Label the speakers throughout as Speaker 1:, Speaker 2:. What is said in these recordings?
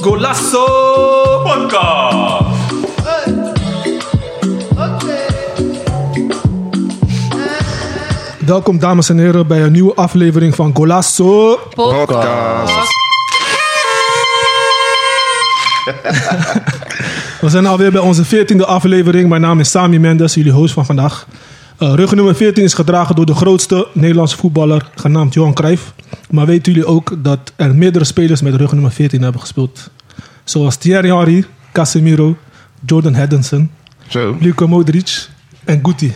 Speaker 1: Golasso Podcast.
Speaker 2: Welkom dames en heren bij een nieuwe aflevering van Golasso.
Speaker 3: Podcast.
Speaker 2: We zijn alweer bij onze 14e aflevering. Mijn naam is Sami Mendes, jullie host van vandaag. Eh rug nummer 14 is gedragen door de grootste Nederlandse voetballer, genaamd Johan Cruijff. Maar weten jullie ook dat er meerdere spelers met rug nummer 14 hebben gespeeld? Zoals Thierry Henry, Casemiro, Jordan Henderson,
Speaker 3: Zo,
Speaker 2: Luka Modric en Guti.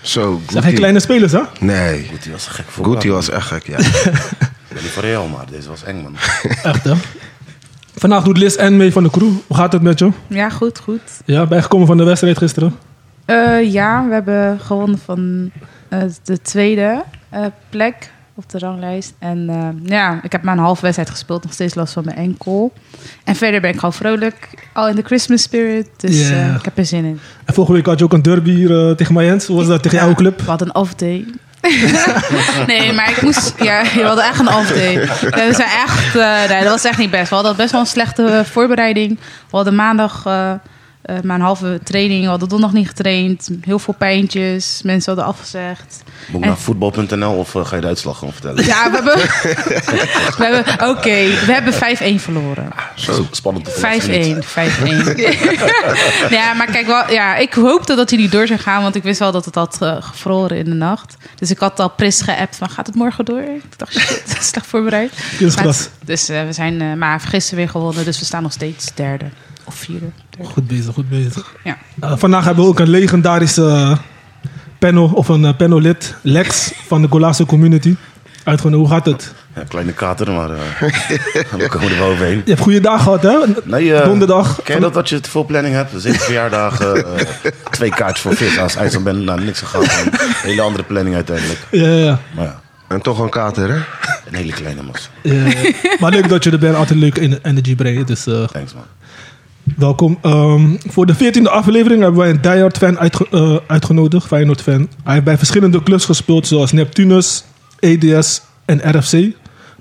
Speaker 3: zo.
Speaker 2: Dat
Speaker 3: Guti.
Speaker 2: zijn kleine spelers, hè?
Speaker 3: Nee,
Speaker 4: Die was gek voor
Speaker 3: Goody was echt gek, ja.
Speaker 4: Ik ben niet voor Real, maar deze was eng, man.
Speaker 2: Echt, hè? Vandaag doet Liz en mee van de crew. Hoe gaat het met je?
Speaker 5: Ja, goed, goed.
Speaker 2: Ja, bijgekomen van de wedstrijd gisteren.
Speaker 5: Eh, ja, we hebben gewonnen van eh, de tweede eh, plek op de ranglijst. En eh, ja, ik heb maar een half wedstrijd gespeeld. Nog steeds last van mijn enkel. En verder ben ik gewoon vrolijk. Al in de Christmas spirit. Dus
Speaker 2: Ja.
Speaker 5: eh, ik heb er zin in.
Speaker 2: En vorige week had je ook een derby hier eh, tegen Mayens. Hoe was dat tegen jouw club?
Speaker 5: We hadden een off day. nee, maar ik moest... Ja, we hadden echt een off day. Nee, we zijn echt... eh, nee, dat was echt niet best. We hadden best wel een slechte eh, voorbereiding. We hadden maandag eh, eh, maar een halve training. We hadden donderdag niet getraind. Heel veel pijntjes. Mensen hadden afgezegd.
Speaker 4: Moet ik naar voetbal.nl of eh, ga je de uitslag gewoon vertellen?
Speaker 5: Ja, we hebben... we hebben Oké, we hebben 5-1 verloren.
Speaker 4: Zo. Spannend. te volgen, of niet?
Speaker 5: 5-1, 5-1. ja, maar kijk wel, ja, ik hoopte dat jullie door zou gaan, want ik wist wel dat het had eh, gevroren in de nacht. Dus ik had al Pris geappt van gaat het morgen door? Ik dacht, shit, slecht voorbereid. Maar
Speaker 2: Kunstgras.
Speaker 5: het- dus eh, we zijn eh, maar gisteren weer gewonnen, dus we staan nog steeds derde of vierde. derde.
Speaker 2: Goed bezig, goed bezig.
Speaker 5: Ja.
Speaker 2: Eh, vandaag hebben we ook een legendarische eh, panel, of een eh, panellid, Lex van de Golasso Community. Uitgenodigd, hoe gaat het?
Speaker 4: Ja, kleine kater, maar eh we komen er wel overheen.
Speaker 2: Je hebt goede dag gehad, hè?
Speaker 4: Nee, eh,
Speaker 2: Donderdag.
Speaker 4: Ken je dat dat je te veel planning hebt? Zeven verjaardagen, eh, twee kaartjes voor fit. Als IJsland ben ik naar nou, niks gegaan. Een hele andere planning uiteindelijk.
Speaker 2: Ja, ja, ja.
Speaker 4: Maar ja,
Speaker 3: En toch een kater, hè?
Speaker 4: een hele kleine massa.
Speaker 2: Ja, ja. maar leuk dat je er bent. Altijd leuk in energy brengen, dus eh,
Speaker 4: Thanks, man.
Speaker 2: welkom. Ehm, voor de 14e aflevering hebben wij een diehard fan uitge- eh, uitgenodigd, Feyenoord fan. Hij heeft bij verschillende clubs gespeeld, zoals Neptunus, EDS en RFC.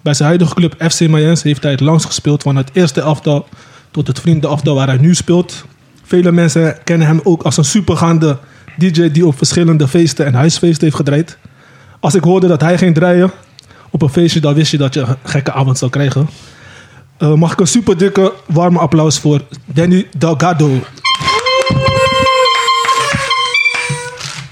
Speaker 2: Bij zijn huidige club FC Mayens heeft hij het langst gespeeld van het eerste aftal tot het vriendenaftal waar hij nu speelt. Vele mensen kennen hem ook als een supergaande DJ die op verschillende feesten en huisfeesten heeft gedraaid. Als ik hoorde dat hij ging draaien op een feestje, dan wist je dat je een gekke avond zou krijgen. Eh, mag ik een super dikke warme applaus voor Danny Delgado.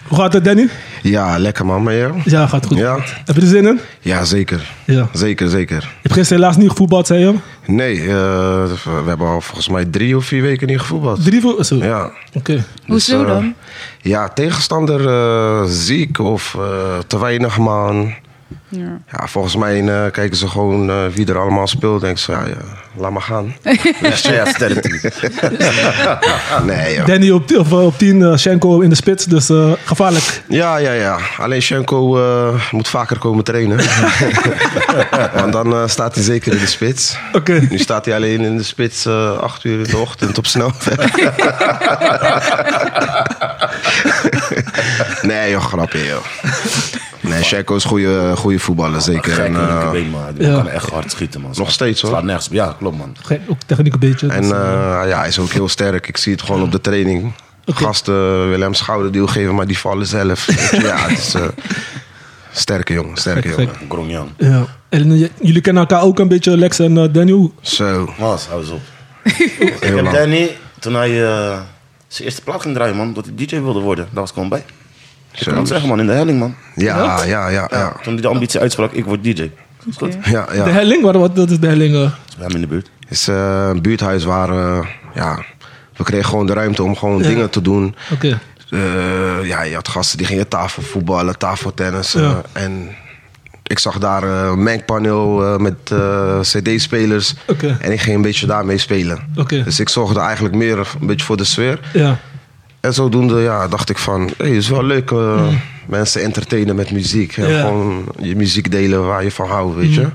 Speaker 2: Hoe gaat het, Danny?
Speaker 3: Ja, lekker man, maar jou?
Speaker 2: Ja, gaat goed.
Speaker 3: Ja.
Speaker 2: Heb je er zin in?
Speaker 3: Ja, zeker.
Speaker 2: Ja.
Speaker 3: Zeker, zeker.
Speaker 2: Je hebt gisteren helaas niet gevoetbald, zei je?
Speaker 3: Nee, eh, we hebben al volgens mij drie of vier weken niet gevoetbald.
Speaker 2: Drie voor... Zo.
Speaker 3: Ja.
Speaker 2: Oké.
Speaker 5: Hoezo
Speaker 3: eh,
Speaker 5: dan?
Speaker 3: ja, tegenstander eh, ziek of eh, te weinig man.
Speaker 5: Ja.
Speaker 3: Ja, volgens mij eh, kijken ze gewoon eh, wie er allemaal speelt. Denk ze, ja, ja, laat maar gaan.
Speaker 4: Ja, sterren.
Speaker 3: Nee, joh.
Speaker 2: Danny op, of, eh, op 10, eh, Schenko in de spits, dus eh, gevaarlijk.
Speaker 3: Ja, ja, ja. Alleen Schenko eh, moet vaker komen trainen. Want dan eh, staat hij zeker in de spits.
Speaker 2: Oké.
Speaker 3: Nu staat hij alleen in de spits eh 8 uur in de ochtend op snelweg. nee, joh, grapje, joh. Nee, Schenko is goede, goede voetballer, zeker.
Speaker 4: Gek
Speaker 3: En,
Speaker 4: in
Speaker 3: eh,
Speaker 4: de been, maar die
Speaker 2: ja.
Speaker 4: kan echt hard schieten, man.
Speaker 3: nog steeds, hoor.
Speaker 4: Slaat nergens. op. Ja, klopt, man.
Speaker 2: Geen- Ook techniek een beetje.
Speaker 3: en
Speaker 2: dus, eh,
Speaker 3: eh, ja, hij is ook heel sterk. Ik zie het gewoon op de training. Gasten willen hem schouderduw geven, maar die vallen zelf. ja, het is... eh, sterke jongen, sterke
Speaker 2: Gek,
Speaker 3: jongen.
Speaker 4: Gronjan.
Speaker 2: ja. En eh, j- jullie kennen elkaar ook een beetje, Lex en eh, Danny. Hoe-
Speaker 3: Zo,
Speaker 4: Mas, hou eens op. Ik
Speaker 3: heel
Speaker 4: heb
Speaker 3: lang.
Speaker 4: Danny, toen hij eh, zijn eerste plaat ging draaien, man, dat hij DJ wilde worden, daar was ik gewoon bij. Ik
Speaker 3: Zo.
Speaker 4: kan het zeggen, man, in de helling, man.
Speaker 3: Ja, ja, ja, ja.
Speaker 4: Toen hij de ambitie uitsprak, ik word DJ. Dat is goed.
Speaker 5: Oké.
Speaker 3: Ja,
Speaker 2: De
Speaker 3: ja.
Speaker 2: helling? Wat, wat, dat is de helling. eh.
Speaker 4: Dat is bij hem in de buurt.
Speaker 3: Het is eh, een buurthuis waar, eh, ja, we kregen gewoon de ruimte om gewoon
Speaker 2: Ja.
Speaker 3: dingen te doen.
Speaker 2: Oké.
Speaker 3: Eh, ja, je had gasten die gingen tafel voetballen, tafeltennis. eh,
Speaker 2: Ja.
Speaker 3: En ik zag daar eh, een mengpaneel eh, met eh, cd-spelers.
Speaker 2: Oké.
Speaker 3: En ik ging een beetje daarmee spelen.
Speaker 2: Oké.
Speaker 3: Dus ik zorgde eigenlijk meer een beetje voor de sfeer.
Speaker 2: Ja.
Speaker 3: En zodoende ja, dacht ik van, hey, het is wel leuk eh, mensen entertainen met muziek. En
Speaker 2: Mm. Ja. Mm.
Speaker 3: Gewoon je muziek delen waar je van houdt, weet je.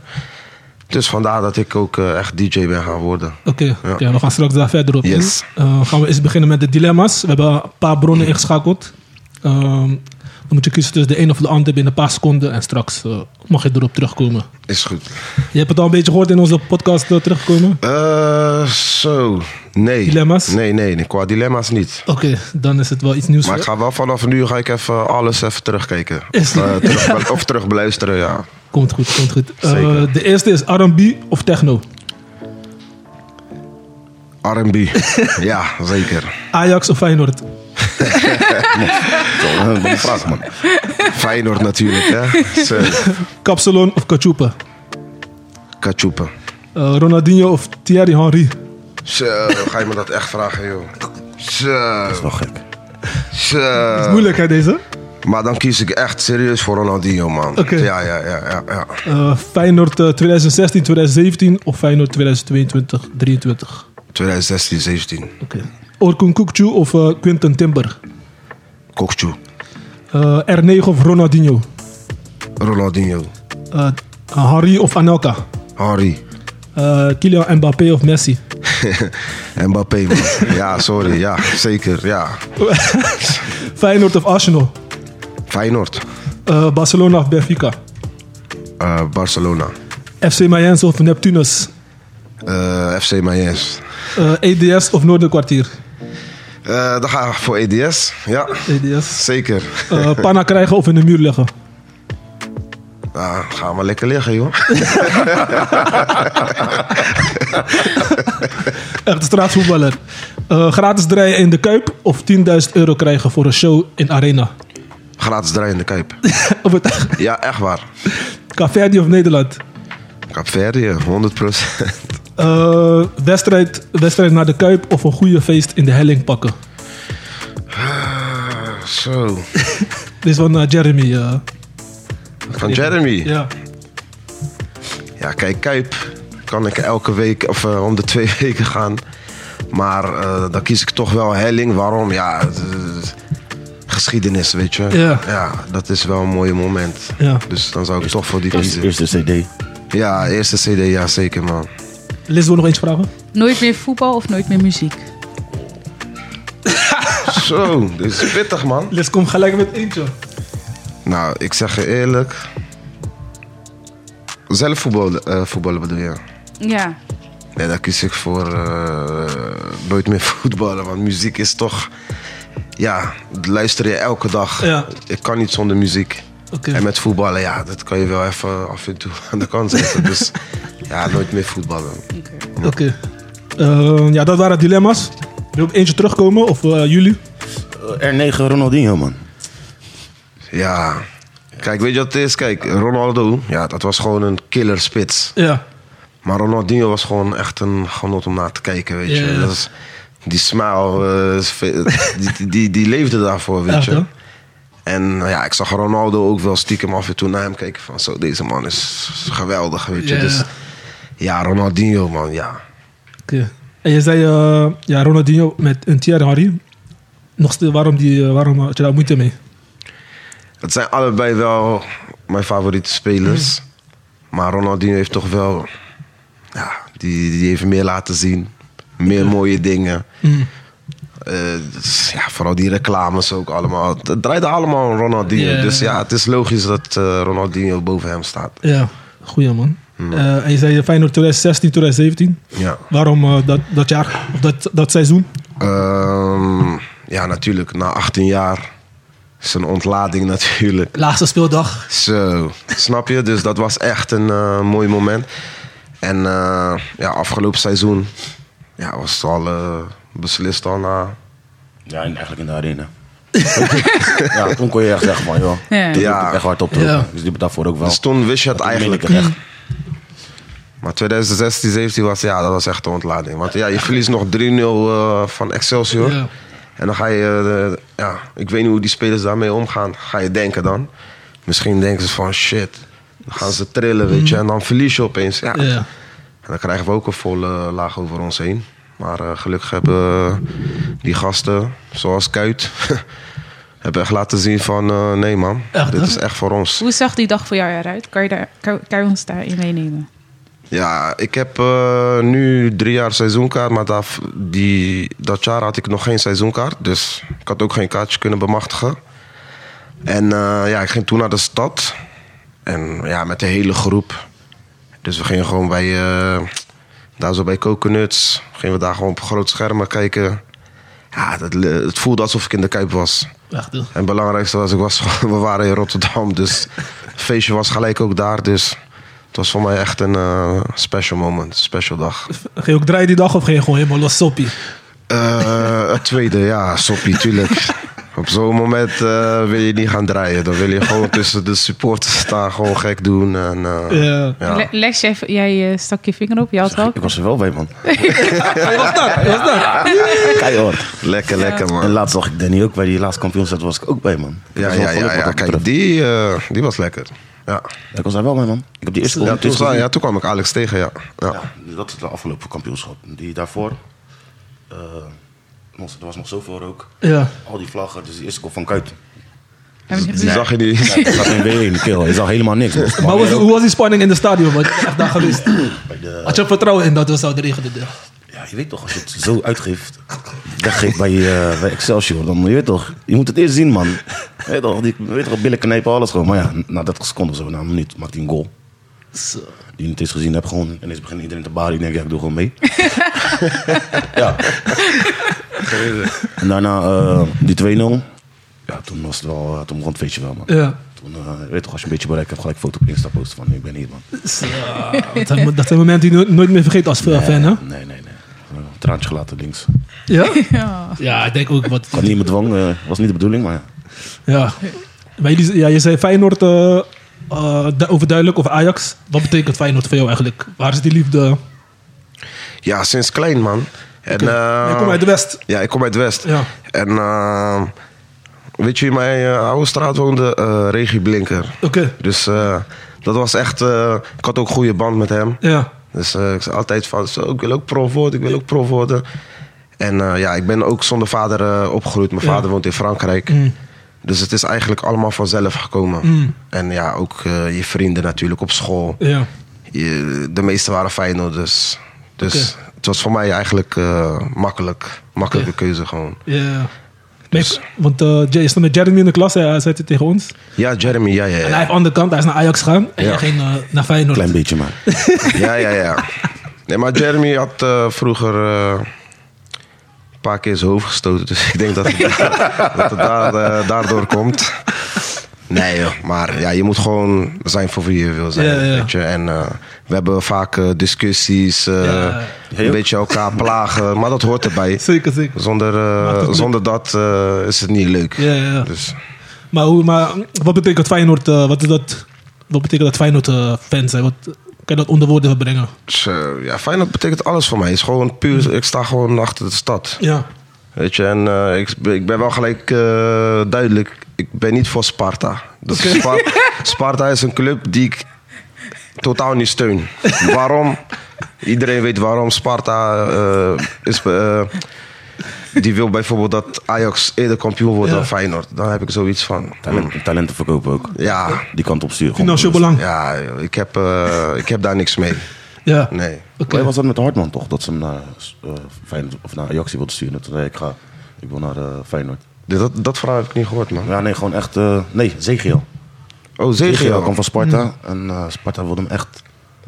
Speaker 3: Dus vandaar dat ik ook eh, echt DJ ben gaan worden.
Speaker 2: Oké,
Speaker 3: Ja.
Speaker 2: oké, we gaan straks daar verder op. in.
Speaker 3: Yes. Mhm.
Speaker 2: Eh, gaan we eens beginnen met de dilemma's. We hebben een paar bronnen ingeschakeld. Ehm, moet je kiezen tussen de een of de ander binnen een paar seconden. En straks eh, mag je erop terugkomen.
Speaker 3: Is goed.
Speaker 2: Je hebt het al een beetje gehoord in onze podcast eh, terugkomen.
Speaker 3: Eh, zo. Nee.
Speaker 2: Dilemma's?
Speaker 3: Nee, nee, nee, qua dilemma's niet.
Speaker 2: Oké, dan is het wel iets nieuws.
Speaker 3: Maar ik
Speaker 2: voor-
Speaker 3: ga wel vanaf nu ga ik even alles even terugkijken.
Speaker 2: Is-
Speaker 3: Eh, terug- of terug beluisteren, ja.
Speaker 2: Komt goed, komt goed. Eh,
Speaker 3: Zeker.
Speaker 2: de eerste is R&B of techno.
Speaker 3: R&B. ja, zeker.
Speaker 2: Ajax of Feyenoord.
Speaker 4: Zo, ben je vraag, man.
Speaker 3: Feyenoord natuurlijk, hè. Zo.
Speaker 2: Kapsalon of Kachupa.
Speaker 3: Kachupa.
Speaker 2: Ronaldinho of Thierry Henry.
Speaker 3: Zo, ga je me dat echt vragen, joh. Zo,
Speaker 4: Wel gek.
Speaker 3: zo.
Speaker 2: Moeilijk hè deze?
Speaker 3: Maar dan kies ik echt serieus voor Ronaldinho, man.
Speaker 2: Oké.
Speaker 3: Ja, ja, ja, ja, ja.
Speaker 2: Eh, Feyenoord eh, 2016, 2017 of Feyenoord 2022, 23.
Speaker 3: 2016, 17.
Speaker 2: Oké. Orkun Kukcu of eh, Quinten Timber.
Speaker 3: Kokchu.
Speaker 2: Eh, R9 of Ronaldinho.
Speaker 3: Ronaldinho.
Speaker 2: Eh, Harry of Anelka.
Speaker 3: Harry.
Speaker 2: Eh, Kylian Mbappé of Messi.
Speaker 3: Mbappé, man. Ja, sorry. Ja, zeker. Ja.
Speaker 2: Feyenoord of Arsenal.
Speaker 3: Feyenoord.
Speaker 2: Eh, Barcelona of Benfica.
Speaker 3: Eh, Barcelona.
Speaker 2: FC Mayens of Neptunus.
Speaker 3: Eh, FC Mayens.
Speaker 2: Eh, EDS of Noorderkwartier.
Speaker 3: Eh dan ga ik voor EDS. Ja,
Speaker 2: EDS.
Speaker 3: zeker.
Speaker 2: Eh panna krijgen of in de muur leggen.
Speaker 3: Nou, ga maar lekker liggen, joh.
Speaker 2: Echt straatvoetballer. Eh, gratis draaien in de Kuip of 10.000 euro krijgen voor een show in Arena.
Speaker 3: Gratis draaien in de kuip.
Speaker 2: Op het
Speaker 3: Ja, echt waar.
Speaker 2: Caverdi of Nederland.
Speaker 3: Capverdi, 100
Speaker 2: Eh, wedstrijd, wedstrijd naar de Kuip of een goede feest in de helling pakken.
Speaker 3: Eh, Zo.
Speaker 2: Dit is van eh, Jeremy. eh.
Speaker 3: Van Jeremy.
Speaker 2: ja.
Speaker 3: Ja, kijk, Kuip kan ik elke week of eh, om de twee weken gaan. Maar eh, dan kies ik toch wel Helling. Waarom? Ja, het, eh, geschiedenis, weet je.
Speaker 2: Ja.
Speaker 3: dat is wel een mooi moment.
Speaker 2: Ja.
Speaker 3: Dus dan zou ik toch voor die
Speaker 4: Eerste,
Speaker 3: kiezen.
Speaker 4: eerste CD.
Speaker 3: Ja, eerste CD, ja zeker man.
Speaker 2: Liz wil nog eens vragen.
Speaker 5: Nooit meer voetbal of nooit meer muziek?
Speaker 3: Zo, dit is pittig man.
Speaker 2: Liz, kom gelijk met eentje.
Speaker 3: Nou, ik zeg je eerlijk. Zelf voetballen, eh, voetballen bedoel je?
Speaker 5: Ja.
Speaker 3: Nee, dan kies ik voor eh, nooit meer voetballen. Want muziek is toch. Ja, dat luister je elke dag.
Speaker 2: Ja.
Speaker 3: Ik kan niet zonder muziek.
Speaker 2: Oké.
Speaker 3: En met voetballen, ja, dat kan je wel even af en toe aan de kant zetten. Dus ja, nooit meer voetballen.
Speaker 2: Oké. Eh, ja, dat waren dilemma's. Wil ik eentje terugkomen? Of eh, jullie?
Speaker 4: R9 Eh, Ronaldinho, man.
Speaker 3: Ja. Kijk, weet je wat het is? Kijk, Ronaldo, ja, dat was gewoon een killer spits.
Speaker 2: Ja.
Speaker 3: Maar Ronaldinho was gewoon echt een genot om naar te kijken, weet je.
Speaker 2: Ja.
Speaker 3: Dat is- die smile, eh, spe- die, die, die, die leefde daarvoor, weet
Speaker 2: Echt,
Speaker 3: je.
Speaker 2: hè?
Speaker 3: En nou ja, ik zag Ronaldo ook wel stiekem af en toe naar hem kijken van... Zo, deze man is geweldig, weet je.
Speaker 2: Ja.
Speaker 3: Dus ja, Ronaldinho, man, ja.
Speaker 2: Oké. En je zei eh, ja, Ronaldinho met een Thierry Henry. Nog steeds, waarom, die, eh, waarom had je daar moeite mee?
Speaker 3: Het zijn allebei wel mijn favoriete spelers.
Speaker 2: Hm.
Speaker 3: Maar Ronaldinho heeft toch wel... Ja, die, die heeft meer laten zien. Meer mooie dingen.
Speaker 2: Mm.
Speaker 3: Eh, dus ja, vooral die reclames ook allemaal. Het draait allemaal om Ronaldinho.
Speaker 2: Ja.
Speaker 3: Dus ja, het is logisch dat eh, Ronaldinho boven hem staat.
Speaker 2: Ja, goeie man.
Speaker 3: Mm.
Speaker 2: Eh, en je zei Feyenoord 2016, 2017.
Speaker 3: Ja.
Speaker 2: Waarom eh, dat, dat jaar, of dat, dat seizoen?
Speaker 3: Ehm, ja, natuurlijk. Na 18 jaar is een ontlading natuurlijk.
Speaker 2: Laatste speeldag.
Speaker 3: Zo, snap je? Dus dat was echt een eh, mooi moment. En eh, ja, afgelopen seizoen ja, was het al eh, beslist al na...
Speaker 4: Ja, en eigenlijk in de arena. ja, toen kon je echt zeggen van, joh.
Speaker 5: Ja.
Speaker 4: Toen
Speaker 3: Ja.
Speaker 4: moet ik echt hard optrokken.
Speaker 2: Ja.
Speaker 4: Dus die heb ik daarvoor ook wel.
Speaker 3: Dus toen wist je het
Speaker 4: Dat meen ik
Speaker 3: eigenlijk.
Speaker 4: echt.
Speaker 3: Maar 2016, 17 was, ja, dat was echt een ontlading. Want ja, je verliest nog 3-0 eh, van Excelsior.
Speaker 2: Ja.
Speaker 3: En dan ga je, eh, ja, ik weet niet hoe die spelers daarmee omgaan. Ga je denken dan? Misschien denken ze van shit. Dan gaan ze trillen, weet je. En dan verlies je opeens. Ja.
Speaker 2: Ja.
Speaker 3: En dan krijgen we ook een volle eh, laag over ons heen. Maar eh, gelukkig hebben eh, die gasten, zoals Kuit, hebben echt laten zien van... eh, nee man,
Speaker 2: Echt,
Speaker 3: dit
Speaker 2: hè?
Speaker 3: is echt voor ons.
Speaker 5: Hoe zag die dag voor jou eruit? Kan je, daar, kan, kan je ons daarin meenemen?
Speaker 3: Ja, ik heb eh, nu drie jaar seizoenkaart, maar daar, die, dat jaar had ik nog geen seizoenkaart. Dus ik had ook geen kaartje kunnen bemachtigen. En eh, ja, ik ging toen naar de stad. En ja, met de hele groep. Dus we gingen gewoon bij, eh, daar zo bij Coconuts. Gingen we daar gewoon op groot schermen kijken. Ja, dat, le- het voelde alsof ik in de Kuip was.
Speaker 2: Echt, eh.
Speaker 3: En het belangrijkste was, ik was, we waren in Rotterdam. Dus het feestje was gelijk ook daar. Dus het was voor mij echt een eh, special moment, special dag.
Speaker 2: Ging je ook draaien die dag of ging je gewoon helemaal los soppie?
Speaker 3: Eh, het tweede, ja, soppie, tuurlijk. Op zo'n moment eh, wil je niet gaan draaien. Dan wil je gewoon tussen de supporters staan, gewoon gek doen. En, eh,
Speaker 2: Ja.
Speaker 3: ja.
Speaker 5: Le- Les, jij, jij eh, stak je vinger op, je had wel.
Speaker 4: Ik was er wel bij, man. Keihard.
Speaker 3: Lekker, lekker
Speaker 4: En
Speaker 3: man.
Speaker 4: laatst zag ik Danny ook bij die laatste kampioenschap. was ik ook bij, man. Ik
Speaker 3: Ja,
Speaker 4: was wel
Speaker 3: ja,
Speaker 4: gelukkig
Speaker 3: ja, ja.
Speaker 4: wat dat
Speaker 3: Kijk,
Speaker 4: betreft.
Speaker 3: die, eh, die was lekker. Ja.
Speaker 4: Ik was daar wel mee, man. Ik heb die eerste
Speaker 3: Ja,
Speaker 4: goal
Speaker 3: toen,
Speaker 4: natuurlijk
Speaker 3: ja,
Speaker 4: gezien.
Speaker 3: toen kwam ik Alex tegen, ja. ja.
Speaker 4: Ja, dus dat is de afgelopen kampioenschap. Die daarvoor, eh, was- er was nog zoveel rook.
Speaker 2: Ja.
Speaker 4: Al die vlaggen, dus de eerste goal van Kuit.
Speaker 5: Hebben
Speaker 3: Die
Speaker 5: ze gezien?
Speaker 3: zag je niet.
Speaker 4: Ja, dat gaat in weer in de keel. Je zag helemaal niks. man.
Speaker 2: Maar was, hoe was die spanning in de stadion? Want je bent echt daar geweest.
Speaker 4: Bij de-
Speaker 2: Had je vertrouwen in dat we zouden regelen? dit jaar?
Speaker 4: Ja, je weet toch, als je het zo uitgeeft, weggeeft bij, eh, bij Excelsior, dan je weet toch, je moet het eerst zien, man. Je weet toch, die, je weet toch billen knijpen, alles gewoon. Maar ja, na 30 seconden of zo, na een minuut, maakt hij een goal.
Speaker 2: Zo.
Speaker 4: Die niet eens gezien heb, gewoon. En eens begint iedereen te baren. Ik denk, ja, ik doe gewoon mee. ja. En daarna eh, die 2-0. Ja, toen was het wel, eh, toen begon het feestje wel, man.
Speaker 2: Ja.
Speaker 4: Toen, eh, je weet toch, als je een beetje bereik hebt, gelijk foto op Insta posten van, ik ben hier, man.
Speaker 2: Zo. Dat zijn- dat zijn momenten die je no- nooit meer vergeet als fan, hè?
Speaker 4: Nee, nee, nee. Gewoon een Traantje gelaten links.
Speaker 2: Ja?
Speaker 5: Ja.
Speaker 2: Ja, ik denk ook wat.
Speaker 4: Kan niet met dwang, eh, was niet de bedoeling, maar ja.
Speaker 2: Ja. Maar jullie, ja, je zei Feyenoord eh, eh, du- overduidelijk, of Ajax. Wat betekent Feyenoord voor jou eigenlijk? Waar is die liefde?
Speaker 3: Ja, sinds klein, man. En, eh,
Speaker 2: Jij komt uit de West.
Speaker 3: Ja, ik kom uit West.
Speaker 2: Ja.
Speaker 3: En eh, weet je, in mijn eh, oude straat woonde eh Regie Blinker.
Speaker 2: Oké.
Speaker 3: Dus eh, dat was echt... eh, ik had ook goede band met hem.
Speaker 2: Ja.
Speaker 3: Dus eh, ik zei altijd van, zo, ik wil ook prof worden, ik wil ook prof worden. En eh, ja, ik ben ook zonder vader eh, opgegroeid. Mijn
Speaker 2: Ja.
Speaker 3: vader woont in Frankrijk.
Speaker 2: Mm.
Speaker 3: Dus het is eigenlijk allemaal vanzelf gekomen.
Speaker 2: Mm.
Speaker 3: En ja, ook eh, je vrienden natuurlijk op school.
Speaker 2: Ja.
Speaker 3: Je- de meeste waren Feyenoorders. Dus
Speaker 2: Oké.
Speaker 3: het was voor mij eigenlijk eh, makkelijk. Makkelijke
Speaker 2: Oké.
Speaker 3: keuze gewoon.
Speaker 2: Ja. Nee, want eh Jay stond met Jeremy in de klas, hij hij zei het tegen ons.
Speaker 3: Ja, Jeremy, ja, ja,
Speaker 2: En hij
Speaker 3: ja.
Speaker 2: heeft aan de kant, hij is naar Ajax gegaan en
Speaker 3: Ja.
Speaker 2: jij ging eh, naar Feyenoord.
Speaker 4: Klein beetje, maar.
Speaker 3: ja, ja, ja. Nee, maar Jeremy had eh, vroeger eh, een paar keer zijn hoofd gestoten. Dus ik denk dat het, daar- dat het daar, eh, daardoor komt. Nee, joh. maar ja, je moet gewoon zijn voor wie je wil zijn.
Speaker 2: Ja, ja.
Speaker 3: Weet je? En eh, we hebben vaak eh, discussies, eh,
Speaker 2: Ja.
Speaker 4: Heel.
Speaker 3: een beetje elkaar plagen, maar dat hoort erbij.
Speaker 2: Zeker, zeker.
Speaker 3: Zonder, eh,
Speaker 2: Maakt het leuk.
Speaker 3: zonder dat eh, is het niet leuk.
Speaker 2: Ja, ja, ja.
Speaker 3: Dus,
Speaker 2: Maar, hoe, maar hm, wat betekent Feyenoord, eh, wat, is dat, wat betekent dat Feyenoord eh, fans zijn? Wat, kan je dat onder woorden brengen?
Speaker 3: dus, eh, ja, Feyenoord betekent alles voor mij. Het is gewoon puur, ik sta gewoon achter de stad.
Speaker 2: Ja.
Speaker 3: Weet je, en eh, ik, ik ben wel gelijk eh, duidelijk. Ik ben niet voor Sparta. Dus Spar- Sparta is een club die ik totaal niet steun. Waarom? Iedereen weet waarom. Sparta eh, is. eh, die wil bijvoorbeeld dat Ajax eerder kampioen wordt
Speaker 2: Ja.
Speaker 3: dan Feyenoord. Daar heb ik zoiets van.
Speaker 4: Talent, talenten verkopen ook.
Speaker 3: Ja,
Speaker 4: Die kant op sturen. gewoon.
Speaker 2: Financieel belang. Ja.
Speaker 3: ja ik, heb, eh, ik heb daar niks mee. Nee.
Speaker 2: Oké.
Speaker 4: Jij was dat met Hartman toch? Dat ze hem naar, eh, Feyenoord, of naar Ajax wilde sturen. Toen zei ik, ga, ik wil naar eh, Feyenoord.
Speaker 3: Dat, dat verhaal heb ik niet gehoord, man.
Speaker 4: Ja, nee, gewoon echt... eh, nee, Zegio.
Speaker 3: Oh,
Speaker 4: Zegio kwam
Speaker 3: Zegio.
Speaker 4: van Sparta. En eh, Sparta wilde hem echt...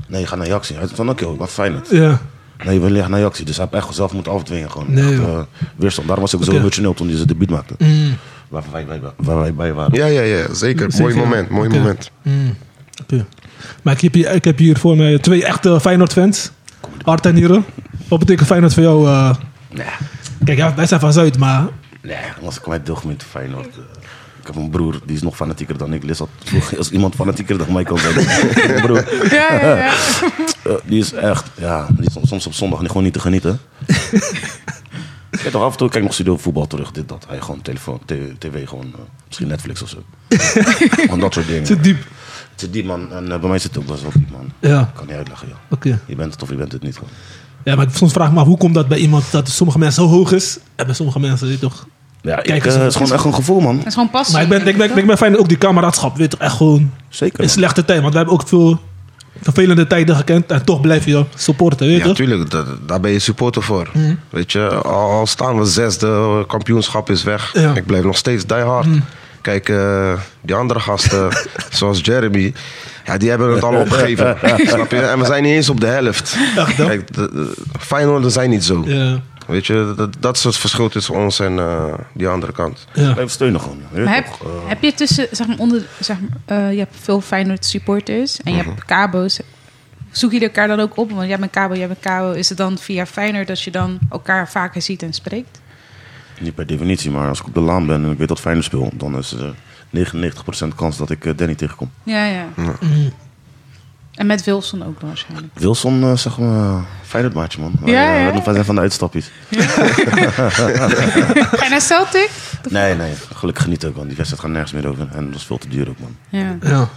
Speaker 4: Nee, ga naar Ajax. Hij zei van, oké, wat Feyenoord.
Speaker 2: Ja.
Speaker 4: Nee, we liggen naar Ajax. Dus hij heeft echt zelf moeten afdwingen. Gewoon
Speaker 2: Nee,
Speaker 4: echt,
Speaker 2: joh.
Speaker 4: eh, weerstand. Daarom was ik
Speaker 2: Oké.
Speaker 4: zo emotioneel toen hij zijn debuut maakte.
Speaker 2: Mm.
Speaker 4: Waar, wij, bij- waar wij bij waren.
Speaker 3: Ja, ja, ja, zeker. Mooi
Speaker 2: Zeker.
Speaker 3: moment, mooi
Speaker 2: Oké.
Speaker 3: moment.
Speaker 2: Mm. Oké. Maar ik heb, hier, ik heb hier voor mij twee echte Feyenoord-fans. Hart en nieren. Wat betekent Feyenoord voor jou? eh?
Speaker 4: Nee,
Speaker 2: Kijk, ja, wij zijn van Zuid, maar...
Speaker 4: nee. Als ik mij deelgemeente Feyenoord... eh, ik heb een broer, die is nog fanatieker dan ik. Liz had vroeger- als iemand fanatieker dan mij kan zijn. Mijn broer.
Speaker 5: Ja, ja, ja.
Speaker 4: Eh, die is echt, ja, die is soms op zondag niet- gewoon niet te genieten. Ik weet toch af en toe, kijk nog studio voetbal terug, dit, dat. Hij gewoon telefoon, tv, tv gewoon, eh, misschien Netflix of zo. Gewoon dat soort dingen.
Speaker 2: Te diep.
Speaker 4: Het is die man, en eh, bij mij zit het ook wel zo diep man.
Speaker 2: Ja.
Speaker 4: Ik kan niet uitleggen, joh.
Speaker 2: Oké.
Speaker 4: Je bent het of je bent het niet. Gewoon.
Speaker 2: Ja, maar ik soms vraag ik me af, hoe komt dat bij iemand dat sommige mensen zo hoog is en bij sommige mensen weet je toch...
Speaker 4: Ja, ik,
Speaker 2: Kijk, het
Speaker 4: eh,
Speaker 2: is-
Speaker 4: het is gewoon echt een gevoel, man.
Speaker 5: Dat is gewoon passie.
Speaker 2: Maar ik ben, ik ben, ik ben fijn ook die kameraadschap, weet je toch, echt gewoon
Speaker 4: Zeker.
Speaker 2: een
Speaker 4: man.
Speaker 2: slechte tijd. Want we hebben ook veel vervelende tijden gekend en toch blijf je supporten, weet je
Speaker 3: Ja,
Speaker 2: toch? Mhm.
Speaker 3: tuurlijk, dat- daar ben je supporter voor. Weet je, al al staan we zesde, kampioenschap is weg.
Speaker 2: Ja. Mhm.
Speaker 3: Ik blijf nog steeds die hard. Kijk, eh, die andere gasten, zoals Jeremy, ja, die hebben het al opgegeven. snap je? En we zijn niet eens op de helft.
Speaker 2: Echt, hè?
Speaker 3: Kijk, de, de, Feyenoorders zijn niet zo.
Speaker 2: Ja,
Speaker 3: Weet je, dat, dat is het verschil tussen ons en eh, die andere kant.
Speaker 2: ja.
Speaker 4: Blijf steunen gewoon. Je weet
Speaker 5: Maar heb,
Speaker 4: toch, eh,
Speaker 5: heb je tussen, zeg maar, onder, zeg maar, eh, je hebt veel Feyenoord supporters en je hebt Cabo's. Zoek je elkaar dan ook op? Want jij bent Cabo, jij bent Cabo. Is het dan via Feyenoord dat je dan elkaar vaker ziet en spreekt?
Speaker 4: Niet per definitie, maar als ik op de laan ben en ik weet dat Feyenoord speel, dan is er 99% kans dat ik eh, Danny tegenkom.
Speaker 5: Ja, ja. En met Wilson ook dan waarschijnlijk.
Speaker 4: Wilson, eh, zeg maar, Feyenoord maatje man. Wij,
Speaker 5: Ja,
Speaker 4: eh,
Speaker 5: ja, ja.
Speaker 4: wij doen- wij zijn van de uitstapjes.
Speaker 5: Ga je naar Celtic?
Speaker 4: Nee, nee, gelukkig niet ook, want die wedstrijd gaat nergens meer over. En dat is veel te duur ook man.
Speaker 5: Ja,
Speaker 2: ja.
Speaker 4: Dat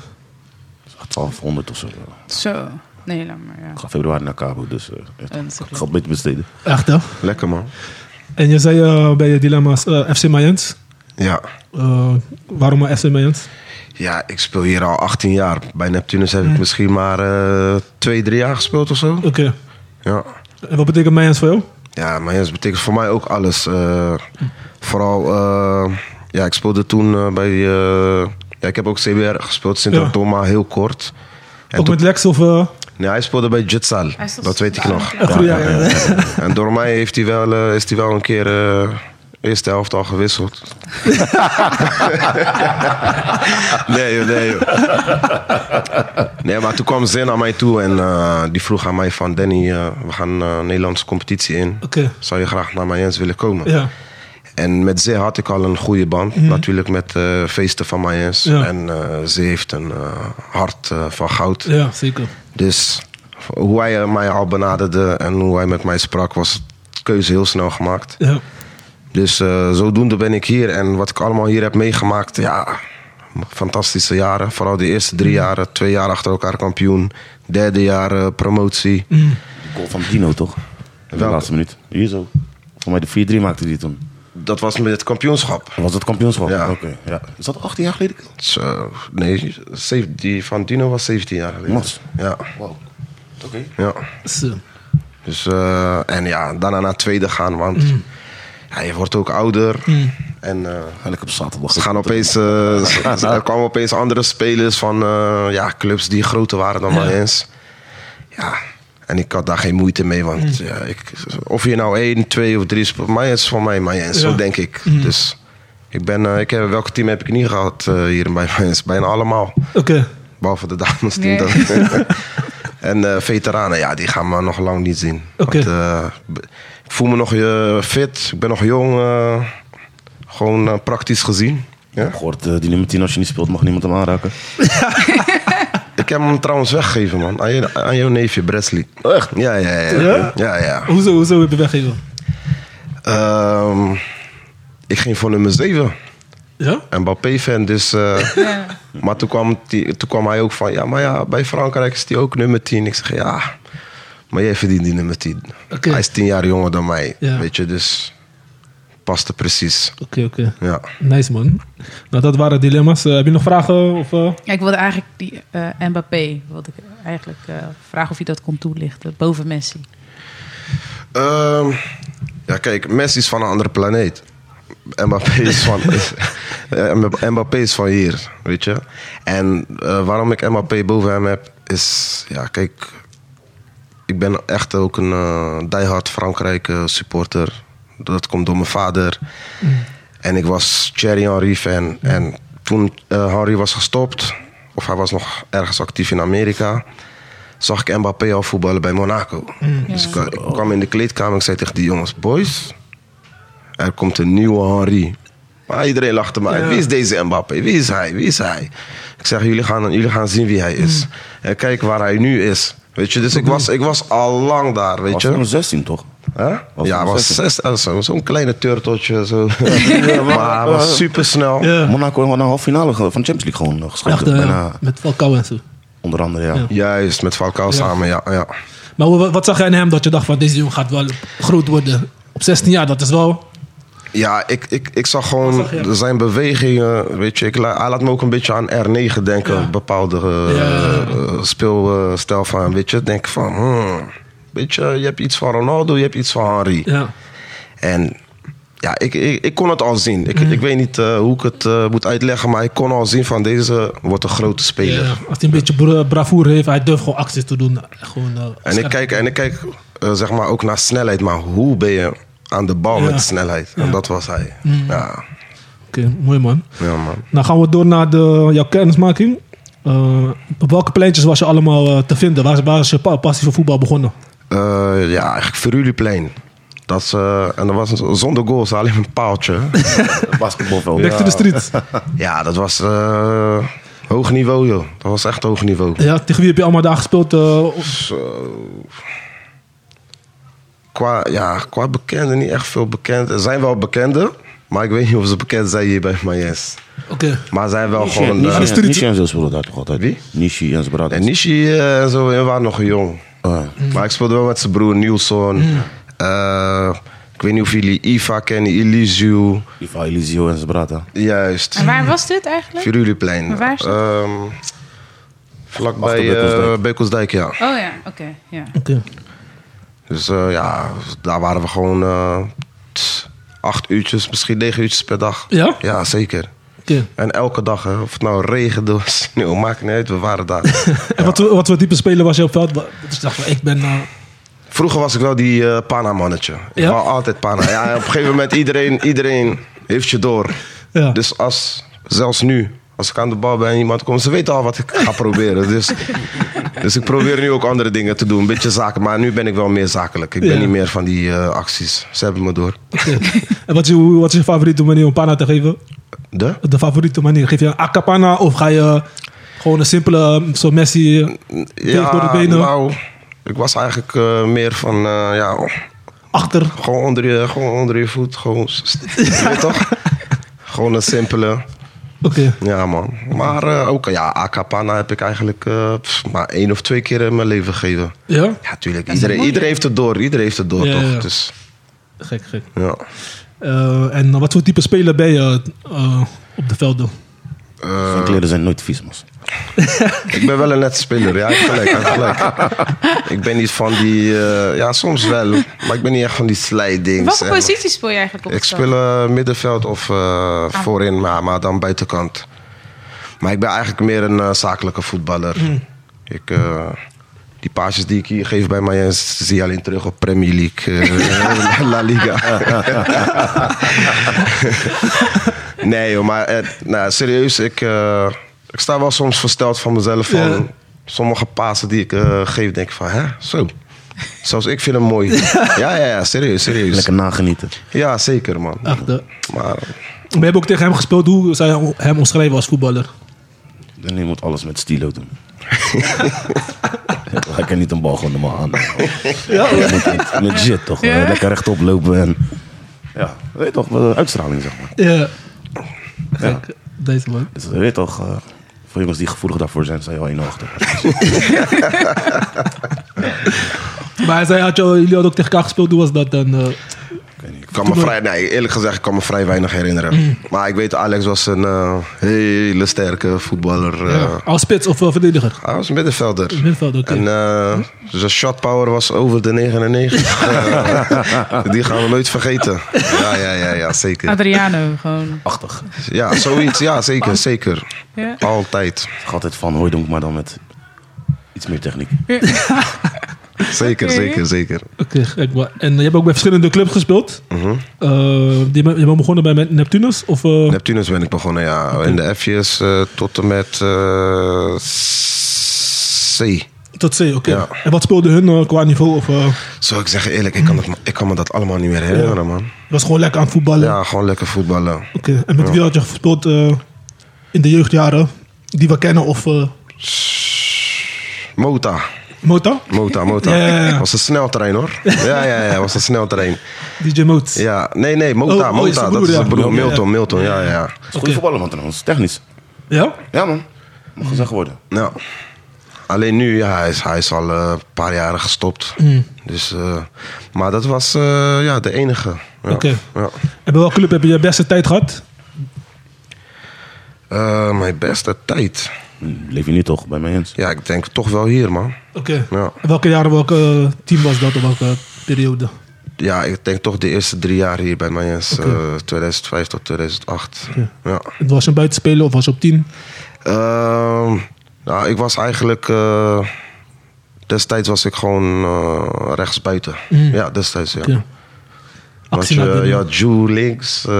Speaker 4: is echt 1200 of zo. Ik
Speaker 5: zo. Nee, laat maar. Ja.
Speaker 4: ga februari naar Cabo, dus eh echt,
Speaker 5: dat is
Speaker 4: ik
Speaker 5: ook
Speaker 4: ga het beter besteden.
Speaker 2: Echt, hè?
Speaker 3: Lekker man.
Speaker 2: En je zei eh, bij je dilemma's eh, FC Mayens.
Speaker 3: Ja.
Speaker 2: Eh, waarom maar FC Mayens?
Speaker 3: ja, ik speel hier al 18 jaar. Bij Neptunus heb
Speaker 2: Hm.
Speaker 3: ik misschien maar eh, twee, drie jaar gespeeld of zo.
Speaker 2: Oké.
Speaker 3: Ja,
Speaker 2: En wat betekent Mayens voor jou?
Speaker 3: ja maar ja, dat betekent voor mij ook alles. Eh, vooral, eh, ja, ik speelde toen eh, bij... eh, ja, ik heb ook CBR gespeeld, sint
Speaker 2: Ja.
Speaker 3: Thomas, heel kort. En
Speaker 2: Ook
Speaker 3: toen-
Speaker 2: met Lex of... eh,
Speaker 3: nee, hij speelde bij Jutsal,
Speaker 5: Hij is toch-
Speaker 3: dat weet ik nog.
Speaker 5: Ja.
Speaker 2: Goeie, ja, ja.
Speaker 3: Eh, En door mij heeft hij wel, eh, is hij wel een keer eh eerste helft al gewisseld. nee, joh, nee. joh. Nee, maar toen kwam Zin naar mij toe en eh, die vroeg aan mij van... Danny, eh, we gaan eh Nederlandse competitie in.
Speaker 2: Oké.
Speaker 3: Zou je graag naar Mayens willen komen?
Speaker 2: Ja. Mhm.
Speaker 3: En met Zee had ik al een goede band. Natuurlijk met eh, feesten van Mayens.
Speaker 2: Ja.
Speaker 3: En eh ze heeft een eh, hart eh, van goud.
Speaker 2: ja, zeker.
Speaker 3: Dus hoe hij mij al benaderde en hoe hij met mij sprak, was de keuze heel snel gemaakt.
Speaker 2: Ja.
Speaker 3: Dus eh, zodoende ben ik hier en wat ik allemaal hier heb meegemaakt, ja, fantastische jaren. Vooral de eerste drie jaren, twee jaar achter elkaar kampioen, derde jaar eh, promotie.
Speaker 4: De goal van Dino toch? In de
Speaker 3: Welke?
Speaker 4: laatste minuut. Hier zo. Volgens mij de 4-3 maakte die toen.
Speaker 3: Dat was met het kampioenschap.
Speaker 4: Was het kampioenschap?
Speaker 3: Ja.
Speaker 4: Oké, ja. Is dat 18 jaar geleden?
Speaker 3: Zo, eh, nee, zeven- die van Dino was 17 jaar geleden.
Speaker 4: Mas.
Speaker 3: Ja,
Speaker 4: Wow. Oké.
Speaker 3: ja.
Speaker 2: Zo.
Speaker 3: Dus, eh, en ja, daarna naar tweede gaan, want ja, je wordt ook ouder. En eh,
Speaker 4: Eigenlijk op zaterdag.
Speaker 3: Ze gaan opeens, eh,
Speaker 2: Ah,
Speaker 3: ze-
Speaker 2: nou.
Speaker 3: er kwamen opeens andere spelers van eh, ja, clubs die groter waren dan Mayens. Ja, en ik had daar geen moeite mee, want
Speaker 2: Hmm.
Speaker 3: ja, ik, of je nou één, twee of drie speelt, Mayens is voor mij Mayens,
Speaker 2: Ja. Hmm.
Speaker 3: zo denk ik. Dus ik ben, eh, ik heb, welke team heb ik niet gehad eh, hier bij Mayens? Bijna allemaal,
Speaker 2: Oké.
Speaker 3: behalve de dames team.
Speaker 5: Nee.
Speaker 3: dan. en eh, veteranen, ja, die gaan me nog lang niet zien.
Speaker 2: Oké.
Speaker 3: Want, eh, b- ik voel me nog eh, fit, ik ben nog jong, eh, gewoon eh, praktisch gezien. Ja?
Speaker 4: Ik heb gehoord, eh, die nummer 10, als je niet speelt, mag niemand hem aanraken.
Speaker 3: Ik heb hem trouwens weggegeven, man. Aan, je, aan jouw neefje, Bresley. Echt? Ja, ja, ja.
Speaker 2: Ja?
Speaker 3: Ja, ja.
Speaker 2: Hoezo, hoezo heb je weggegeven?
Speaker 3: Ehm, ik ging voor nummer 7.
Speaker 2: Ja?
Speaker 3: En Mbappé-fan, dus... eh,
Speaker 5: Ja.
Speaker 3: maar toen kwam, die, toen kwam hij ook van... Ja, maar ja, bij Frankrijk is die ook nummer 10. Ik zeg, ja... Maar jij verdient die nummer 10.
Speaker 2: Oké.
Speaker 3: Hij is 10 jaar jonger dan mij.
Speaker 2: Ja.
Speaker 3: Weet je, dus... Paste precies.
Speaker 2: Oké, oké.
Speaker 3: Ja.
Speaker 2: Nice, man. Nou, dat waren dilemma's. Eh, heb je nog vragen? Of, eh?
Speaker 5: Ja, ik wilde eigenlijk die eh Mbappé, wilde ik eigenlijk eh, vragen of je dat kon toelichten, boven Messi.
Speaker 3: Ehm, ja, kijk, Messi is van een andere planeet. Mbappé is van, eh, Mbappé is van hier, weet je. En eh, waarom ik Mbappé boven hem heb, is... Ja, kijk, ik ben echt ook een eh diehard Frankrijk eh, supporter. Dat komt door mijn vader. En ik was Thierry Henry fan. En toen eh, Henry was gestopt, of hij was nog ergens actief in Amerika, zag ik Mbappé al voetballen bij Monaco. Dus ik, ik kwam in de kleedkamer en ik zei tegen die jongens: Boys, er komt een nieuwe Henry. Maar iedereen lachte me uit. Wie is deze Mbappé? Wie is hij? Wie is hij? Ik zeg, jullie gaan, jullie gaan zien wie hij is. En kijk waar hij nu is. Weet je, dus ik was, ik was al lang daar, weet
Speaker 4: Was
Speaker 3: je.
Speaker 4: toen 16, toch?
Speaker 3: Hè?
Speaker 4: Was
Speaker 3: ja,
Speaker 4: toen
Speaker 3: was
Speaker 4: 16.
Speaker 3: zes, eh, zo- zo'n kleine turteltje. Zo. maar hij was supersnel.
Speaker 2: Ja.
Speaker 4: Monaco heeft naar de halve finale ge- van de Champions League gewoon eh,
Speaker 2: Echt,
Speaker 4: geschoten.
Speaker 2: eh,
Speaker 4: Bijna,
Speaker 2: met Falcao en zo.
Speaker 4: onder andere, ja.
Speaker 3: Juist, met Falcao samen, ja. ja.
Speaker 2: Maar wat, wat zag jij in hem dat je dacht van deze jongen gaat wel groot worden? Op 16 jaar, dat is wel...
Speaker 3: Ja, ik, ik, ik zag gewoon
Speaker 2: Wat zag je?
Speaker 3: zijn bewegingen. Weet je, ik, la- hij laat me ook een beetje aan R9 denken.
Speaker 2: Ja.
Speaker 3: Bepaalde eh,
Speaker 2: Ja.
Speaker 3: speelstijl van hem. Weet je, Ik denk van... hmm, weet je, je hebt iets van Ronaldo, je hebt iets van Henry.
Speaker 2: Ja.
Speaker 3: En ja, ik, ik, ik kon het al zien. Ik, ik weet niet eh, hoe ik het eh, moet uitleggen, maar ik kon al zien van deze wordt een grote speler.
Speaker 2: Ja, Eh, als hij een beetje bra- bravoure heeft, hij durft gewoon acties te doen. Gewoon, eh,
Speaker 3: En ik
Speaker 2: scherp.
Speaker 3: kijk, en ik kijk eh, zeg maar ook naar snelheid, maar hoe ben je aan de bal
Speaker 2: Ja.
Speaker 3: met snelheid? En dat was hij. Ja,
Speaker 2: Oké, mooi man.
Speaker 3: ja man.
Speaker 2: Nou gaan we door naar de, jouw kennismaking. Eh, op welke pleintjes was je allemaal eh, te vinden? Waar, waar is je pa- passie voor voetbal begonnen?
Speaker 3: Eh, ja, eigenlijk Veruliplein. Dat is, eh, en dat was een- zonder goals, alleen een paaltje.
Speaker 4: Basketbalveld.
Speaker 2: Back to the street.
Speaker 3: ja, dat was eh, hoog niveau, joh. Dat was echt hoog niveau.
Speaker 2: ja, tegen wie heb je allemaal daar gespeeld? eh, op-
Speaker 3: Qua, ja, qua bekenden, niet echt veel bekenden. Er zijn wel bekenden, maar ik weet niet of ze bekend zijn hier bij Mayes.
Speaker 2: Oké.
Speaker 3: Maar ze zijn wel
Speaker 4: Nishi,
Speaker 3: gewoon...
Speaker 4: Nishi-
Speaker 3: eh,
Speaker 2: de street.
Speaker 4: Nishi en zo speelden daar toch altijd?
Speaker 3: Wie?
Speaker 4: Nishi en zijn broer.
Speaker 3: en Nishi eh, en zo, we waren nog jong.
Speaker 4: Ah.
Speaker 3: Mm. Maar ik speelde wel met zijn broer Nielsen.
Speaker 5: Mm.
Speaker 3: Eh, ik weet niet of jullie Iva kennen, Elisio.
Speaker 4: Ivan Elisio en zijn broer.
Speaker 3: Eh. Juist.
Speaker 5: En waar was dit eigenlijk?
Speaker 3: Viruliplein.
Speaker 5: Maar waar is dat?
Speaker 3: Ehm, vlakbij
Speaker 4: Achter Beukelsdijk.
Speaker 3: eh, Beukelsdijk, ja.
Speaker 5: Oh ja, oké. ja.
Speaker 2: Oké.
Speaker 3: Dus eh, ja, daar waren we gewoon eh, tss, acht uurtjes, misschien negen uurtjes per dag.
Speaker 2: Ja?
Speaker 3: Ja, zeker.
Speaker 2: Oké.
Speaker 3: En elke dag, hè, of het nou regende of sneeuw, maakt niet uit, we waren daar.
Speaker 2: En wat, wat voor type speler was je op veld? Dus dacht ik, ik ben... eh,
Speaker 3: Vroeger was ik wel die eh, Pana-mannetje. Ik
Speaker 2: Ja?
Speaker 3: wou altijd Pana. Ja, op een gegeven moment, iedereen, iedereen heeft je door.
Speaker 2: ja.
Speaker 3: Dus als, zelfs nu, als ik aan de bal ben en iemand komt, ze weten al wat ik ga proberen. Dus, dus ik probeer nu ook andere dingen te doen, een beetje zaken. Maar nu ben ik wel meer zakelijk. Ik ben
Speaker 2: Ja.
Speaker 3: niet meer van die eh, acties. Ze hebben me door.
Speaker 2: Oké. en wat is, je, wat is je favoriete manier om pana te geven?
Speaker 3: De?
Speaker 2: De favoriete manier? Geef je een acapana of ga je gewoon een simpele, eh, zo Messi... eh, Tegen door de benen.
Speaker 3: nou, ik was eigenlijk eh, meer van, eh, ja,
Speaker 2: achter.
Speaker 3: gewoon onder je, gewoon onder je voet. Gewoon, s- s- je weet toch? Gewoon een simpele.
Speaker 2: Oké.
Speaker 3: Ja, man. Maar eh, ook, ja, Acapana heb ik eigenlijk eh, pff, maar één of twee keer in mijn leven gegeven.
Speaker 2: Ja?
Speaker 3: Ja, tuurlijk. Iedereen, iedereen heeft het door. Iedereen heeft het door,
Speaker 2: Ja,
Speaker 3: toch?
Speaker 2: ja.
Speaker 3: Dus,
Speaker 2: Gek, gek.
Speaker 3: ja.
Speaker 2: Eh, en wat voor type speler ben je eh, op de velden?
Speaker 4: Zijn kleren zijn nooit vies, man.
Speaker 3: Ik ben wel een nette speler. Ja, hij heeft gelijk. hij heeft gelijk. ik ben niet van die... eh, ja, soms wel. Maar ik ben niet echt van die slijdings. eh.
Speaker 5: Welke
Speaker 3: en-
Speaker 5: positie speel je eigenlijk op
Speaker 3: Ik
Speaker 5: het veld?
Speaker 3: speel eh, middenveld of eh, voorin, maar, maar dan buitenkant. Maar ik ben eigenlijk meer een eh, zakelijke voetballer. Ik, eh, die paasjes die ik hier geef bij mij, zie je alleen terug op Premier League, eh, La Liga. nee, joh, maar eh, nou, serieus, ik, eh, ik sta wel soms versteld van mezelf. Van
Speaker 2: Ja.
Speaker 3: Sommige pasen die ik eh, geef, denk ik van, hè, zo. Zelfs ik vind hem mooi. Ja, ja, ja, serieus, serieus.
Speaker 4: Lekker nagenieten.
Speaker 3: Ja, zeker, man.
Speaker 2: Achter.
Speaker 3: Maar
Speaker 2: We hebben ook tegen hem gespeeld. Hoe zou je hem omschrijven als voetballer?
Speaker 4: En je moet alles met stilo doen. Hij kan niet een bal gewoon normaal aan. Ja, Met, met shit toch.
Speaker 5: Ja.
Speaker 4: Eh, Lekker rechtop lopen en... Ja, weet je toch, eh, uitstraling zeg maar.
Speaker 2: Ja. Gek. Deze man.
Speaker 4: Dus, eh, weet je toch, eh, voor jongens die gevoelig daarvoor zijn, zijn je al één achter.
Speaker 2: Maar hij zei, had je, jullie hadden ook tegen elkaar gespeeld. Hoe was dat dan? eh?
Speaker 3: ik kan me vrij, nee, eerlijk gezegd, ik kan me vrij weinig herinneren. Maar ik weet, Alex was een eh, hele sterke voetballer. eh.
Speaker 2: als spits of eh, verdediger?
Speaker 3: Hij was een middenvelder.
Speaker 2: Middenvelder, oké.
Speaker 3: En eh, zijn shotpower was over de 99. Eh, die gaan we nooit vergeten. Ja, ja, ja, ja
Speaker 5: Ah,
Speaker 3: zeker.
Speaker 5: Adriano, gewoon.
Speaker 4: Achtig. Ik
Speaker 3: Ja, zoiets. Ja, zeker, zeker.
Speaker 5: Ja.
Speaker 3: Altijd.
Speaker 4: zeg altijd van Hooydonk, maar dan met iets meer techniek.
Speaker 3: Zeker, zeker, zeker.
Speaker 2: Oké, gek man. En je hebt ook bij verschillende clubs gespeeld.
Speaker 3: Mhm.
Speaker 2: Eh, je, bent, je bent begonnen bij Neptunus? Of, eh,
Speaker 3: Neptunus ben ik begonnen, ja. In de F's eh, tot en met eh, C.
Speaker 2: Tot C, oké.
Speaker 3: Ja.
Speaker 2: En wat speelde hun eh, qua niveau? Of, eh,
Speaker 3: Zo, ik zeg je eerlijk, ik kan, het, ik kan me dat allemaal niet meer herinneren, man.
Speaker 2: je was gewoon lekker aan het voetballen?
Speaker 3: Ja, gewoon lekker voetballen.
Speaker 2: Oké, en met wie had je gespeeld eh, in de jeugdjaren? Die we kennen of... eh,
Speaker 3: Mota.
Speaker 2: Mota?
Speaker 3: Mota, Mota.
Speaker 2: Ja, ja, ja.
Speaker 3: Was een sneltrein hoor. Ja, ja, ja, was een sneltrein.
Speaker 2: DJ Moot.
Speaker 3: Ja, nee, nee, Mota,
Speaker 2: Oh, oh, is
Speaker 3: Mota.
Speaker 2: zijn
Speaker 3: dat
Speaker 2: broer, ja.
Speaker 3: is zijn broer.
Speaker 2: Ja, ja, ja.
Speaker 3: Milton, Milton, ja, ja.
Speaker 4: Is goede voetballer man trouwens, technisch.
Speaker 2: Ja?
Speaker 4: Ja man,
Speaker 3: Hmm.
Speaker 4: mag gezegd worden.
Speaker 3: ja. Nou, Alleen nu, ja, hij is, hij is al eh, een paar jaren gestopt.
Speaker 2: Mm.
Speaker 3: Dus, eh, maar dat was eh, ja, de enige. Ja.
Speaker 2: Oké.
Speaker 3: Ja.
Speaker 2: En bij welke club heb je je beste tijd gehad?
Speaker 3: Eh, mijn beste tijd.
Speaker 4: Leef je nu toch bij mij eens?
Speaker 3: Ja, ik denk toch wel hier, man.
Speaker 2: Oké.
Speaker 3: Ja.
Speaker 2: En Welke jaren, welke eh, team was dat? Of welke periode?
Speaker 3: ja, ik denk toch de eerste drie jaar hier bij Mayens. eh, 2005 tot 2008. Ja.
Speaker 2: Het was een buitenspeler of was op 10.
Speaker 3: Ehm, nou, ik was eigenlijk... eh, destijds was ik gewoon eh, rechtsbuiten. Ja, destijds, ja.
Speaker 2: Ja.
Speaker 3: Want
Speaker 2: Mm. Actie
Speaker 3: je,
Speaker 2: naar binnen.
Speaker 3: je had Ju links, eh,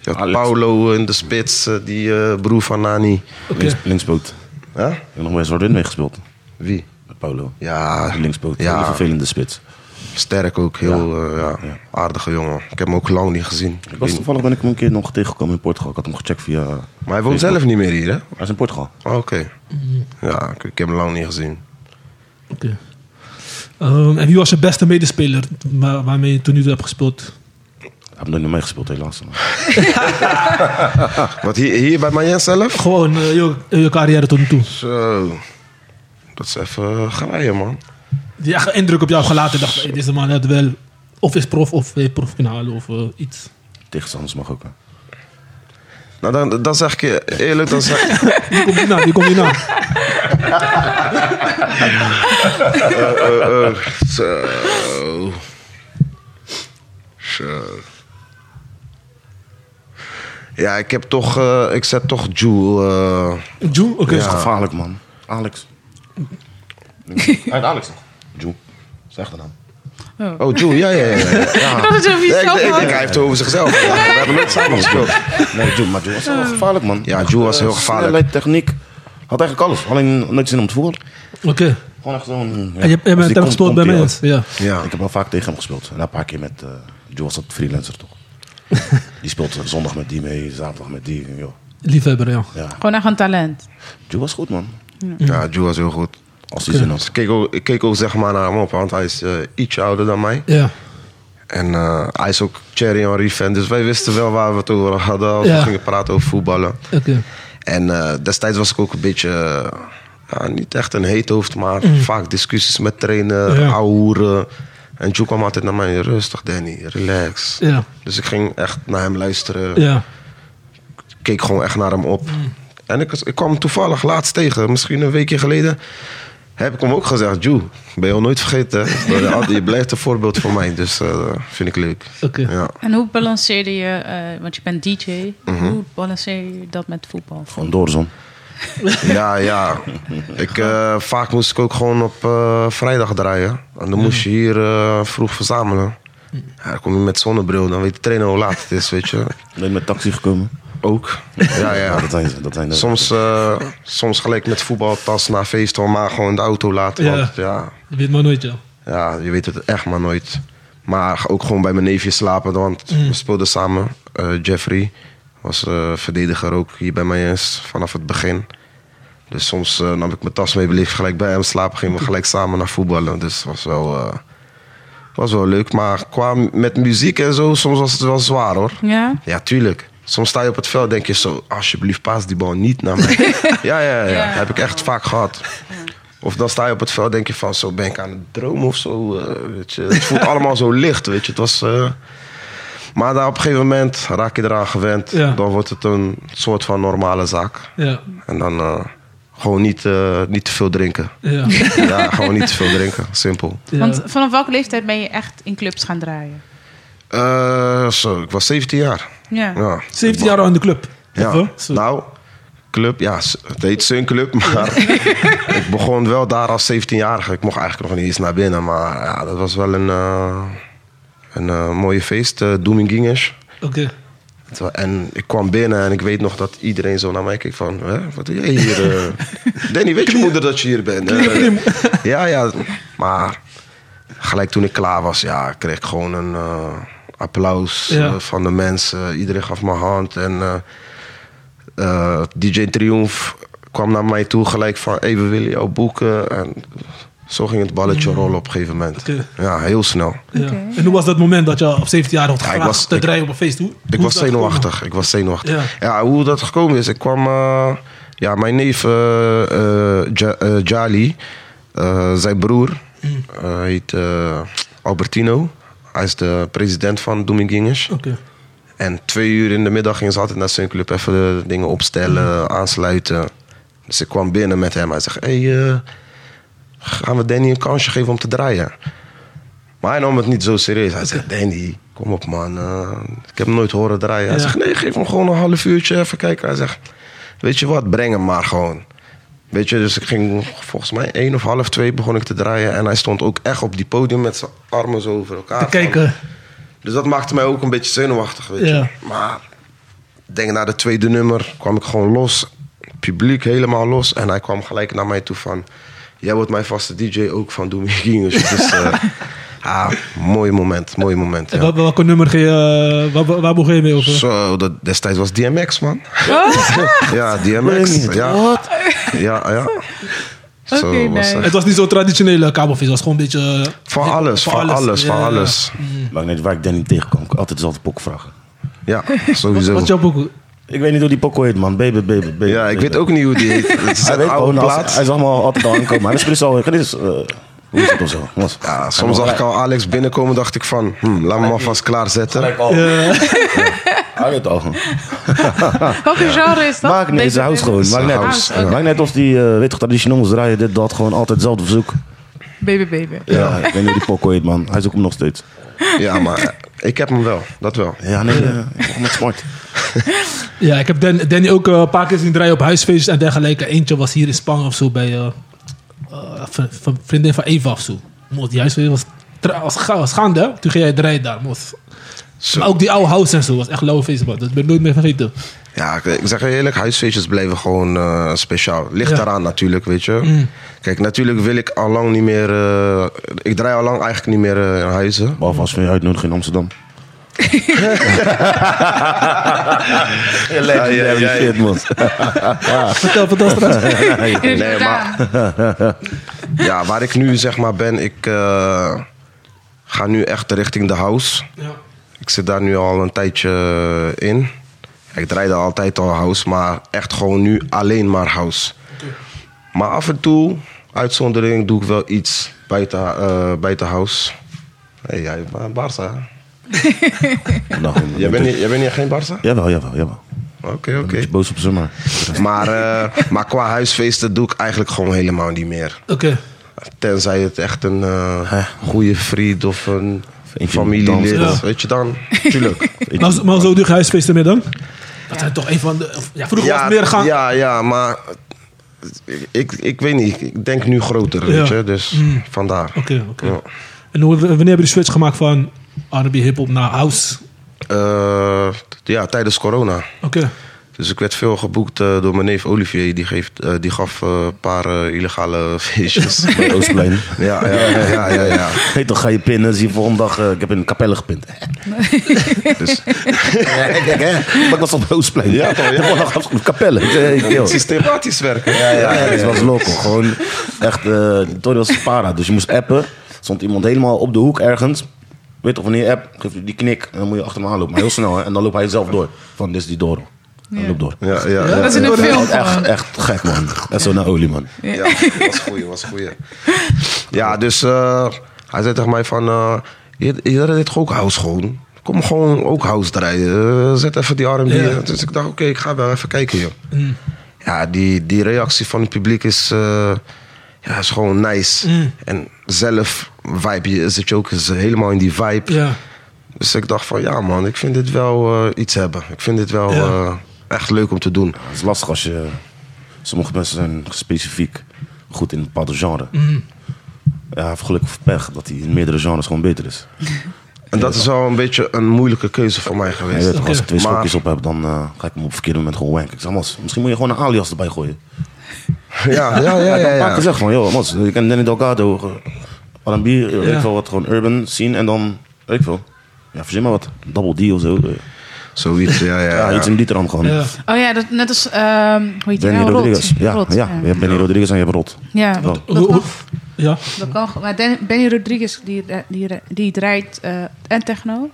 Speaker 3: je had
Speaker 4: Alex.
Speaker 3: Paulo in de spits, eh, die eh, broer van Nani.
Speaker 2: Oké.
Speaker 4: Links, linksboot.
Speaker 3: Huh?
Speaker 4: Ik heb nog bij Zwart-Wit meegespeeld.
Speaker 3: Wie?
Speaker 4: Met Paulo.
Speaker 3: Ja,
Speaker 4: Linksboot.
Speaker 3: Ja.
Speaker 4: Hele vervelende spits.
Speaker 3: sterk ook. Heel eh, ja,
Speaker 4: Ja.
Speaker 3: aardige jongen. Ik heb hem ook lang niet gezien. Ik
Speaker 4: Ik
Speaker 3: weet
Speaker 4: was
Speaker 3: niet.
Speaker 4: toevallig ben ik hem een keer nog tegengekomen in Portugal. Ik had hem gecheckt via...
Speaker 3: Maar hij woont zelf niet meer hier, hè?
Speaker 4: Hij is in Portugal.
Speaker 3: Oh, Oké.
Speaker 2: Mm.
Speaker 3: Ja, ik, ik heb hem lang niet gezien.
Speaker 2: Oké. Ehm, en wie was je beste medespeler waar- waarmee je tot nu toe hebt gespeeld?
Speaker 4: Hij heeft nooit meer meegespeeld helaas.
Speaker 3: Wat hier, hier bij Mayen zelf?
Speaker 2: Gewoon eh, je, je carrière tot nu toe.
Speaker 3: Zo. Dat is even glijden, man.
Speaker 2: Die echt indruk op jou gelaten. Dacht, hey, deze man had wel. Of is prof of heeft prof kunnen halen of eh, iets.
Speaker 4: Tegenstanders mag ook. hè.
Speaker 3: Nou, dan, dan zeg ik je eerlijk, dan zeg
Speaker 2: Die komt hierna, die komt hierna.
Speaker 3: Eh, eh, Zo. Zo. Ja, ik heb toch, eh, ik zet toch Jewel. eh,
Speaker 2: Joe, oké.
Speaker 4: Dat is gevaarlijk, man. Alex. Hij heet Alex nog. Joe. Zeg de naam.
Speaker 3: Oh, Jewel, ja, ja, ja. ja. ja.
Speaker 5: Dat is een
Speaker 3: Ja, ik,
Speaker 5: vies
Speaker 3: ik denk, hij heeft het over zichzelf. We hebben nooit samen gespeeld.
Speaker 4: Nee, Joe, maar Joe was wel gevaarlijk, man.
Speaker 3: Ja, Joe was
Speaker 4: Eh,
Speaker 3: heel gevaarlijk.
Speaker 4: Snelheid, techniek. Had eigenlijk alles. Alleen nooit zin om te voetballen.
Speaker 2: Oké.
Speaker 4: Gewoon echt zo'n... Ja.
Speaker 2: En je, je bent
Speaker 4: Als Dus die
Speaker 2: hem
Speaker 4: komt,
Speaker 2: gespeeld
Speaker 4: komt
Speaker 2: bij
Speaker 4: die
Speaker 2: mij.
Speaker 4: al.
Speaker 2: Ja.
Speaker 3: Ja.
Speaker 4: Ik heb wel vaak tegen hem gespeeld. En een paar keer met... eh Joe was dat freelancer, toch? die speelt eh, zondag met die mee, zaterdag met die. Joh.
Speaker 2: Liefhebber, ja.
Speaker 4: Ja.
Speaker 5: Gewoon echt een talent.
Speaker 4: Joe was goed, man.
Speaker 3: Ja, Jewel was heel goed.
Speaker 4: Als hij zin had.
Speaker 3: Dus ik keek ook, ik keek ook zeg maar naar hem op, want hij is eh, ietsje ouder dan mij.
Speaker 2: Ja.
Speaker 3: En eh, hij is ook Thierry Henry fan, dus wij wisten wel waar we het over hadden als
Speaker 2: Ja.
Speaker 3: we gingen praten over voetballen.
Speaker 2: Oké.
Speaker 3: En eh, destijds was ik ook een beetje, eh, ja, niet echt een heet hoofd, maar vaak discussies met trainen,
Speaker 2: Mm. Ja.
Speaker 3: ja. En Joe kwam altijd naar mij, rustig Danny, relax.
Speaker 2: Ja.
Speaker 3: Dus ik ging echt naar hem luisteren.
Speaker 2: Ja. Mm.
Speaker 3: keek gewoon echt naar hem op. En ik, ik kwam hem toevallig laatst tegen, misschien een weekje geleden. Heb ik hem ook gezegd, Joe, ben je al nooit vergeten. je blijft een voorbeeld voor mij, dus eh, vind ik leuk.
Speaker 2: Oké.
Speaker 3: Ja.
Speaker 5: En hoe balanceerde je, eh, want je bent DJ, hoe balanceer je dat met voetbal?
Speaker 4: Gewoon door de zon.
Speaker 3: ja, ja. Ik, eh, vaak moest ik ook gewoon op eh, vrijdag draaien. En dan moest je hier eh, vroeg verzamelen. Ja, dan kom je met zonnebril, dan weet de trainer hoe laat het is, weet je.
Speaker 4: Ben je met taxi gekomen?
Speaker 3: Ook. Ja, ja.
Speaker 4: dat zijn ze. Dat zijn de-
Speaker 3: Soms, eh, soms gelijk met voetbaltas naar feesten, maar gewoon in de auto laten.
Speaker 2: Ja.
Speaker 3: Want ja,
Speaker 2: Je weet maar nooit, ja.
Speaker 3: Ja, je weet het echt maar nooit. Maar ook gewoon bij mijn neefje slapen, want we speelden samen. Eh, Jeffrey was eh, verdediger ook hier bij mij eens vanaf het begin. Dus soms eh, nam ik mijn tas mee, bleef gelijk bij hem slapen, gingen we gelijk samen naar voetballen. Dus het was wel, eh, was wel leuk. Maar qua m- met muziek en zo, soms was het wel zwaar hoor.
Speaker 5: Ja?
Speaker 3: Ja, tuurlijk. Soms sta je op het veld denk je zo, alsjeblieft paas die bal niet naar mij. ja, ja, ja,
Speaker 5: Ja.
Speaker 3: Heb ik echt vaak gehad. Of dan sta je op het veld denk je van, zo ben ik aan het dromen of zo. eh, weet je. Het voelt allemaal zo licht, weet je. Het was... eh, Maar daar op een gegeven moment raak je eraan gewend.
Speaker 2: Ja.
Speaker 3: Dan wordt het een soort van normale zaak.
Speaker 2: Ja.
Speaker 3: En dan eh, gewoon niet, eh, niet te veel drinken.
Speaker 2: Ja.
Speaker 3: ja, gewoon niet te veel drinken. Simpel.
Speaker 2: ja.
Speaker 5: Want vanaf welke leeftijd ben je echt in clubs gaan draaien?
Speaker 3: Eh, zo, ik was 17 jaar.
Speaker 5: Ja.
Speaker 3: Ja.
Speaker 2: 17 jaar al in de club. Of,
Speaker 3: Ja,
Speaker 2: hè? Zo.
Speaker 3: nou, club, ja, s- het heet Sun Club, maar ik begon wel daar als 17-jarige. Ik mocht eigenlijk nog niet eens naar binnen, maar ja, dat was wel een, eh, een eh, mooie feest, uh, Dominguez.
Speaker 2: Oké.
Speaker 3: Terwijl- En ik kwam binnen en ik weet nog dat iedereen zo naar mij keek van... Hè, wat doe jij hier? eh? Danny, weet je moeder dat je hier bent? Eh, ja, ja. Maar gelijk toen ik klaar was, ja, kreeg ik gewoon een eh, applaus
Speaker 2: Ja.
Speaker 3: eh, van de mensen. Iedereen gaf me hand. En eh, eh, DJ Triumph kwam naar mij toe gelijk van... Hé, we willen jou boeken. En zo ging het balletje rollen op een gegeven moment.
Speaker 2: Mm. Oké.
Speaker 3: Ja, heel snel.
Speaker 2: Ja.
Speaker 5: Oké.
Speaker 2: En hoe was dat moment dat je op 17 jaar had
Speaker 3: Ja, ik
Speaker 2: gevraagd
Speaker 3: was-
Speaker 2: te
Speaker 3: ik-
Speaker 2: draaien op een feest? Hoe, hoe
Speaker 3: Ik
Speaker 2: is
Speaker 3: was
Speaker 2: dat
Speaker 3: zenuwachtig. Ik was zenuwachtig.
Speaker 2: Ja.
Speaker 3: Ja. hoe dat gekomen is. Ik kwam... eh, ja, mijn neef eh, eh, Ja- eh, Jali, eh, zijn broer,
Speaker 2: Mm.
Speaker 3: eh, heet eh, Albertino. Hij is de president van Dominguez.
Speaker 2: gekomen? Oké.
Speaker 3: En twee uur in de middag gingen ze altijd naar zijn club even de dingen
Speaker 2: Mm.
Speaker 3: opstellen, aansluiten. Dus ik kwam binnen met hem. Hij zegt, hey, eh, gaan we Danny een kansje geven om te draaien? Maar hij nam het niet zo serieus. Hij zegt, Danny, kom op man. eh, ik heb hem nooit horen draaien. Hij
Speaker 2: Ja.
Speaker 3: zegt, nee, geef hem gewoon een half uurtje even kijken. Hij zegt, weet je wat, breng hem maar gewoon. Weet je, dus ik ging volgens mij één of half twee begon ik te draaien. En hij stond ook echt op die podium met zijn armen zo over elkaar.
Speaker 2: Te
Speaker 3: van-
Speaker 2: kijken.
Speaker 3: dus dat maakte mij ook een beetje zenuwachtig, weet
Speaker 2: Ja.
Speaker 3: je. Maar ik denk na de tweede nummer kwam ik gewoon los. Het publiek helemaal los. En hij kwam gelijk naar mij toe van... Jij wordt mijn vaste DJ ook van Doe Me Genius. Dus eh, ah, mooi moment, mooi moment.
Speaker 2: En
Speaker 3: Ja.
Speaker 2: Wel, welke nummer ga je, eh, waar, waar waar begon je mee over?
Speaker 3: Zo, dat, destijds was DMX, man. ja,
Speaker 4: Meen
Speaker 3: DMX.
Speaker 4: niet, Oh.
Speaker 3: Ja, ja. ja. Zo
Speaker 5: Oké,
Speaker 3: was
Speaker 5: nice.
Speaker 2: Het
Speaker 3: het.
Speaker 2: was niet zo'n traditionele kabelvis, het was gewoon een beetje... eh,
Speaker 3: Van alles, van alles, van
Speaker 2: ja.
Speaker 3: alles.
Speaker 4: Maar net waar ik Danny tegenkwam, ik altijd dezelfde pok vragen.
Speaker 3: Ja,
Speaker 2: Wat
Speaker 3: sowieso.
Speaker 2: wat is jouw boek?
Speaker 4: Ik weet niet hoe die pokko heet, man. Baby, baby, baby.
Speaker 3: Ja, ik
Speaker 4: baby.
Speaker 3: weet ook niet hoe die heet. Het is
Speaker 4: Hij
Speaker 3: een
Speaker 4: weet
Speaker 3: oude
Speaker 4: gewoon, als-
Speaker 3: plaat.
Speaker 4: hij zag me al- altijd al aankomen. Hij speelt zo, dit is, eh, hoe is het of zo? Was-
Speaker 3: Ja, soms zag ik al Alex binnenkomen, dacht ik van, hm, laat me maar vast klaarzetten.
Speaker 4: Gelijk al.
Speaker 2: Ja.
Speaker 4: Hij weet al.
Speaker 5: Welke genre is dat?
Speaker 4: Maak niet, is
Speaker 5: Deze-
Speaker 4: house gewoon. Maak net,
Speaker 3: House,
Speaker 4: ja. Maak net of die, eh, weet toch, traditioneel moest draaien, dit, dat, gewoon altijd hetzelfde verzoek.
Speaker 5: Baby, baby.
Speaker 4: Ja. ik weet niet hoe die pokko heet, man. Hij zoekt hem nog steeds.
Speaker 3: Ja, maar eh, ik heb hem wel, dat wel.
Speaker 4: Ja, nee, eh, ik begon met smart.
Speaker 2: Ja, ik heb Dan, Danny ook eh, een paar keer zien draaien op huisfeestjes en dergelijke. Eentje was hier in Spang of zo bij eh, eh, v- v- vriendin van Eva of zo. Mos, die huisfeest was, tra- was, ga- was gaande. hè. Toen ging jij draaien daar, mos. Maar ook die oude house en zo was echt lauwe feest, man. Dat ben ik nooit meer vergeten.
Speaker 3: Ja, ik, ik zeg je eerlijk, huisfeestjes blijven gewoon eh, speciaal. Ligt
Speaker 2: Ja.
Speaker 3: eraan natuurlijk, weet je.
Speaker 4: Mm.
Speaker 3: Kijk, natuurlijk wil ik al lang niet meer... eh, ik draai al lang eigenlijk niet meer eh, in huizen.
Speaker 4: Behalve als we je uitnodigen in Amsterdam.
Speaker 3: Legendary shit,
Speaker 4: man.
Speaker 2: Vertel, vertel straks.
Speaker 5: Nee,
Speaker 3: Nee,
Speaker 5: maar...
Speaker 3: Ja, waar ik nu zeg maar ben, ik eh, ga nu echt richting de house.
Speaker 2: Ja.
Speaker 3: Ik zit daar nu al een tijdje eh, in. Ik draaide altijd al house, maar echt gewoon nu alleen maar house. Maar af en toe, uitzondering, doe ik wel iets buiten, eh, buiten house. Hé, jij bent Barca. Jij bent, niet- jij bent niet geen Barca?
Speaker 4: Nou, Jawel, jawel, jawel.
Speaker 3: Oké,
Speaker 4: Een
Speaker 3: oké.
Speaker 4: beetje boos op ze, maar...
Speaker 3: Maar, eh, maar qua huisfeesten doe ik eigenlijk gewoon helemaal niet meer.
Speaker 2: Oké.
Speaker 3: Tenzij het echt een eh, goede vriend of een
Speaker 4: Eentje
Speaker 3: familielid,
Speaker 4: dansen.
Speaker 2: Ja.
Speaker 3: weet je dan? Tuurlijk.
Speaker 2: Maar, zo- maar zo doe je huisfeesten meer dan? Dat zijn toch een van de... of- Ja, vroeger was het meer gaan.
Speaker 3: Ja, ja, maar ik, ik, ik weet niet. Ik denk nu groter,
Speaker 2: Ja. Mm.
Speaker 3: weet je. Dus vandaar.
Speaker 2: Oké, oké.
Speaker 3: Ja.
Speaker 2: En hoe- wanneer heb je de switch gemaakt van R&B, hip-hop naar house?
Speaker 3: Eh, t- ja, tijdens corona.
Speaker 2: Oké.
Speaker 3: Dus ik werd veel geboekt eh, door mijn neef Olivier. Die, geeft, eh, die gaf eh, een paar eh, illegale feestjes.
Speaker 4: Bij Oostplein.
Speaker 3: ja, ja, ja, ja, ja, ja.
Speaker 4: Hey, toch ga je pinnen, zie je volgende dag... eh, ik heb in een kapelle gepint.
Speaker 3: Dus
Speaker 4: ik denk, hè? Maar ik was op Oostplein. Ja, toch? Ja. Volgende dag was ik op kapelle. Ik zeg, hey, joh.
Speaker 3: systematisch werken.
Speaker 4: Ja, ja, ja, het was loco. Gewoon echt, eh Tori was para. Dus je moest appen. Stond iemand helemaal op de hoek ergens. Weet toch, wanneer je app, geef je die knik en dan moet je achter hem aanlopen. Maar heel snel, hè. En dan loopt hij zelf door. Van, dit is die Doro. En
Speaker 5: Ja.
Speaker 4: loop door.
Speaker 3: Ja, ja, ja.
Speaker 5: Dat is in een film gewoon.
Speaker 4: Echt, echt gek, man. Echt zo naar olie, man.
Speaker 3: Ja, was goeie, was goeie. Ja, dus eh, hij zei tegen mij van... eh, je, je redt toch ook house gewoon? Kom gewoon ook house draaien. Eh, zet even die R&B.
Speaker 2: Ja. Mm.
Speaker 3: Dus ik dacht, oké, ik ga wel even kijken, joh. Ja, die, die reactie van het publiek is... eh, ja, is gewoon nice.
Speaker 2: Mm.
Speaker 3: En zelf vibe je, zit je ook eens helemaal in die vibe.
Speaker 2: Ja.
Speaker 3: Dus ik dacht van, ja man, ik vind dit wel eh, iets hebben. Ik vind dit wel
Speaker 2: Ja.
Speaker 3: eh, echt leuk om te doen.
Speaker 4: Het is lastig als je... Sommige mensen zijn specifiek goed in een bepaald genre. Ja, hij heeft geluk of pech dat hij in meerdere genres gewoon beter is.
Speaker 3: En dat is wel een beetje een moeilijke keuze voor mij
Speaker 4: Ja, je
Speaker 3: geweest.
Speaker 4: weet toch, als ik twee
Speaker 3: Maar-
Speaker 4: schokjes op heb, dan eh, ga ik hem op het verkeerde moment gewoon wanken. Ik zeg, Mas, misschien moet je gewoon een alias erbij gooien.
Speaker 3: Ja, ja, ja.
Speaker 4: Ik
Speaker 3: ja,
Speaker 4: heb vaak
Speaker 3: ja.
Speaker 4: gezegd van, joh, Mas, ik ken Danny Delgado. eh, R&B, eh, weet
Speaker 2: Ja.
Speaker 4: ik veel wat, gewoon urban scene. En dan, weet ik veel, ja, verzin maar wat. Double D of zo. eh.
Speaker 3: Zoiets, ja, ja.
Speaker 4: Ja,
Speaker 3: ja.
Speaker 4: iets in die trant gewoon.
Speaker 2: Ja.
Speaker 5: Oh ja, dat, net als... ehm hoe heet die
Speaker 4: Danny
Speaker 5: nou?
Speaker 4: Rodriguez.
Speaker 5: Rot.
Speaker 4: Ja,
Speaker 5: Rot,
Speaker 4: ja, je hebt Benny Rodriguez en je hebt Rot.
Speaker 5: Ja,
Speaker 4: Wel.
Speaker 5: dat, dat
Speaker 2: Hoe-
Speaker 5: kan,
Speaker 2: hoe- ja.
Speaker 5: dat kan. Maar Dan- Benny Rodriguez, die, die, die draait eh, en techno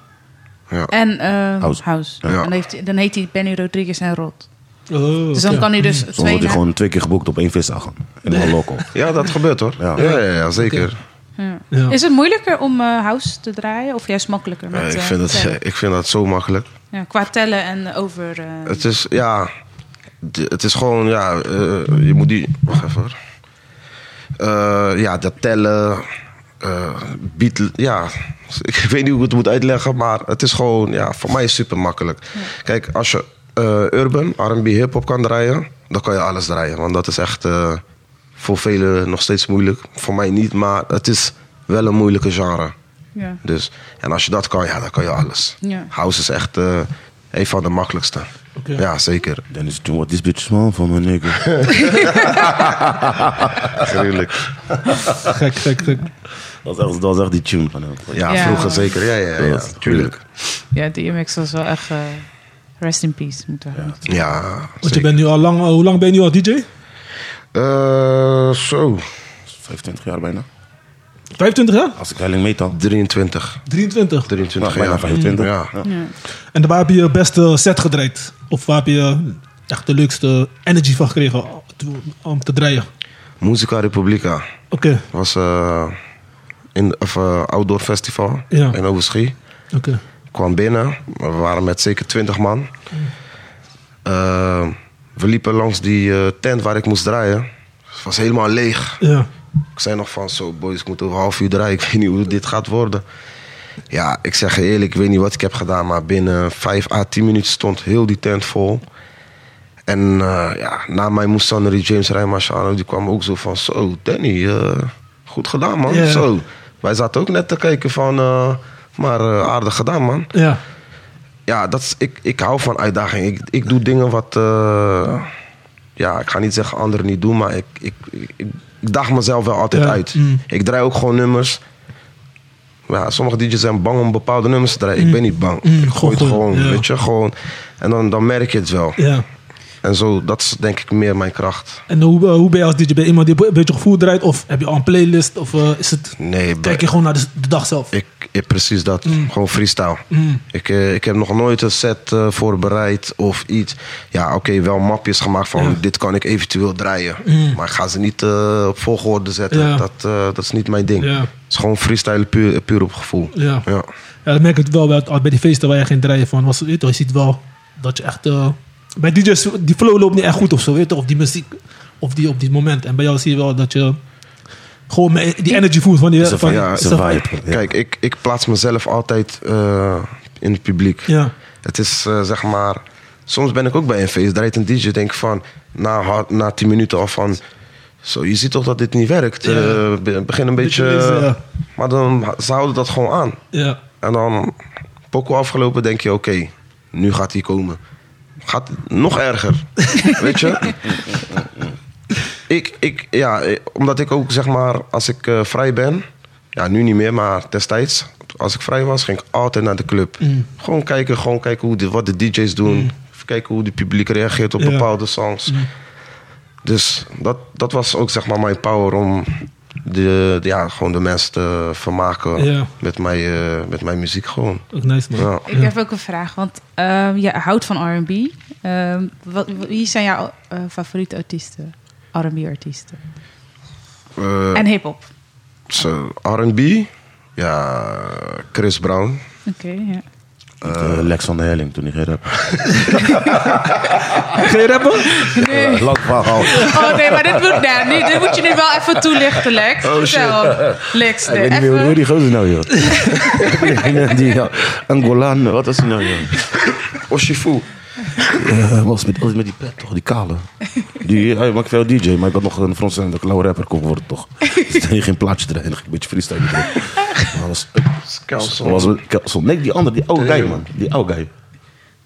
Speaker 3: Ja.
Speaker 5: en eh,
Speaker 4: House.
Speaker 5: house.
Speaker 3: Ja.
Speaker 5: En dan, heeft, hij- dan heet hij Benny Rodriguez en Rot.
Speaker 2: Oh,
Speaker 5: Dus dan
Speaker 2: oké.
Speaker 5: kan hij dus
Speaker 4: Zo wordt
Speaker 5: twee...
Speaker 4: hij
Speaker 5: na-
Speaker 4: gewoon twee keer geboekt op één visdag. In een local.
Speaker 3: Ja, dat gebeurt hoor.
Speaker 4: Ja.
Speaker 3: Ja, ja, ja, zeker.
Speaker 5: Ja.
Speaker 2: Ja.
Speaker 5: Is het moeilijker om eh, house te draaien? Of juist makkelijker met
Speaker 3: Ja, ik,
Speaker 5: eh,
Speaker 3: vind dat,
Speaker 5: tellen?
Speaker 3: ik vind dat zo makkelijk.
Speaker 5: Ja, qua tellen en over... eh,
Speaker 3: Het is, ja, d- het is gewoon, ja, eh, je moet die. Wacht even hoor. Eh, ja, dat tellen. eh, Beatle- ja, ik weet niet hoe ik het moet uitleggen, maar het is gewoon, ja, voor mij is super makkelijk. Kijk, als je eh, urban, RB, hip-hop kan draaien, dan kan je alles draaien. Want dat is echt eh, voor velen nog steeds moeilijk. Voor mij niet, maar het is wel een moeilijke genre.
Speaker 5: Ja.
Speaker 3: Dus, en als je dat kan, ja, dan kan je alles.
Speaker 5: Ja.
Speaker 3: House is echt eh, een van de makkelijkste.
Speaker 2: Oké.
Speaker 3: Ja, zeker.
Speaker 4: Dennis, doe wat this bitch small van mijn nigga.
Speaker 3: Gruwelijk.
Speaker 2: Ah, Gek, gek, gek.
Speaker 4: Dat was echt, dat was echt die tune van hem.
Speaker 3: Ja,
Speaker 5: Ja.
Speaker 3: vroeger zeker. Ja, ja, ja,
Speaker 4: Tuurlijk.
Speaker 3: tuurlijk.
Speaker 5: ja, DMX was wel echt... eh, rest in peace, moeten we zeggen.
Speaker 3: Ja,
Speaker 2: Want je
Speaker 3: zeker.
Speaker 2: bent nu al lang, hoe lang ben je nu al DJ?
Speaker 3: Eh, zo,
Speaker 4: 25 jaar bijna.
Speaker 2: 25 jaar?
Speaker 4: Als ik heiling meet dan.
Speaker 3: 23.
Speaker 2: 23.
Speaker 3: 23
Speaker 4: Nou, bijna
Speaker 3: jaar.
Speaker 4: 25.
Speaker 3: Ja.
Speaker 2: En waar heb je je beste set gedraaid? Of waar heb je echt de leukste energy van gekregen om te draaien?
Speaker 3: Musica Republica
Speaker 2: Oké,
Speaker 3: was eh in, of, eh, outdoor festival
Speaker 2: Ja.
Speaker 3: in Overschie.
Speaker 2: oké.
Speaker 3: Ik kwam binnen, we waren met zeker 20 man. Eh, we liepen langs die eh, tent waar ik moest draaien. Het was helemaal leeg.
Speaker 2: Ja.
Speaker 3: Ik zei nog van, zo boys, ik moet over een half uur draaien. Ik weet niet hoe dit gaat worden. Ja, ik zeg je eerlijk, ik weet niet wat ik heb gedaan. Maar binnen 5 à 10 minuten stond heel die tent vol. En eh, ja, na mij moest dan die James Rijmarciano. Die kwam ook zo van, zo Danny, eh, goed gedaan man.
Speaker 2: Ja.
Speaker 3: Zo. Wij zaten ook net te kijken van, eh, maar eh, aardig gedaan man.
Speaker 2: Ja.
Speaker 3: Ja, dat is, ik, ik hou van uitdaging. Ik, ik doe dingen wat, eh, ja, ik ga niet zeggen anderen niet doen, maar ik, ik, ik, ik daag mezelf wel altijd
Speaker 2: Ja,
Speaker 3: uit.
Speaker 2: mm.
Speaker 3: Ik draai ook gewoon nummers. Ja, sommige DJ's zijn bang om bepaalde nummers te draaien. Ik ben niet bang.
Speaker 2: Mm,
Speaker 3: ik gooi het
Speaker 2: gewoon,
Speaker 3: gewoon,
Speaker 2: ja.
Speaker 3: weet je, gewoon. En dan, dan merk je het wel.
Speaker 2: ja.
Speaker 3: En zo, dat is denk ik meer mijn kracht.
Speaker 2: En hoe, eh, hoe ben je als DJ? Ben je iemand die een beetje gevoel draait? Of heb je al een playlist? Of eh, is het...
Speaker 3: Nee, bij-
Speaker 2: Kijk je gewoon naar de, de dag zelf?
Speaker 3: ik, ik, precies dat. Gewoon freestyle.
Speaker 2: Mm.
Speaker 3: Ik, eh, ik heb nog nooit een set eh, voorbereid of iets. Ja, oké, wel mapjes gemaakt van
Speaker 2: Ja. Mm.
Speaker 3: dit kan ik eventueel draaien. Maar ik ga ze niet eh, op volgorde zetten.
Speaker 2: Ja.
Speaker 3: Dat, eh, dat is niet mijn ding.
Speaker 2: Ja.
Speaker 3: Het is gewoon freestyle puur, puur op gevoel.
Speaker 2: Ja.
Speaker 3: Ja.
Speaker 2: Ja, dan merk ik het wel bij, bij die feesten waar je geen draaien van was. Weet je, toch, je ziet wel dat je echt... eh, bij DJ's, die flow loopt niet echt goed of zo. Weet je, toch, of die muziek, of die op die moment. En bij jou zie je wel dat je gewoon me- die energy voelt van die...
Speaker 4: Is een
Speaker 2: van,
Speaker 4: vibe.
Speaker 3: ja,
Speaker 4: Is een vibe. Ja.
Speaker 3: Kijk, ik, ik plaats mezelf altijd eh, in het publiek.
Speaker 2: Ja.
Speaker 3: Het is eh, zeg maar. Soms ben ik ook bij een feest, draait een DJ, denk ik van na, hard- na 10 minuten al van. Zo, je ziet toch dat dit niet werkt.
Speaker 2: Ja.
Speaker 3: Eh, be- begin een
Speaker 2: Beetje
Speaker 3: beetje.
Speaker 2: lezen, ja.
Speaker 3: Maar dan ze houden dat gewoon aan.
Speaker 2: Ja.
Speaker 3: En dan, poco afgelopen, denk je: oké, nu gaat hij komen. Gaat nog erger. Weet je? Ik, ik, ja, eh, omdat ik ook zeg maar, als ik eh, vrij ben, ja, nu niet meer, maar destijds, als ik vrij was, ging ik altijd naar de club. Gewoon kijken, gewoon kijken hoe de, wat de DJ's doen. Even kijken hoe het publiek reageert op
Speaker 2: Ja.
Speaker 3: bepaalde songs. Dus dat, dat was ook zeg maar mijn power om de, de- ja, gewoon de mensen te vermaken
Speaker 2: Ja.
Speaker 3: met, mijn, eh, met mijn muziek gewoon.
Speaker 2: Ook nice, man.
Speaker 3: Ja.
Speaker 5: Ik heb ook een vraag, want ehm, je houdt van R&B. Ehm, wat- wie zijn jouw eh, favoriete artiesten? R&B-artiesten.
Speaker 3: Eh,
Speaker 5: En hip-hop.
Speaker 3: zo, R&B, ja, Chris Brown.
Speaker 5: Oké, ja.
Speaker 4: Eh, Lex van der Helling toen hij geen rap.
Speaker 2: Geen rappen?
Speaker 5: Nee.
Speaker 4: Eh, Lang verhaal.
Speaker 5: Oh nee, maar dit moet, nee, nu- dit moet je nu wel even toelichten, Lex.
Speaker 3: Oh, shit.
Speaker 5: Vertel. Lex,
Speaker 4: Ik
Speaker 5: nee,
Speaker 4: weet niet meer hoe
Speaker 5: even.
Speaker 4: die gozer nou, joh. Ik weet niet, die, ja, Angolan, wat was hij nou, joh?
Speaker 3: Oshifu.
Speaker 4: Eh, was, met, was met die pet, toch? Die kale. Die, eh, hij maakt veel DJ, maar ik had nog een Frans en dat ik lauwe rapper kon worden, toch? Dus dan ging geen plaatje erin, dan ging ik een beetje freestyle doen. Maar dat was, eh,
Speaker 3: Kelson.
Speaker 4: was een- Kelson. Nee, die andere, die oude guy, man. Die oude guy.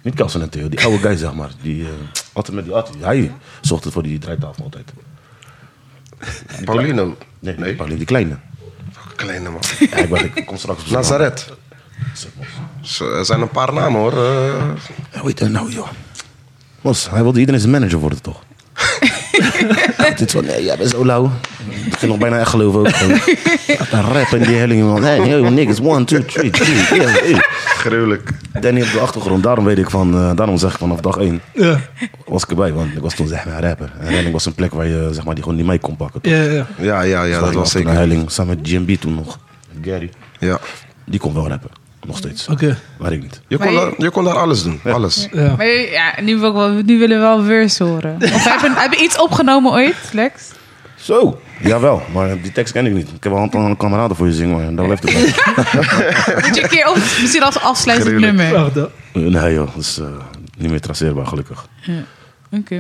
Speaker 4: Niet Kelson en Theo, die oude guy, zeg maar. Die, eh, altijd met die altijd. Hij zocht het voor die draaitafel altijd.
Speaker 3: Paulino. Oh,
Speaker 4: Nee, nee. Pauline, die kleine.
Speaker 3: Kleine man.
Speaker 4: Ja, ik, ben, ik kom straks op zijn
Speaker 3: Nazareth.
Speaker 4: naam.
Speaker 3: Zo, Er zijn een paar namen hoor. Eh,
Speaker 4: Hoe heet hij nou, joh? Mos, hij wilde iedereen zijn manager worden, toch? Dit van, nee, jij bent zo lauw. Ik ging nog bijna echt geloven ook. Een rap in die helling, man. Hey, yo, niggas, one, two, three, three. Yeah, hey.
Speaker 3: gruwelijk.
Speaker 4: Danny op de achtergrond, daarom weet ik van, eh, daarom zeg ik vanaf dag één
Speaker 2: Ja.
Speaker 4: was ik erbij, want ik was toen zeg maar een rapper. En helling was een plek waar je zeg maar die gewoon niet mee kon pakken.
Speaker 2: Ja, ja.
Speaker 3: Ja, ja, ja,
Speaker 4: Dus
Speaker 3: dat
Speaker 4: ik
Speaker 3: was
Speaker 4: toen
Speaker 3: zeker.
Speaker 4: naar helling, samen met GMB toen nog. Gary.
Speaker 3: Ja.
Speaker 4: Die kon wel rappen, nog steeds.
Speaker 2: Oké.
Speaker 4: Maar ik niet.
Speaker 3: Je kon,
Speaker 5: Maar je-
Speaker 3: daar, je kon daar alles doen. Alles.
Speaker 2: Ja.
Speaker 5: Maar ja, nu, wil ik wel, nu willen we wel verse horen. Of heb je, heb je iets opgenomen ooit, Lex?
Speaker 4: Zo, jawel. Maar die tekst ken ik niet. Ik heb wel een aantal kameraden voor je zingen, maar daar blijft het bij.
Speaker 5: Moet je een keer op, misschien als afsluitend
Speaker 3: Gruwelijk.
Speaker 5: nummer. Oké,
Speaker 2: Wacht, eh,
Speaker 4: Nee joh, dat is eh, niet meer traceerbaar, gelukkig.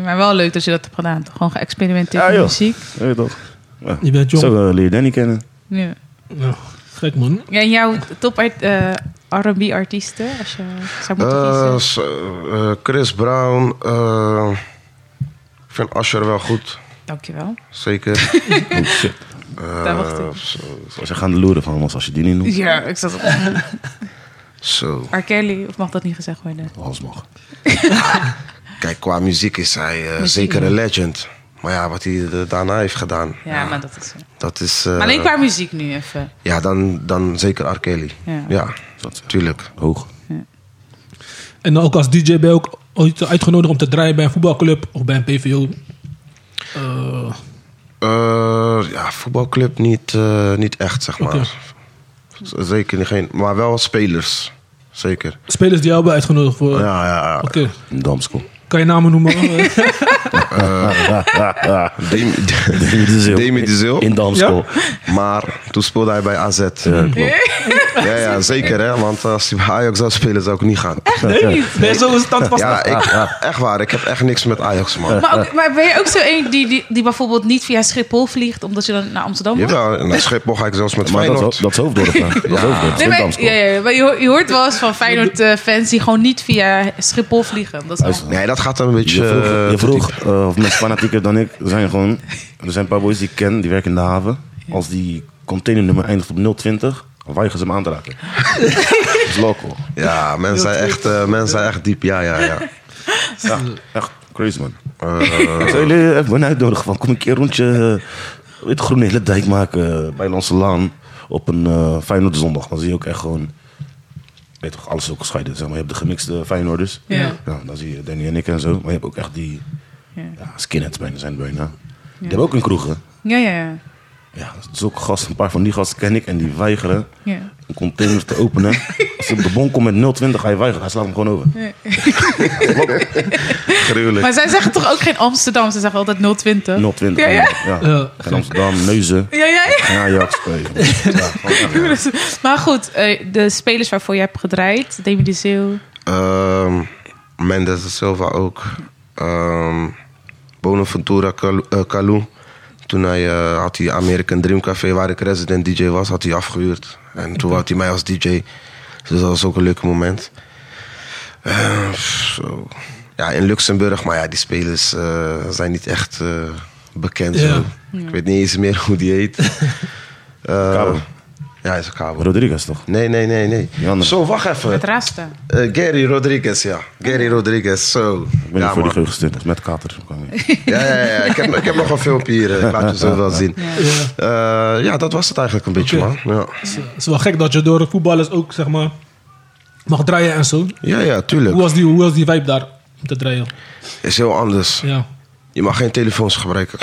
Speaker 5: maar wel leuk dat je dat hebt gedaan. toch? Gewoon geëxperimenteerd
Speaker 4: Ja,
Speaker 5: met
Speaker 4: joh.
Speaker 5: muziek.
Speaker 4: Weet je toch? Ja.
Speaker 2: Je bent jong.
Speaker 4: Zo eh, leer je Danny kennen.
Speaker 5: Ja.
Speaker 2: Ja, gek man.
Speaker 5: Ja, en jouw top art- eh, R&B artiesten, als je zou moeten
Speaker 3: Eh,
Speaker 5: kiezen.
Speaker 3: so, eh, Chris Brown. eh, ik vind Asher wel goed.
Speaker 5: Dankjewel.
Speaker 3: Zeker.
Speaker 4: Oh shit.
Speaker 5: Daar wacht ik.
Speaker 3: Eh, zo,
Speaker 4: Ze gaan de loeren van ons als je die niet noemt.
Speaker 5: Ja, ik zat op
Speaker 3: zo.
Speaker 5: R. Kelly, of mag dat niet gezegd worden?
Speaker 4: Alles mag.
Speaker 3: Kijk, qua muziek is hij eh,
Speaker 5: Muziek,
Speaker 3: zeker
Speaker 5: ja.
Speaker 3: een legend. Maar ja, wat hij eh, daarna heeft gedaan,
Speaker 5: Ja, maar dat is...
Speaker 3: dat is... eh,
Speaker 5: Maar alleen qua muziek nu even.
Speaker 3: Ja, dan, dan zeker R. Kelly.
Speaker 5: Ja.
Speaker 3: Ja,
Speaker 4: Dat is
Speaker 3: tuurlijk.
Speaker 4: hoog.
Speaker 2: En ook als DJ ben je ook ooit uitgenodigd om te draaien bij een voetbalclub of bij een PVO. Eh,
Speaker 3: Eh, ja, voetbalclub niet, eh, niet echt, zeg maar.
Speaker 2: Oké.
Speaker 3: Z- Zeker niet geen... Maar wel spelers. Zeker.
Speaker 2: spelers die jou hebben uitgenodigd voor. Oké,
Speaker 3: Ja, ja. ja.
Speaker 4: Een damschool.
Speaker 2: kan je namen noemen? Eh,
Speaker 3: Demi,
Speaker 4: Demi de Zeeuw.
Speaker 3: Demi de Zeeuw.
Speaker 4: In damschool.
Speaker 3: Maar toen speelde hij bij AZ. Ja, ja, zeker hè. Want als hij bij Ajax zou spelen, zou ik niet gaan.
Speaker 2: nee, zo is het dan vast.
Speaker 3: Ja,
Speaker 4: Ah,
Speaker 3: ik, echt waar. Ik heb echt niks met Ajax, man.
Speaker 5: Maar, ook, maar ben je ook zo een die, die, die bijvoorbeeld niet via Schiphol vliegt, omdat je dan naar Amsterdam moet?
Speaker 3: Jawel, naar Schiphol ga ik zelfs met
Speaker 4: Maar dat,
Speaker 3: Feyenoord.
Speaker 4: is- dat is hoofddorp. hè. Dat is hoofddorp.
Speaker 5: Nee,
Speaker 4: Geen
Speaker 5: maar,
Speaker 4: damschool.
Speaker 5: ja, ja, maar je, ho- je hoort wel eens van Feyenoord-fans die gewoon niet via Schiphol vliegen. Dat is
Speaker 4: Luister,
Speaker 5: wel-
Speaker 3: Nee, dat gaat dan een beetje...
Speaker 4: Je vroeg, je
Speaker 3: eh,
Speaker 4: vroeg eh, of mensen fanatieker dan ik zijn gewoon... Er zijn een paar boys die ik ken, die werken in de haven. Als die containernummer eindigt op 020, dan weigeren ze hem aan te raken. dat is loco.
Speaker 3: Ja, mensen zijn echt, eh, mensen zijn echt diep. Ja, ja, ja.
Speaker 4: Ja, echt crazy man.
Speaker 3: Eh,
Speaker 4: Ik zou jullie even een uitnodigen van kom een keer rondje eh, weet, Groene Hele Dijk maken eh, bij Lanse Laan op een eh Feyenoord zondag. Dan zie je ook echt gewoon, weet toch, alles ook gescheiden. Zeg maar. Je hebt de gemixte Feyenoorders.
Speaker 5: Ja.
Speaker 4: Nou, dan zie je Danny en ik en zo. Maar je hebt ook echt die
Speaker 5: Ja.
Speaker 4: ja, skinheads bijna zijn het bijna. Die hebben ook een kroeg hè.
Speaker 5: Ja, ja, ja.
Speaker 4: Ja, zulke gasten, een paar van die gasten ken ik en die weigeren
Speaker 5: Ja.
Speaker 4: een container te openen. Als ze op de bon komt met 020, hij weigert. Hij slaat hem gewoon over.
Speaker 3: gruwelijk.
Speaker 5: Maar zij zeggen toch ook geen Amsterdam, ze zeggen altijd 020.
Speaker 4: 020.
Speaker 5: Ja, ja.
Speaker 4: ja.
Speaker 2: Ja.
Speaker 4: En Amsterdam, Neuzen.
Speaker 5: Ja, ja, ja.
Speaker 4: Ja, Ajax. eh, Ja, gewoon, ja.
Speaker 5: Maar goed, eh, de spelers waarvoor je hebt gedraaid, Demi de Zeeuw.
Speaker 3: Ehm, Mendes de Silva ook. Ehm Bonaventura Kal- eh, Kalou. Toen hij, eh, had hij American Dream Café, waar ik resident DJ was, had hij afgehuurd. En toen had hij mij als DJ. Dus dat was ook een leuk moment. Eh, zo. Ja, in Luxemburg, maar ja, die spelers eh, zijn niet echt eh, bekend.
Speaker 2: Ja.
Speaker 3: Zo. Ik weet niet eens meer hoe die heet. Eh,
Speaker 4: Cabo.
Speaker 3: Ja, is een kabel.
Speaker 4: Rodriguez toch?
Speaker 3: Nee, nee, nee, nee.
Speaker 4: Die andere.
Speaker 3: Zo, wacht even.
Speaker 5: Het raarste.
Speaker 3: Eh, Gary Rodriguez, ja. Gary Rodriguez, zo.
Speaker 4: Ik ben
Speaker 3: ja,
Speaker 4: niet voor die
Speaker 3: man.
Speaker 4: geur gestuurd, dat is met kater.
Speaker 3: ja, ja, ja. Ik, heb, ik heb nog een filmpje hier, eh, ik laat je zo wel zien. Eh, ja, dat was het eigenlijk een beetje,
Speaker 2: Oké.
Speaker 3: man. Ja.
Speaker 2: Het is wel gek dat je door de voetballers ook zeg maar mag draaien en zo.
Speaker 3: ja, ja, tuurlijk.
Speaker 2: Hoe was die, hoe was die vibe daar om te draaien?
Speaker 3: Is heel anders.
Speaker 2: Ja.
Speaker 3: Je mag geen telefoons gebruiken.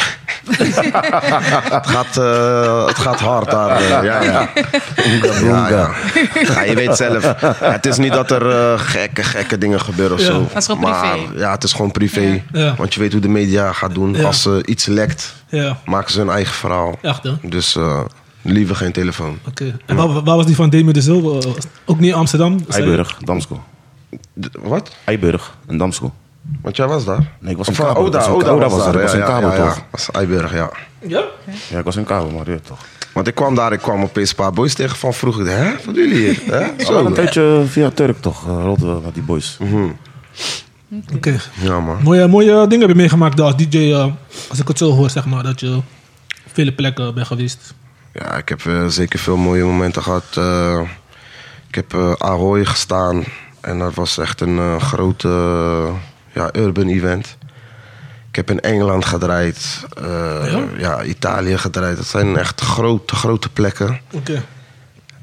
Speaker 3: het, gaat, eh, het gaat hard daar. eh, ja, ja. Ja, ja. Ja, je weet zelf. het is niet dat er eh, gekke, gekke dingen gebeuren of
Speaker 2: Ja.
Speaker 3: zo.
Speaker 2: Dat
Speaker 5: is gewoon
Speaker 3: maar,
Speaker 5: privé.
Speaker 3: Ja, het is gewoon privé.
Speaker 2: Ja.
Speaker 3: Want je weet hoe de media gaat doen.
Speaker 2: Ja.
Speaker 3: Als ze iets lekt,
Speaker 2: Ja,
Speaker 3: maken ze hun eigen verhaal.
Speaker 2: echt hè? Oké.
Speaker 3: Dus eh, liever geen telefoon.
Speaker 2: En waar, waar was die van Demi de Zil? Eh, Ook niet in Amsterdam?
Speaker 4: Eiburg, Damsko.
Speaker 3: D- wat?
Speaker 4: Eiburg en Damsko.
Speaker 3: Want jij was daar?
Speaker 4: Nee, ik was
Speaker 3: Of,
Speaker 4: in
Speaker 3: eh,
Speaker 4: Kabel.
Speaker 3: Oda,
Speaker 4: Ik was in-
Speaker 3: Oda
Speaker 4: Oda
Speaker 3: was,
Speaker 4: was
Speaker 3: daar.
Speaker 4: er.
Speaker 3: ja,
Speaker 4: Ik was in
Speaker 3: ja,
Speaker 4: Kabel,
Speaker 3: ja, ja.
Speaker 4: toch?
Speaker 3: Was Eiburg, ja.
Speaker 2: Ja?
Speaker 4: Ja, ik was in Kabel, maar dit toch.
Speaker 3: Want ik kwam daar, ik kwam opeens een paar boys tegen van vroeg. Ik dacht, hè, wat doen jullie hier? Hè?
Speaker 4: Zo,
Speaker 3: Zo.
Speaker 4: een tijdje via Turk toch, eh, rolden we met die boys.
Speaker 2: Oké.
Speaker 3: Ja, man.
Speaker 2: Mooie, mooie dingen heb je meegemaakt daar als DJ. eh, als ik het zo hoor, zeg maar, dat je op vele plekken bent geweest.
Speaker 3: Ja, ik heb eh, zeker veel mooie momenten gehad. Eh, ik heb eh Ahoy gestaan. En dat was echt een eh, grote eh, ja, urban event. Ik heb in Engeland gedraaid. eh, ja? Italië gedraaid. Dat zijn echt grote, grote plekken.
Speaker 2: Oké.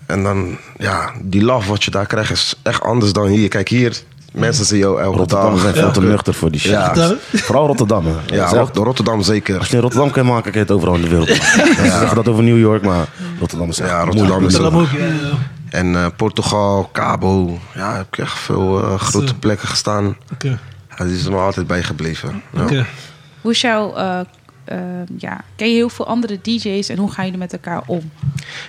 Speaker 3: En dan, ja, die love wat je daar krijgt is echt anders dan hier. Kijk, hier, mensen zien jou elke
Speaker 4: Rotterdam zijn
Speaker 3: dag.
Speaker 4: veel te nuchter voor die shit.
Speaker 3: Ja.
Speaker 2: Ja.
Speaker 4: Vooral Rotterdam. hè.
Speaker 3: Ja,
Speaker 4: Dat is echt-
Speaker 3: Rot- Rotterdam zeker.
Speaker 4: Als je in Rotterdam kan maken, kan je het overal in de wereld. maken. Ze zeggen dat over New York, maar Rotterdam is echt
Speaker 3: Ja, Rotterdam
Speaker 4: moeilijk.
Speaker 3: is
Speaker 2: Dat
Speaker 3: ook.
Speaker 2: ook. ja, ja.
Speaker 3: En eh, Portugal, Cabo. Ja, heb ik echt veel eh,
Speaker 2: Zo.
Speaker 3: grote plekken gestaan.
Speaker 2: Oké.
Speaker 3: Ja, die is er nog altijd bijgebleven. Ja.
Speaker 2: Oké.
Speaker 5: Hoe is jouw eh, eh, ja, ken je heel veel andere DJ's en hoe gaan jullie met elkaar om?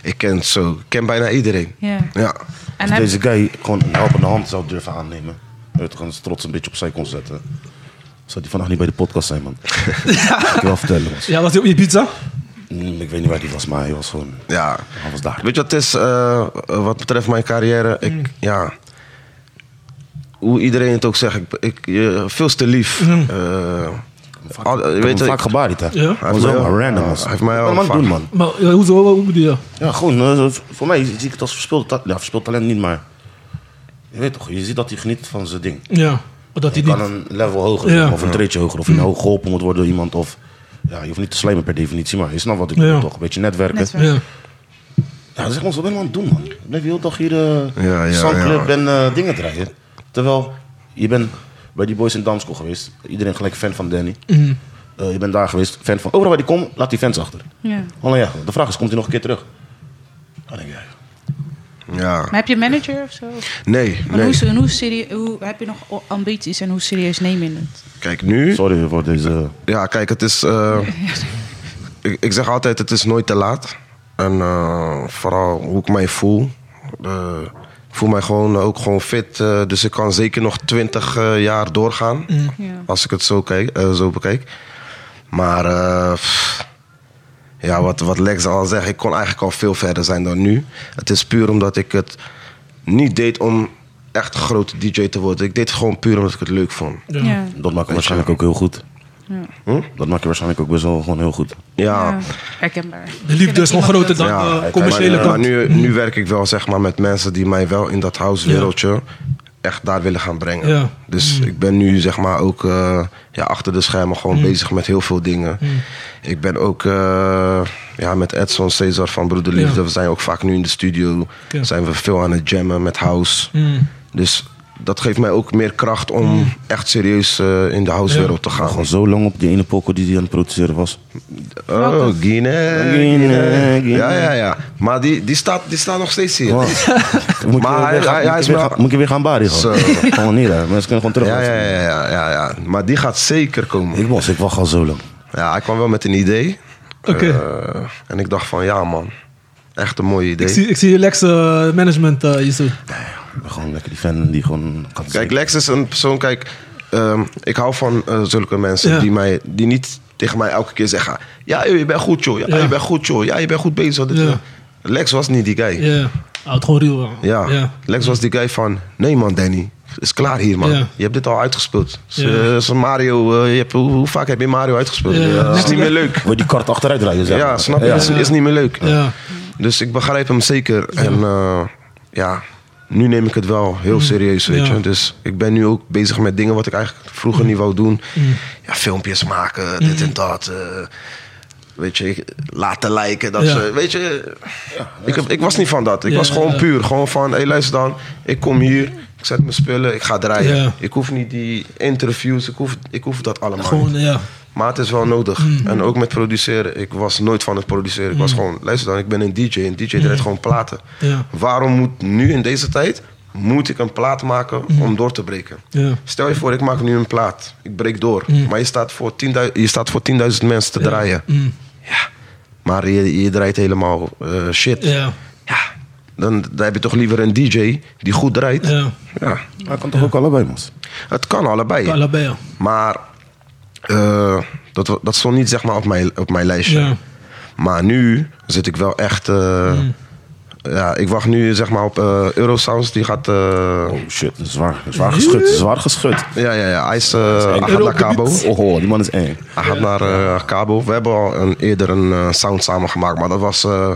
Speaker 3: Ik ken zo, ik ken bijna iedereen.
Speaker 5: Ja.
Speaker 3: Ja,
Speaker 5: En
Speaker 4: Als
Speaker 5: heb-
Speaker 4: deze guy gewoon een helpende hand zou durven aannemen. Weet je, gewoon zijn trots een beetje opzij kon zetten. Zou die vandaag niet bij de podcast zijn, man. Kan ik je wel vertellen. Was.
Speaker 2: Ja, was die op je pizza?
Speaker 4: Mm, Ik weet niet waar die was, maar hij was gewoon...
Speaker 3: ja.
Speaker 4: Hij was daar.
Speaker 3: Weet je wat het is, eh, wat betreft mijn carrière? Ik, ja, hoe iedereen het ook zegt, ik, ik, je- veel te lief. Eh, al-
Speaker 4: Ik
Speaker 3: weet
Speaker 4: heb
Speaker 3: je,
Speaker 4: hem vaak gebaried, hè.
Speaker 2: Ja.
Speaker 4: Hij was helemaal
Speaker 3: Hij heeft mij
Speaker 4: random.
Speaker 3: al-
Speaker 4: was.
Speaker 3: hij heeft mij
Speaker 4: Ik
Speaker 3: al
Speaker 4: ben hem aan het doen,
Speaker 3: vaak-
Speaker 4: man.
Speaker 2: Maar ja, hoezo? Hoe bedoel je?
Speaker 4: Ja, gewoon. eh, Voor mij zie ik het als verspild talent. Ja, verspild talent niet, maar... Je weet toch, je ziet dat hij geniet van zijn ding.
Speaker 2: Ja, dat hij
Speaker 4: Je kan
Speaker 2: niet...
Speaker 4: een level hoger,
Speaker 2: Ja. Mm.
Speaker 4: zeg maar, of een treetje hoger. Of je nou geholpen moet worden door iemand. Of, ja, je hoeft niet te slijmen per definitie, maar je snapt wat ik bedoel
Speaker 2: Ja.
Speaker 4: toch? Een beetje netwerken.
Speaker 5: Netwerken.
Speaker 2: Ja.
Speaker 4: Ja, zeg maar, wat ben je aan het doen, man? Ik blijf de hele dag hier eh
Speaker 3: Ja, ja,
Speaker 4: zangclub
Speaker 3: ja.
Speaker 4: en eh, dingen draaien. Terwijl, je bent bij die boys in Damsko geweest. Iedereen gelijk fan van Danny. Eh, je bent daar geweest, fan van... Overal waar die komt, laat die fans achter.
Speaker 5: ja.
Speaker 4: Alleen ja, de vraag is, komt hij nog een keer terug? Dan denk ik, ja,
Speaker 3: Ja,
Speaker 5: Maar heb je een manager of zo?
Speaker 3: nee,
Speaker 5: En hoe,
Speaker 3: nee.
Speaker 5: en hoe, serie- hoe heb je nog o- ambities en hoe serieus neem je het?
Speaker 3: Kijk, nu...
Speaker 4: sorry voor deze...
Speaker 3: Ja, kijk, het is... eh, ik, ik zeg altijd, het is nooit te laat. En eh, vooral hoe ik mij voel. Eh, ik voel mij gewoon eh, ook gewoon fit. eh, dus ik kan zeker nog twintig eh, jaar doorgaan.
Speaker 5: Ja.
Speaker 3: Als ik het zo, kijk, eh, zo bekijk. Maar eh, pff, ja, wat, wat Lex al zegt, ik kon eigenlijk al veel verder zijn dan nu. Het is puur omdat ik het niet deed om echt grote DJ te worden. Ik deed het gewoon puur omdat ik het leuk vond.
Speaker 5: Ja.
Speaker 4: Dat maakt hem waarschijnlijk ook heel goed.
Speaker 3: Hm?
Speaker 4: Dat maakt je waarschijnlijk ook best wel gewoon heel goed.
Speaker 5: Ja.
Speaker 3: Ja,
Speaker 5: herkenbaar.
Speaker 2: De liefde is nog groter dan
Speaker 3: Ja,
Speaker 2: de
Speaker 3: kijk,
Speaker 2: commerciële
Speaker 3: maar,
Speaker 2: kant.
Speaker 3: Maar nu, nu werk ik wel zeg maar, met mensen die mij wel in dat housewereldje echt daar willen gaan brengen.
Speaker 2: Ja. Mm.
Speaker 3: Dus ik ben nu zeg maar ook eh, ja, achter de schermen gewoon bezig met heel veel dingen.
Speaker 2: Mm.
Speaker 3: Ik ben ook eh, ja, met Edson Cesar van Broederliefde.
Speaker 2: Ja.
Speaker 3: We zijn ook vaak nu in de studio.
Speaker 2: Ja.
Speaker 3: Zijn we veel aan het jammen met house.
Speaker 2: Mm.
Speaker 3: Dus dat geeft mij ook meer kracht om echt serieus eh, in de housewereld te gaan.
Speaker 4: Gewoon zo lang op die ene poko die hij aan het produceren was.
Speaker 3: Oh, Guinea.
Speaker 4: Guinea, Guinea.
Speaker 3: Ja, ja, ja. Maar die, die, staat, die staat nog steeds hier.
Speaker 4: Wow. Moet je
Speaker 3: Maar
Speaker 4: weer
Speaker 3: hij- hij-
Speaker 4: gaan- moet
Speaker 3: hij
Speaker 4: je
Speaker 3: is
Speaker 4: weer
Speaker 3: wel-
Speaker 4: gaan- Moet je weer gaan baren
Speaker 3: Zo.
Speaker 4: gewoon. Gewoon niet hè. Mensen kunnen gewoon terug.
Speaker 3: Ja, ja, ja, ja, ja, ja. Maar die gaat zeker komen.
Speaker 4: Ik was, ik wacht al zo lang.
Speaker 3: Ja, hij kwam wel met een idee.
Speaker 2: Oké.
Speaker 3: Eh, en ik dacht van, ja man, echt een mooi
Speaker 2: Ik
Speaker 3: idee.
Speaker 2: zie, ik zie Lex eh, management eh hier zo.
Speaker 4: Ik ben gewoon lekker die fan die gewoon kan
Speaker 3: Kijk, Lex is een persoon, kijk, ehm, ik hou van eh, zulke mensen
Speaker 2: Ja.
Speaker 3: die, mij, die niet tegen mij elke keer zeggen... Ja, joh, je bent goed joh, ja,
Speaker 2: Ja.
Speaker 3: je bent goed joh, ja, je bent goed bezig. Dit,
Speaker 2: Ja.
Speaker 3: eh. Lex was niet die guy.
Speaker 2: Ja, houdt gewoon ruw. aan.
Speaker 3: Ja. Lex was die guy van, nee man Danny, het is klaar hier man.
Speaker 2: Ja.
Speaker 3: Je hebt dit al uitgespeeld. Het is,
Speaker 2: Ja.
Speaker 3: eh, het is een Mario, eh, je hebt, hoe, hoe vaak heb je Mario uitgespeeld?
Speaker 2: Ja.
Speaker 3: Ja, Het is niet meer leuk.
Speaker 4: Wil je die kart achteruit rijden? Zeg
Speaker 3: Ja,
Speaker 4: maar.
Speaker 3: snap je? Is, is niet meer leuk.
Speaker 2: Ja.
Speaker 3: Dus ik begrijp hem zeker. En eh, ja, nu neem ik het wel heel serieus, weet
Speaker 2: Mm. Ja. Mm.
Speaker 3: je. Dus ik ben nu ook bezig met dingen wat ik eigenlijk vroeger niet wou doen. Ja, filmpjes maken, dit en dat. eh, weet je, ik- laten lijken. Dat
Speaker 2: Ja.
Speaker 3: ze, weet je, ik, heb- ik was niet van dat. Ik
Speaker 2: Ja,
Speaker 3: was gewoon
Speaker 2: ja.
Speaker 3: puur. Gewoon van, hé hey, luister dan, ik kom hier, ik zet mijn spullen, ik ga draaien.
Speaker 2: Ja.
Speaker 3: Ik hoef niet die interviews, ik hoef, ik hoef dat allemaal niet.
Speaker 2: Gewoon, ja.
Speaker 3: Maar het is wel nodig.
Speaker 2: Mm.
Speaker 3: En ook met produceren. Ik was nooit van het produceren. Ik was gewoon, luister dan, ik ben een DJ. Een DJ draait gewoon platen.
Speaker 2: Mm. Ja.
Speaker 3: Waarom moet nu in deze tijd, moet ik een plaat maken om door te breken?
Speaker 2: Mm. Ja.
Speaker 3: Stel je voor, ik maak nu een plaat. Ik breek door. Maar je staat voor 10.000 je staat voor 10.000 mensen te draaien.
Speaker 2: Mm.
Speaker 3: Ja. Maar je, je draait helemaal eh, shit.
Speaker 2: Ja.
Speaker 3: Ja. Dan, dan heb je toch liever een DJ die goed draait.
Speaker 2: Ja.
Speaker 3: Ja.
Speaker 4: Maar het kan toch ook allebei, man.
Speaker 3: Het kan allebei.
Speaker 2: Allebei, ja.
Speaker 3: Maar eh, dat, wa- dat stond niet zeg maar op mijn, op mijn lijstje.
Speaker 2: Ja.
Speaker 3: Maar nu zit ik wel echt... eh, Ja, ik wacht nu zeg maar op eh Eurosounds. Die gaat... eh,
Speaker 4: Oh shit, dat is zwaar, dat is zwaar geschud, zwaar geschud.
Speaker 3: ja, ja, ja. Hij is, eh, hij gaat naar
Speaker 2: Eurobeat.
Speaker 3: Cabo.
Speaker 4: Oh, oh, die man is eng.
Speaker 3: Hij gaat naar eh, Cabo. We hebben al een, eerder een eh, sound samen gemaakt. Maar dat was eh,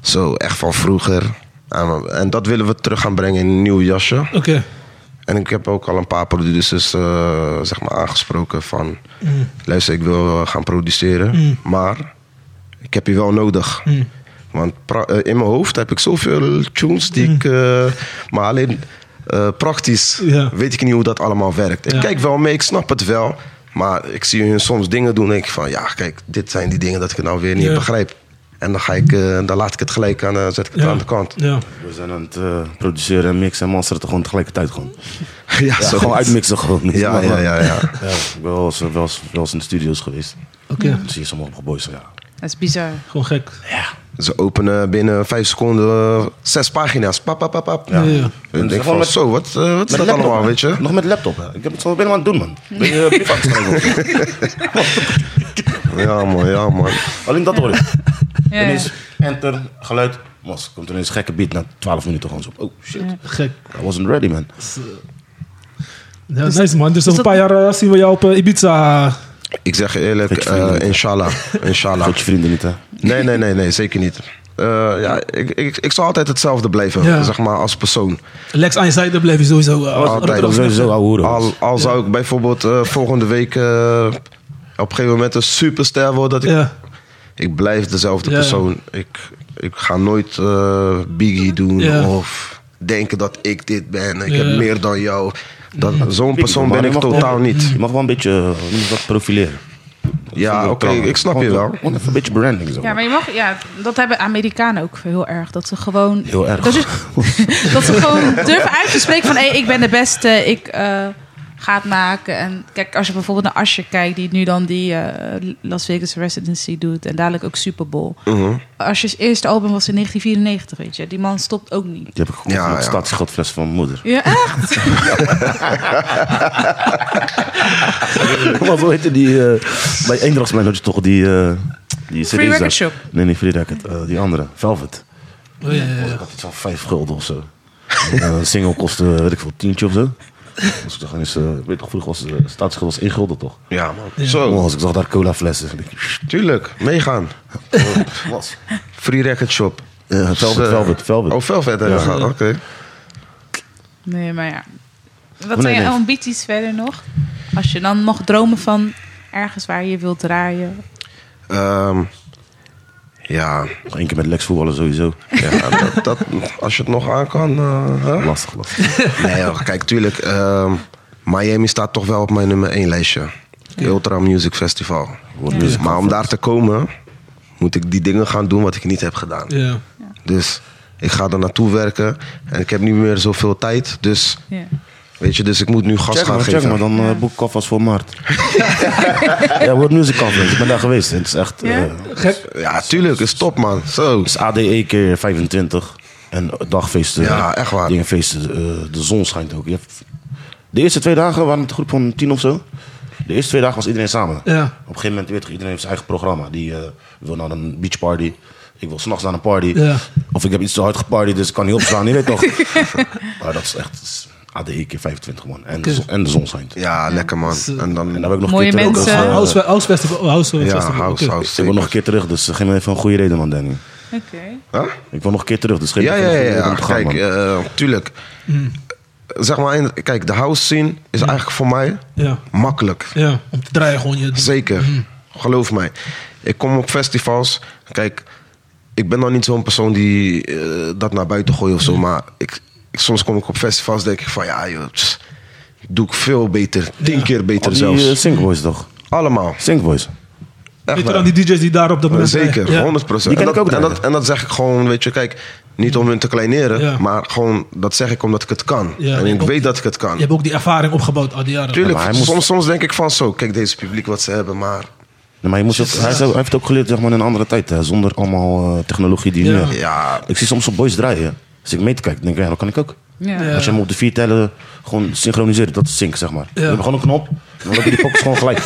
Speaker 3: zo echt van vroeger. En, en dat willen we terug gaan brengen in een nieuw jasje.
Speaker 2: Oké.
Speaker 3: En ik heb ook al een paar producers eh, zeg maar aangesproken van...
Speaker 2: Mm.
Speaker 3: luister, ik wil eh, gaan produceren, maar ik heb je wel nodig.
Speaker 2: Mm.
Speaker 3: Want pra- eh, in mijn hoofd heb ik zoveel tunes
Speaker 2: Mm.
Speaker 3: die ik... eh, maar alleen eh, praktisch
Speaker 2: Ja.
Speaker 3: weet ik niet hoe dat allemaal werkt. Ik
Speaker 2: Ja.
Speaker 3: kijk wel mee, ik snap het wel. Maar ik zie hun soms dingen doen en denk ik van... ja, kijk, dit zijn die dingen dat ik nou weer niet
Speaker 2: Ja.
Speaker 3: begrijp. En dan, ga ik, eh, dan laat ik het gelijk aan, dan zet ik het
Speaker 2: Ja.
Speaker 3: aan de kant.
Speaker 2: Ja.
Speaker 4: We zijn aan het eh, produceren, mixen en masteren gewoon tegelijkertijd gewoon.
Speaker 3: ja,
Speaker 4: Ja, gewoon uitmixen gewoon.
Speaker 3: Ja, ja, ja, ja.
Speaker 4: Ja, ik ben wel eens, wel, eens, wel eens in de studio's geweest.
Speaker 2: Oké,
Speaker 4: Dan zie je sommige boys, ja.
Speaker 5: Dat is bizar.
Speaker 2: gewoon gek.
Speaker 4: Ja.
Speaker 3: Ze openen binnen vijf seconden eh, zes pagina's. Pap, pap, pap, pap.
Speaker 2: Ja. Ja.
Speaker 3: En ik denk van,
Speaker 4: Met-
Speaker 3: zo, wat, eh, wat is
Speaker 4: Met
Speaker 3: dat
Speaker 4: laptop,
Speaker 3: allemaal,
Speaker 4: hè?
Speaker 3: weet je?
Speaker 4: Nog met laptop, hè? Ik heb het zo helemaal aan het doen, man. Ben je eh, brief aan het schrijven?
Speaker 3: Ja, man, ja, man.
Speaker 4: Alleen dat hoor ik.
Speaker 5: Ja, ja.
Speaker 4: Ineens enter, geluid, mos. Komt ineens een gekke beat na 12 minuten gewoon zo. Oh shit,
Speaker 2: Gek.
Speaker 4: I wasn't ready, man.
Speaker 2: Ja, nice man. Dus over
Speaker 5: dus
Speaker 2: een
Speaker 5: dat-
Speaker 2: paar jaar eh, zien we jou op eh, Ibiza.
Speaker 3: Ik zeg je eerlijk,
Speaker 4: Goed, vrienden.
Speaker 3: eh, inshallah. Inshallah.
Speaker 4: Goed je vrienden niet, hè?
Speaker 3: Nee, nee, nee, nee, zeker niet. Eh, ja, ik, ik, ik zal altijd hetzelfde blijven,
Speaker 2: Ja.
Speaker 3: zeg maar, als persoon.
Speaker 2: Lex aan je zijde blijf je sowieso. eh,
Speaker 3: Altijd.
Speaker 4: Dat is sowieso ouwe hoeren. dus.
Speaker 3: Al, al zou ik bijvoorbeeld eh, volgende week eh, op een gegeven moment een superster worden. Dat ik,
Speaker 2: Ja.
Speaker 3: ik blijf dezelfde
Speaker 2: Ja.
Speaker 3: persoon. Ik, ik ga nooit eh, Biggie doen
Speaker 2: Ja.
Speaker 3: of denken dat ik dit ben. Ik
Speaker 2: Ja.
Speaker 3: heb meer dan jou. Dat, zo'n persoon ben
Speaker 4: Maar je
Speaker 3: ik
Speaker 4: mag wel-
Speaker 3: totaal niet.
Speaker 4: Je mag wel een beetje eh, hoe noem je dat, profileren.
Speaker 3: Ja, oké, ik snap je wel.
Speaker 4: Gewoon even een beetje branding zo.
Speaker 5: Ja, maar je mag, ja, dat hebben Amerikanen ook heel erg. Dat ze gewoon.
Speaker 4: Heel erg.
Speaker 5: Dat, ze- dat ze gewoon durven uit te spreken van: hé, ik ben de beste, ik eh, ga het maken. En kijk, als je bijvoorbeeld naar Asje kijkt, die nu dan die eh, Las Vegas Residency doet en dadelijk ook Super Bowl.
Speaker 3: Mhm.
Speaker 5: Asjes eerste album was in 1994, weet je. Die man stopt ook niet.
Speaker 4: Die heb ik gekocht
Speaker 3: Ja,
Speaker 4: ja, de
Speaker 3: ja.
Speaker 4: staatsschotfles van mijn moeder.
Speaker 5: Ja, echt?
Speaker 4: Maar hoe heette die... eh, bij Eendrachts had je toch die... eh die
Speaker 5: Free
Speaker 4: CD's
Speaker 5: Record
Speaker 4: uit-
Speaker 5: Shop.
Speaker 4: Nee, niet Free Record. eh, die andere. Velvet.
Speaker 2: Oh, ja, ja,
Speaker 4: Ik
Speaker 2: ja.
Speaker 4: had iets van vijf gulden of zo. En, eh, Een single kostte, weet ik veel, tientje of zo. Dus ik dacht, is, eh, weet je toch, vroeger was de staatsschuld was één gulden, toch?
Speaker 3: Ja, man.
Speaker 4: Oh,
Speaker 3: Zo,
Speaker 4: als ik zag daar cola flessen. Ik,
Speaker 3: tuurlijk. Meegaan.
Speaker 4: was.
Speaker 3: Free Record Shop.
Speaker 4: Eh, Velvet,
Speaker 3: Zo.
Speaker 4: Velvet, Velvet.
Speaker 3: Oh, Velvet hebben we gehad, oké.
Speaker 5: Nee, maar ja. Wat
Speaker 4: Oh, nee,
Speaker 5: zijn je
Speaker 4: nee.
Speaker 5: ambities verder nog? Als je dan mag dromen van ergens waar je wilt draaien.
Speaker 3: Ehm, ja,
Speaker 4: Nog één keer met Lex voetballen sowieso.
Speaker 3: ja dat, dat- als je het nog aan kan. eh, hè?
Speaker 4: Lastig, lastig.
Speaker 3: Nee, joh, kijk, tuurlijk. ehm, Miami staat toch wel op mijn nummer 1 lijstje. Ultra Music Festival.
Speaker 4: World Music
Speaker 3: Maar om daar te komen, moet ik die dingen gaan doen wat ik niet heb gedaan.
Speaker 2: Ja.
Speaker 3: Dus ik ga er naartoe werken. En ik heb niet meer zoveel tijd. Dus,
Speaker 5: Ja.
Speaker 3: weet je, dus ik moet nu gas
Speaker 4: Check
Speaker 3: gaan
Speaker 4: maar, check
Speaker 3: geven.
Speaker 4: maar, dan eh, boek ik alvast voor maart. ja, World Music Conference. Ik ben daar geweest. Het is echt... eh,
Speaker 5: Ja?
Speaker 2: Gek.
Speaker 3: Ja, tuurlijk. Is top, man. Zo.
Speaker 4: Het is ADE keer 25. En dagfeesten.
Speaker 3: Ja, echt waar.
Speaker 4: Dingenfeesten. eh, de zon schijnt ook. Je hebt- De eerste twee dagen waren het een groep van tien of zo. De eerste twee dagen was iedereen samen.
Speaker 2: Ja.
Speaker 4: Op een gegeven moment, weet je, iedereen heeft zijn eigen programma. Die eh, wil naar een beachparty. Ik wil s'nachts naar een party.
Speaker 2: Ja.
Speaker 4: Of ik heb iets te hard geparty, dus ik kan niet opstaan. Je weet toch. maar dat is echt dat is ADE keer 25 man. En,
Speaker 2: Oké.
Speaker 4: de, zon, en de zon schijnt.
Speaker 3: Ja, lekker, man. En
Speaker 4: En
Speaker 3: dan...
Speaker 4: daar heb ik nog
Speaker 5: Mooie
Speaker 4: een keer terug.
Speaker 5: mensen.
Speaker 4: eh,
Speaker 2: House, house festival. House
Speaker 3: Ja,
Speaker 2: festival.
Speaker 3: house,
Speaker 2: Oké.
Speaker 3: house.
Speaker 4: ik wil nog een keer terug, dus eh, geef me even een goede reden, man, Danny.
Speaker 5: Oké.
Speaker 3: Huh?
Speaker 4: Ik wil nog een keer terug, dus geef me
Speaker 3: Ja,
Speaker 4: even
Speaker 3: ja,
Speaker 4: een
Speaker 3: ja.
Speaker 4: goede reden
Speaker 3: ja.
Speaker 4: om te gaan,
Speaker 3: Kijk,
Speaker 4: man.
Speaker 3: eh, tuurlijk. Zeg maar, in- kijk, de house scene is eigenlijk voor mij
Speaker 2: Ja.
Speaker 3: makkelijk.
Speaker 2: Ja, om te draaien gewoon je...
Speaker 3: Zeker.
Speaker 2: Hmm.
Speaker 3: Geloof mij. Ik kom op festivals. Kijk, ik ben dan niet zo'n persoon die eh, dat naar buiten gooit of zo.
Speaker 2: Hmm.
Speaker 3: Maar ik, ik- soms kom ik op festivals denk ik van ja, joh, pss, doe ik veel beter. Tien keer beter
Speaker 4: Al die
Speaker 3: zelfs.
Speaker 4: eh, Sinkboys toch?
Speaker 3: Allemaal.
Speaker 4: Sinkboys.
Speaker 3: Echt
Speaker 2: Beter
Speaker 3: waar.
Speaker 2: dan die DJ's die daar op dat moment
Speaker 3: Zeker,
Speaker 2: draaien.
Speaker 3: 100
Speaker 4: Die
Speaker 3: procent.
Speaker 4: ken
Speaker 3: En,
Speaker 4: ik ook
Speaker 3: dat- en,
Speaker 4: daar.
Speaker 3: dat- en dat zeg ik gewoon, weet je, kijk, niet om hun te kleineren,
Speaker 2: Ja.
Speaker 3: maar gewoon, dat zeg ik omdat ik het kan.
Speaker 2: Ja,
Speaker 3: en ik
Speaker 2: ook-
Speaker 3: weet dat ik het
Speaker 2: Je
Speaker 3: kan.
Speaker 2: hebt ook die ervaring opgebouwd al die jaren.
Speaker 3: Tuurlijk,
Speaker 4: maar hij moest-
Speaker 3: soms, soms denk ik van zo, kijk deze publiek wat ze hebben, maar
Speaker 4: Nee, maar je moest ook, hij, is ook- hij heeft ook geleerd zeg maar, in een andere tijd, hè, zonder allemaal eh, technologie die
Speaker 2: Ja.
Speaker 4: nu hebben.
Speaker 3: ja,
Speaker 4: Ik zie soms op boys draaien. Als ik mee te kijken, denk ik, ja, dat kan ik ook.
Speaker 5: Ja.
Speaker 2: Ja.
Speaker 4: Als je hem op de vier tellen gewoon synchroniseert, dat is sync, zeg maar. We hebben gewoon een knop, dan heb je die pokkers gewoon gelijk.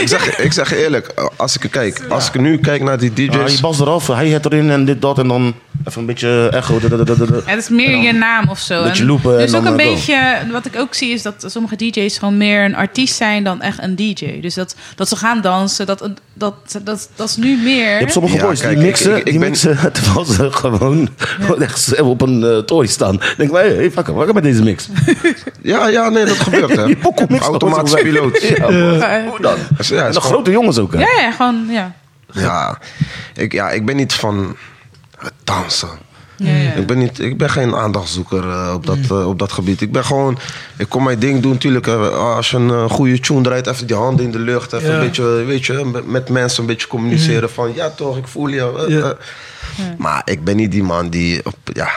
Speaker 3: ik, zeg, ik zeg eerlijk, als ik kijk, als ik nu kijk naar die
Speaker 4: Ja, je
Speaker 3: DJ's,
Speaker 4: bas eraf, hij het erin en dit, dat, en dan even een beetje eh, echo. da, da, da, da, da.
Speaker 5: Ja, Het is meer je naam of zo.
Speaker 4: een beetje
Speaker 5: En
Speaker 4: loopen
Speaker 5: er
Speaker 4: en
Speaker 5: is
Speaker 4: dan,
Speaker 5: ook een
Speaker 4: eh, go.
Speaker 5: beetje, wat ik ook zie, is dat sommige DJ's gewoon meer een artiest zijn dan echt een DJ. Dus dat, dat ze gaan dansen, dat, dat, dat, dat is nu meer.
Speaker 4: Je hebt sommige
Speaker 3: Ja,
Speaker 4: boys
Speaker 3: kijk,
Speaker 4: die
Speaker 3: ik-
Speaker 4: mixen,
Speaker 3: ik- ik
Speaker 4: die
Speaker 3: ben-
Speaker 4: mixen terwijl ze gewoon, gewoon echt zo op een eh, tory staan. Dan denk ik, hey, hey, fuck, wat met deze mix?
Speaker 3: ja, ja, nee, dat gebeurt hè.
Speaker 4: Die pokken mixen.
Speaker 3: Automatisch piloot.
Speaker 4: Ja,
Speaker 5: Eh,
Speaker 4: hoe dan?
Speaker 3: Ja,
Speaker 4: en
Speaker 3: is
Speaker 4: de
Speaker 3: gewoon-
Speaker 4: grote jongens ook, hè?
Speaker 5: ja, ja, gewoon, ja.
Speaker 3: ja, ik, ja, ik ben niet van het dansen.
Speaker 5: ja, ja.
Speaker 4: Hmm.
Speaker 3: Ik ben, niet, ik ben geen aandachtzoeker eh, op, dat, eh, op dat gebied. Ik ben gewoon, ik kom mijn ding doen natuurlijk. eh, als je een eh, goede tune draait, even die handen in de lucht. Even
Speaker 2: Ja. Mhm.
Speaker 3: een beetje, eh, weet je, met, met mensen een beetje communiceren. Van ja toch, ik voel je. eh,
Speaker 2: Ja.
Speaker 3: eh. Maar ik ben niet die man die, op, ja,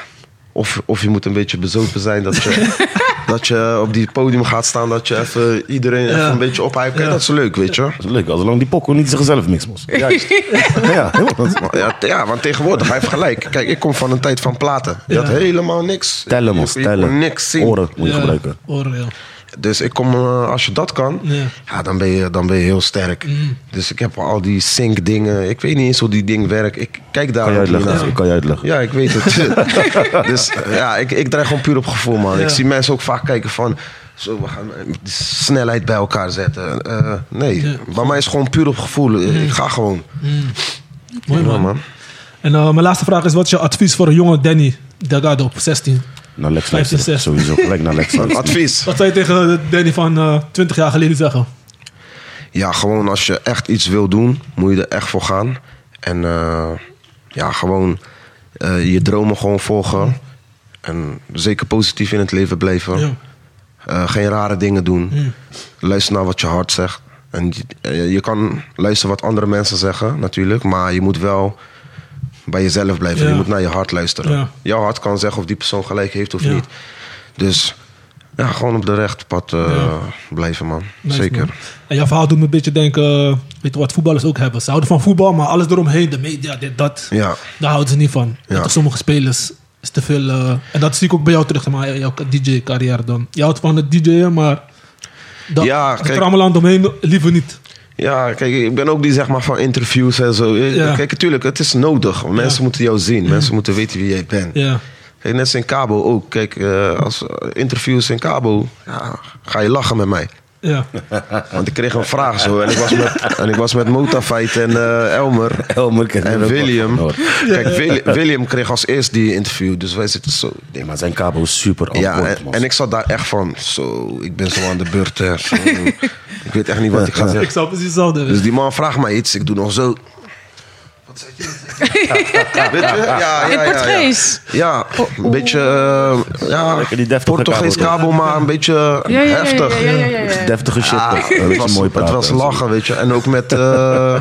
Speaker 3: of, of je moet een beetje bezopen zijn. Dat je, dat je op die podium gaat staan, dat je even iedereen even een beetje ophypt. Kijk, dat is leuk, weet je.
Speaker 4: Dat is leuk, als lang die pokko niet zichzelf mix was.
Speaker 3: Juist.
Speaker 4: Ja, helemaal. Dat-
Speaker 3: Ja, t- ja, want tegenwoordig, hij heeft gelijk. Kijk, ik kom van een tijd van platen. Je had helemaal niks.
Speaker 4: Tellen, man.
Speaker 3: Je kon- je kon
Speaker 4: Tellen.
Speaker 3: niks zien.
Speaker 4: Oren moet je
Speaker 2: Ja,
Speaker 4: gebruiken.
Speaker 2: Oren, ja.
Speaker 3: Dus ik kom, eh, als je dat kan,
Speaker 2: Ja. Mm.
Speaker 3: ja. dan, ben je, dan ben je heel sterk. Dus ik heb al die sync dingen. Ik weet niet eens hoe die ding werkt. Ik kijk daar
Speaker 4: Kan je
Speaker 3: ook niet
Speaker 4: uitleggen?
Speaker 3: naar.
Speaker 4: Ik kan je uitleggen.
Speaker 3: Ja, ik weet het. dus eh, ja, ik, ik draai gewoon puur op gevoel, man. Ik zie mensen ook vaak kijken van... Zo, we gaan eh, die snelheid bij elkaar zetten. Eh, nee, bij mij is het gewoon puur op gevoel. Ik ga gewoon.
Speaker 2: Mm. Mooi
Speaker 3: Ja,
Speaker 2: man.
Speaker 3: man.
Speaker 2: En eh, mijn laatste vraag is, wat is je advies voor een jonge Danny Delgado op 16?
Speaker 4: Naar Lex
Speaker 2: 15,
Speaker 4: luisteren.
Speaker 2: 6.
Speaker 4: Sowieso gelijk naar Lex luisteren.
Speaker 3: Advies.
Speaker 2: Wat zou je tegen de Danny van eh 20 jaar geleden zeggen?
Speaker 3: Ja, gewoon als je echt iets wil doen, moet je er echt voor gaan. En eh, ja, gewoon eh, je dromen gewoon volgen. En zeker positief in het leven blijven.
Speaker 2: Ja.
Speaker 3: Eh, geen rare dingen doen. Luister naar wat je hart zegt. En je, eh, je kan luisteren wat andere mensen zeggen, natuurlijk. Maar je moet wel bij jezelf blijven.
Speaker 2: Ja.
Speaker 3: Je moet naar je hart luisteren.
Speaker 2: Ja.
Speaker 3: Jouw hart kan zeggen of die persoon gelijk heeft of
Speaker 2: Ja.
Speaker 3: niet. Dus ja, gewoon op de recht pad eh, blijven, man.
Speaker 2: Nice,
Speaker 3: zeker.
Speaker 2: man. En jouw verhaal doet me een beetje denken, eh, weet je wat voetballers ook hebben. Ze houden van voetbal, maar alles eromheen, de media, dit, dat,
Speaker 3: Ja.
Speaker 2: daar houden ze niet van.
Speaker 3: Ja.
Speaker 2: Dat er sommige spelers is te veel. eh, en dat zie ik ook bij jou terug, zeg maar jouw DJ-carrière dan. Je houdt van het DJ'en, maar dat,
Speaker 3: Ja,
Speaker 2: het
Speaker 3: kijk.
Speaker 2: rammeland omheen liever niet.
Speaker 3: Ja, kijk, ik ben ook die zeg maar van interviews en zo. Eh,
Speaker 2: Ja.
Speaker 3: Kijk, natuurlijk, het is nodig. Mensen moeten jou zien. Mensen moeten weten wie jij bent.
Speaker 2: Ja,
Speaker 3: Kijk, net als in Cabo ook. Kijk, eh, als eh, interviews in Cabo, ja, ga je lachen met mij.
Speaker 2: ja.
Speaker 3: Want ik kreeg een vraag zo. En ik was met, en ik was met Motafeit en eh, Elmer.
Speaker 4: Elmer kent
Speaker 3: En
Speaker 4: er ook wat
Speaker 3: William.
Speaker 4: van, hoor.
Speaker 3: Kijk, Wil- William kreeg als eerst die interview. Dus wij zitten zo.
Speaker 4: Nee, maar zijn kabel is super on
Speaker 3: Ja,
Speaker 4: point,
Speaker 3: en,
Speaker 4: man.
Speaker 3: en ik zat daar echt van. Zo, ik ben zo aan de beurt. hè. Zo, ik weet echt niet wat ik ga zeggen.
Speaker 2: Ik zou precies hetzelfde
Speaker 3: Dus
Speaker 2: willen.
Speaker 3: die man vraagt mij iets, ik doe nog zo. Wat zei je? Weet je? Ja, ja,
Speaker 5: In
Speaker 3: ja, ja.
Speaker 5: Portugees.
Speaker 3: Ja,
Speaker 5: Oh.
Speaker 3: een beetje eh, ja,
Speaker 4: Lekker die deftige
Speaker 3: Portugees
Speaker 4: kabel.
Speaker 3: kabel, maar een beetje
Speaker 5: Ja, ja, ja,
Speaker 3: heftig.
Speaker 5: ja, ja, ja, ja.
Speaker 4: Deftige shit.
Speaker 3: Ja,
Speaker 4: toch? Een
Speaker 3: Ah, het,
Speaker 4: beetje
Speaker 3: was,
Speaker 4: mooi
Speaker 3: het
Speaker 4: praten
Speaker 3: was
Speaker 4: en zo.
Speaker 3: lachen, weet je. En ook met eh,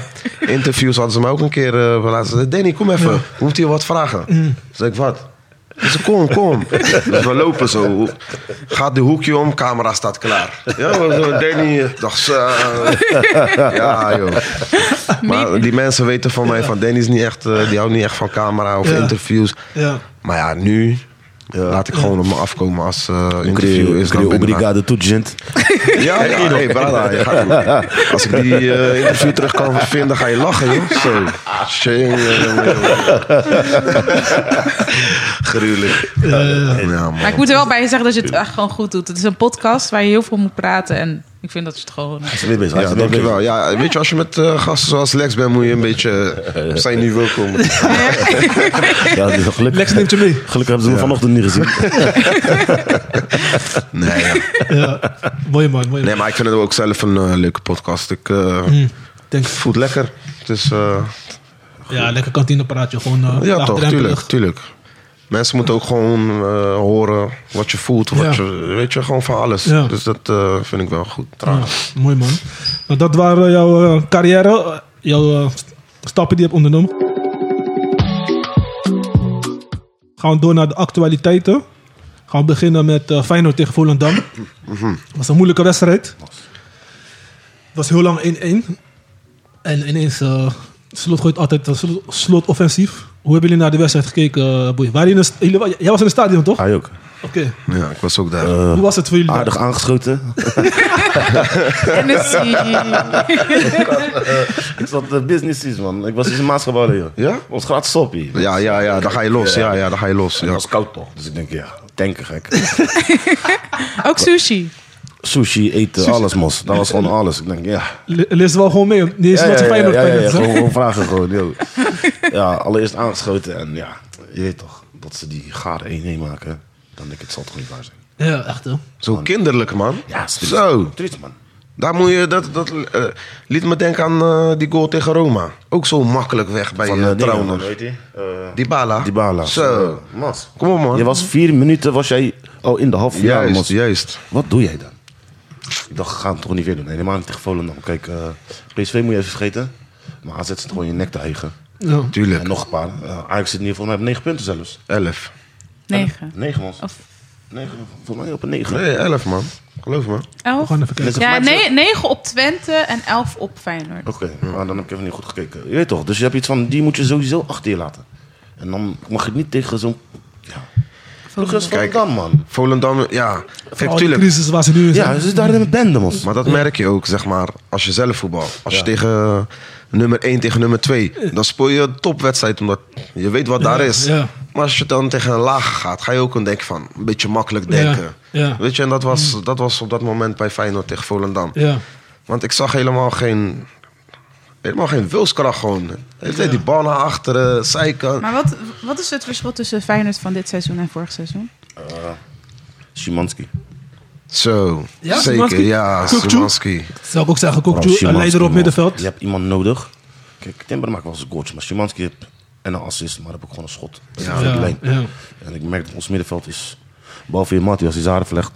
Speaker 3: interviews hadden ze me ook een keer eh, laten Danny, kom even. Ik Moet hier wat vragen? Zeg ik, wat? Ze kom, kom. Dus we lopen zo. Gaat de hoekje om, camera staat klaar. Ja, zo, Danny. Ik dacht, zo. ja, joh. Maar die mensen weten van mij, van Danny is niet echt, eh, die houdt niet echt van camera of
Speaker 2: Ja.
Speaker 3: interviews.
Speaker 2: Ja.
Speaker 3: Maar ja, nu laat ik gewoon op me afkomen als eh,
Speaker 4: Queria-
Speaker 3: interview is. dan
Speaker 4: queria
Speaker 3: ben ik daar-
Speaker 4: obrigado, tu gente.
Speaker 3: ja, ja, hey, brada, je gaat- Als ik die eh, interview terug kan vinden, ga je lachen, joh. Zo. Tjing, eh, jongen, jongen. Gruwelijk. Ja,
Speaker 5: Maar
Speaker 3: man.
Speaker 5: ik moet er wel bij zeggen dat je het echt gewoon goed doet. Het is een podcast waar je heel veel moet praten. En ik vind dat je het gewoon...
Speaker 4: Hij is weer bezig. hij is
Speaker 3: Ja,
Speaker 4: weer
Speaker 3: dankjewel. Ja, weet je, als je met eh, gasten zoals Lex bent, moet je een beetje eh, op zijn niveau komen.
Speaker 4: bezig. Ja, dat is gelukkig.
Speaker 2: Lex neemt je mee.
Speaker 4: Gelukkig hebben ze hem vanochtend niet gezien.
Speaker 3: Nee, ja.
Speaker 2: Ja. Mooi man, mooi man.
Speaker 3: nee, maar ik vind het ook zelf een eh, leuke podcast. Ik eh,
Speaker 2: Denk,
Speaker 3: voel het lekker. Het is, eh,
Speaker 2: ja, lekker kantinepraatje. Gewoon eh,
Speaker 3: Oh, ja, toch,
Speaker 2: laagdrempelig.
Speaker 3: tuurlijk, tuurlijk. Mensen moeten ook gewoon eh, horen wat je voelt. Wat
Speaker 2: Ja.
Speaker 3: je, weet je, gewoon van alles.
Speaker 2: Ja.
Speaker 3: Dus dat eh, vind ik wel goed.
Speaker 2: Ja, Ah, mooi man. Nou, dat waren jouw eh, carrière, eh, jouw eh, st- stappen die je hebt ondernomen. Gaan we door naar de actualiteiten. Gaan we beginnen met eh, Feyenoord tegen Volendam.
Speaker 4: Mhm.
Speaker 2: was een moeilijke wedstrijd. was heel lang 1-1. En ineens, eh, Slot gooit altijd een slot, slotoffensief. Hoe hebben jullie naar de wedstrijd gekeken, eh, Boei? Waren jullie in een st- jullie wa- jij was in het stadion, toch?
Speaker 4: Hij ook.
Speaker 2: Oké.
Speaker 3: Ja, ik was ook daar.
Speaker 4: Eh,
Speaker 2: Hoe was het voor jullie?
Speaker 4: Aardig aangeschoten.
Speaker 5: En het zie-
Speaker 4: Ik zat eh, business is, man. Ik was dus in Maasgebouw, joh.
Speaker 3: Ja?
Speaker 4: Ons gratis soppie.
Speaker 3: ja, ja, ja, dan ga je los. Ja, ja, dan ga je los.
Speaker 4: Het
Speaker 3: Ja.
Speaker 4: was koud toch? Dus ik denk, ja, tanken gek.
Speaker 5: Ook sushi.
Speaker 4: Sushi, eten, alles, mos. Dat was gewoon alles. Ik denk, ja.
Speaker 2: Le- Lees wel gewoon mee. Niet eens
Speaker 4: Ja,
Speaker 2: wat je Feyenoord
Speaker 4: ja, ja, ja,
Speaker 2: Feyenoord zegt.
Speaker 4: gewoon, gewoon vragen gewoon. yo. Ja, allereerst aangeschoten en ja, je weet toch, dat ze die gaar 1-1 maken, dan denk ik, het zal toch niet waar zijn.
Speaker 2: Ja, echt hè.
Speaker 3: Zo kinderlijk, man.
Speaker 4: Ja, is triest.
Speaker 3: Zo.
Speaker 4: Triest, man.
Speaker 3: Daar moet je, dat, dat eh, liet me denken aan eh, die goal tegen Roma. Ook zo makkelijk weg bij
Speaker 4: Van
Speaker 3: eh,
Speaker 4: uh,
Speaker 3: Trauner.
Speaker 4: weet je? eh,
Speaker 3: Dybala.
Speaker 4: Dybala.
Speaker 3: Zo.
Speaker 4: Mas.
Speaker 3: Kom op, man.
Speaker 4: Je was vier minuten, was jij al in de halve finale,
Speaker 3: Juist,
Speaker 4: Mas.
Speaker 3: juist.
Speaker 4: Wat doe jij dan? Ik dacht, ga hem toch niet weer doen. Helemaal niet tegen Volendam. Kijk, eh PSV moet je even vergeten. Maar AZ zit gewoon je nek te eigen.
Speaker 2: Ja.
Speaker 3: Tuurlijk.
Speaker 4: En nog een paar. Eh, Ajax zit in ieder geval op negen punten zelfs.
Speaker 3: Elf.
Speaker 5: Negen.
Speaker 4: Negen, man.
Speaker 5: Of
Speaker 4: Negen, volgens mij op een negen.
Speaker 3: Nee, 11 man. Geloof me.
Speaker 5: Elf?
Speaker 2: gaan even kijken.
Speaker 5: Ja,
Speaker 4: Maakt ze-
Speaker 5: ne- negen op Twente en elf op Feyenoord.
Speaker 4: Oké, maar dan heb ik even niet goed gekeken. Je weet toch, dus je hebt iets van, die moet je sowieso achter je laten. En dan mag je niet tegen zo'n... Ja. Vlug is
Speaker 3: Kijk.
Speaker 4: Volendam, man.
Speaker 3: Volendam, ja.
Speaker 2: Al
Speaker 3: Kijk,
Speaker 2: Oh, die
Speaker 3: tuurlijk.
Speaker 2: crisis waar ze nu in zijn.
Speaker 4: Ja, ze is daar in een bende, man.
Speaker 3: Maar dat merk je ook, zeg maar, als je zelf voetbalt. Als je tegen eh, nummer 1 tegen nummer 2, dan speel je een topwedstrijd, omdat je weet wat daar is.
Speaker 2: Eh. ja.
Speaker 3: Maar als je dan tegen een laag gaat, ga je ook een denk van, een beetje makkelijk denken.
Speaker 2: Ja, ja.
Speaker 3: Weet je, en dat was, dat was op dat moment bij Feyenoord tegen Volendam.
Speaker 2: Ja.
Speaker 3: Want ik zag helemaal geen, helemaal geen wilskracht gewoon. De hele tijd die bal naar achteren, zijkant.
Speaker 5: Maar wat, wat is het verschil tussen Feyenoord van dit seizoen en vorig seizoen?
Speaker 4: Szymanski.
Speaker 3: Zo,
Speaker 2: Ja,
Speaker 3: zeker.
Speaker 2: Szymanski?
Speaker 3: Ja,
Speaker 2: Kokju?
Speaker 3: Szymanski.
Speaker 2: Zou ik ook zeggen,
Speaker 4: Vooral
Speaker 2: Kokju, een
Speaker 4: Szymanski,
Speaker 2: leider op
Speaker 4: man.
Speaker 2: middenveld.
Speaker 4: Je hebt iemand nodig. Kijk, Timber maakt wel eens een goaltje, maar Szymanski heeft en een assist, maar heb ik gewoon een schot. Ja,
Speaker 2: Ja, ja.
Speaker 4: En ik merk dat ons middenveld is, behalve je Matty, als hij zijn haren verlegt.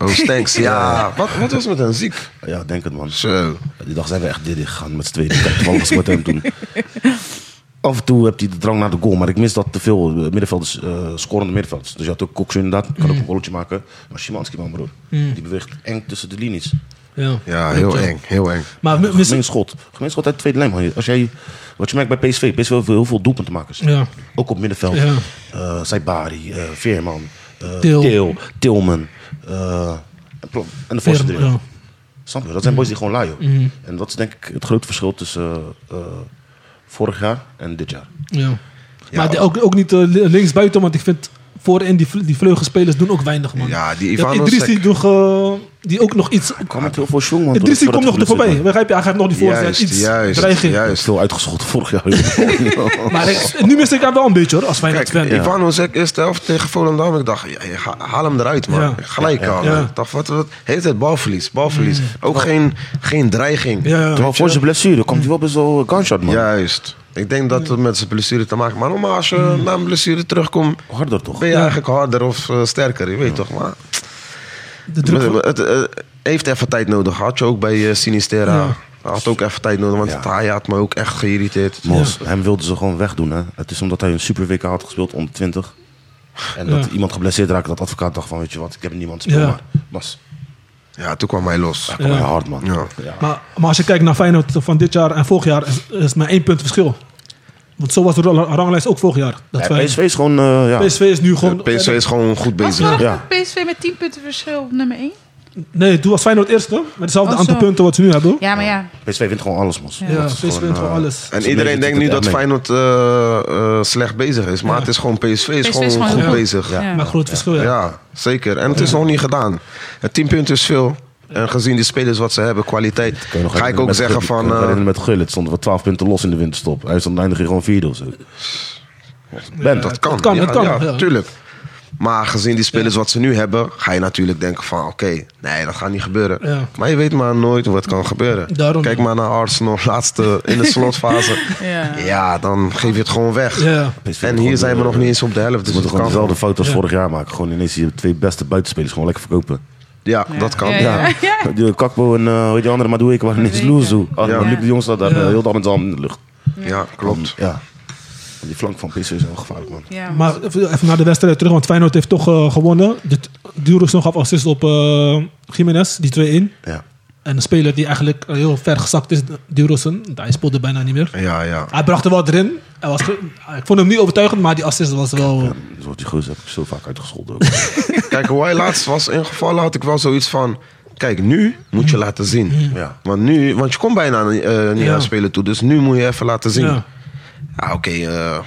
Speaker 3: Oh, Stanks, ja. Wat, wat was met hem ziek?
Speaker 4: Ja, denk het, man.
Speaker 3: Zo.
Speaker 4: Die dag zijn we echt dit gegaan met z'n tweeën. Ik heb gewoon alles met hem toen. Af en toe heb hij de drang naar de goal, maar ik mis dat te veel eh, middenvelders, eh, scorende middenvelders. Dus je had ook Koksu inderdaad, kan ook
Speaker 2: Mm.
Speaker 4: een rolletje maken. Maar Szymanski, man, broer, die beweegt eng tussen de linies.
Speaker 2: Ja.
Speaker 3: Ja, heel eng, heel eng.
Speaker 2: Maar mi- mis-
Speaker 4: Gemeenschot. Gemeenschot uit de tweede lijn, man. Als jij, wat je merkt bij PSV, PSV heeft heel veel doelpuntenmakers.
Speaker 2: Ja.
Speaker 4: Ook op middenveld.
Speaker 2: Ja.
Speaker 4: Eh, Saibari, eh, Veerman, eh,
Speaker 2: Til.
Speaker 4: Til. Tilman. eh, en plo- en de voorste
Speaker 2: Veerman, ja. Mhm.
Speaker 4: Snap je? Dat zijn boys die gewoon laaien. En dat is denk ik het grote verschil tussen eh, eh, vorig jaar en dit jaar.
Speaker 2: Ja. Maar die- ook, ook niet eh, li- linksbuiten, want ik vind voorin die, vl- die vleugelspelers doen ook weinig, man.
Speaker 3: Ja, die
Speaker 2: Je hebt
Speaker 3: Ivanovsek.
Speaker 2: Idrissi nog, eh, die ook nog iets...
Speaker 4: Ik kwam met heel veel jong, man.
Speaker 2: Idrissi komt nog er
Speaker 4: voordat
Speaker 2: voorbij,
Speaker 4: hij geblesseerd
Speaker 2: begrijp
Speaker 4: werd.
Speaker 2: je? Hij gaat nog die voorzet,
Speaker 3: Juist,
Speaker 2: iets
Speaker 3: juist,
Speaker 2: dreiging.
Speaker 4: Hij
Speaker 3: juist.
Speaker 4: is veel uitgeschoten vorig jaar.
Speaker 2: Maar ik- nu mis ik hem wel een beetje, hoor, als Feyenoord
Speaker 3: Kijk,
Speaker 2: fan. Ja.
Speaker 3: Ivan Hozek eerste helft tegen Volendam. Ik dacht, ja, ja, ga- haal hem eruit, man.
Speaker 2: Ja.
Speaker 3: Gelijk al.
Speaker 2: Ja.
Speaker 3: Ik dacht, wat, wat, heet het balverlies, balverlies.
Speaker 2: Mm.
Speaker 3: Ook geen, geen dreiging.
Speaker 4: Terwijl voor zijn blessure komt hij wel bij zo'n gunshot, man.
Speaker 3: Juist. Ik denk dat het met zijn blessure te maken Maar normaal, als je
Speaker 2: Mm.
Speaker 3: na een blessure terugkomt,
Speaker 4: Harder toch?
Speaker 3: ben je eigenlijk harder of eh, sterker. Je weet toch, maar...
Speaker 2: De druk
Speaker 3: Maar
Speaker 2: van-
Speaker 3: Het, eh, heeft even tijd nodig. Had je ook bij eh, Sinistera. Had ook even tijd nodig, want
Speaker 4: Ja.
Speaker 3: hij had me ook echt geïrriteerd.
Speaker 4: Mos, hem wilden ze gewoon wegdoen. Hè? Het is omdat hij een super WK had gespeeld onder 20. En dat
Speaker 2: Ja.
Speaker 4: iemand geblesseerd raakte, dat advocaat dacht van, weet je wat, ik heb niemand speel
Speaker 2: Ja.
Speaker 4: maar. Mas,
Speaker 3: Ja, toen kwam hij los.
Speaker 4: hij kwam heel hard, man.
Speaker 3: Ja.
Speaker 2: Maar, maar als je kijkt naar Feyenoord van dit jaar en vorig jaar, is, is maar één punt verschil. Want zo was de ra- ranglijst ook vorig jaar. Dat
Speaker 4: Ja,
Speaker 2: wij-
Speaker 4: PSV is gewoon, eh, ja.
Speaker 2: PSV is nu gewoon...
Speaker 3: PSV is gewoon goed
Speaker 5: Was
Speaker 3: bezig.
Speaker 5: vorig
Speaker 4: Ja.
Speaker 5: jaar PSV met 10 punten verschil op nummer 1?
Speaker 2: Nee, toen was Feyenoord eerst, hoor. Met hetzelfde
Speaker 5: Oh,
Speaker 2: aantal
Speaker 5: zo.
Speaker 2: punten wat ze nu hebben.
Speaker 5: Ja, maar ja.
Speaker 4: PSV wint gewoon alles, Mos.
Speaker 2: Ja, PSV wint
Speaker 4: gewoon,
Speaker 2: gewoon
Speaker 4: eh,
Speaker 2: alles.
Speaker 3: En
Speaker 4: Zo'n
Speaker 3: iedereen denkt
Speaker 4: beetje
Speaker 3: nu
Speaker 4: zit
Speaker 3: dat
Speaker 4: het er mee.
Speaker 3: Feyenoord eh, eh, slecht bezig is. Maar het is gewoon PSV is
Speaker 5: PSV
Speaker 3: gewoon
Speaker 5: is gewoon
Speaker 3: goed
Speaker 2: heel-
Speaker 3: bezig. Ja.
Speaker 5: Ja.
Speaker 2: Maar groot verschil, ja.
Speaker 3: zeker. En het is nog niet gedaan. Het 10 punten is veel. En gezien de spelers wat ze hebben, kwaliteit,
Speaker 4: Kun je nog
Speaker 3: ga ik
Speaker 4: herinneren
Speaker 3: ook
Speaker 4: met
Speaker 3: zeggen
Speaker 4: Gullit- kun
Speaker 3: van...
Speaker 4: je nog
Speaker 3: eh,
Speaker 4: herinneren met Gullit stonden we 12 punten los in de winterstop. Hij is dan eindig gewoon vierde of zo. Bent
Speaker 3: dat kan.
Speaker 2: het kan,
Speaker 3: ja,
Speaker 2: het kan,
Speaker 3: ja,
Speaker 2: ja.
Speaker 3: tuurlijk. Maar gezien die spelers wat ze nu hebben, ga je natuurlijk denken van... Oké, nee, dat gaat niet gebeuren.
Speaker 2: Ja.
Speaker 3: Maar je weet maar nooit wat kan gebeuren.
Speaker 2: Daarom.
Speaker 3: Kijk maar naar Arsenal, laatste in de slotfase.
Speaker 5: Ja.
Speaker 3: ja, dan geef je het gewoon weg.
Speaker 2: Ja.
Speaker 4: PSV
Speaker 3: En
Speaker 4: moet
Speaker 3: hier
Speaker 4: gewoon,
Speaker 3: zijn we
Speaker 4: eh,
Speaker 3: nog niet eens op de helft.
Speaker 4: Ze
Speaker 3: Dus
Speaker 4: moeten
Speaker 3: het
Speaker 4: gewoon
Speaker 3: kan
Speaker 4: dezelfde fout als
Speaker 2: Ja.
Speaker 4: vorig jaar maken. Gewoon ineens je twee beste buitenspelers gewoon lekker verkopen.
Speaker 3: Ja, dat kan.
Speaker 5: Ja,
Speaker 4: Ja, die Kakbo en eh, hoe heet die andere Madueke waren ineens
Speaker 5: Madueke.
Speaker 4: loezo. Ah,
Speaker 3: Ja.
Speaker 4: Luc de Jong staat daar
Speaker 2: Ja.
Speaker 4: eh, heel de andere in de lucht.
Speaker 3: Ja, klopt.
Speaker 4: Ja. Die flank van PSV is wel gevaarlijk, man.
Speaker 5: Ja.
Speaker 2: Maar even even naar de wedstrijd terug, want Feyenoord heeft toch eh, gewonnen. Duurusson gaf assist op eh Jiménez, die 2-1.
Speaker 4: Ja.
Speaker 2: En een speler die eigenlijk eh, heel ver gezakt is, Duurusson. Hij speelde bijna niet meer.
Speaker 3: Ja, ja.
Speaker 2: Hij bracht er wel erin. Hij was, ge- ik vond hem niet overtuigend, maar die assist was wel... eh,
Speaker 4: Dus wordt die gozer heb ik zo vaak uitgescholden. ook.
Speaker 3: Kijk, hoe hij laatst was ingevallen, had ik wel zoiets van... Kijk, nu moet je laten zien.
Speaker 4: Ja.
Speaker 3: Want, nu, want je komt bijna eh, niet
Speaker 2: Ja.
Speaker 3: aan spelen toe. Dus nu moet je even laten zien.
Speaker 2: Ja.
Speaker 3: Ja. Oké, eh,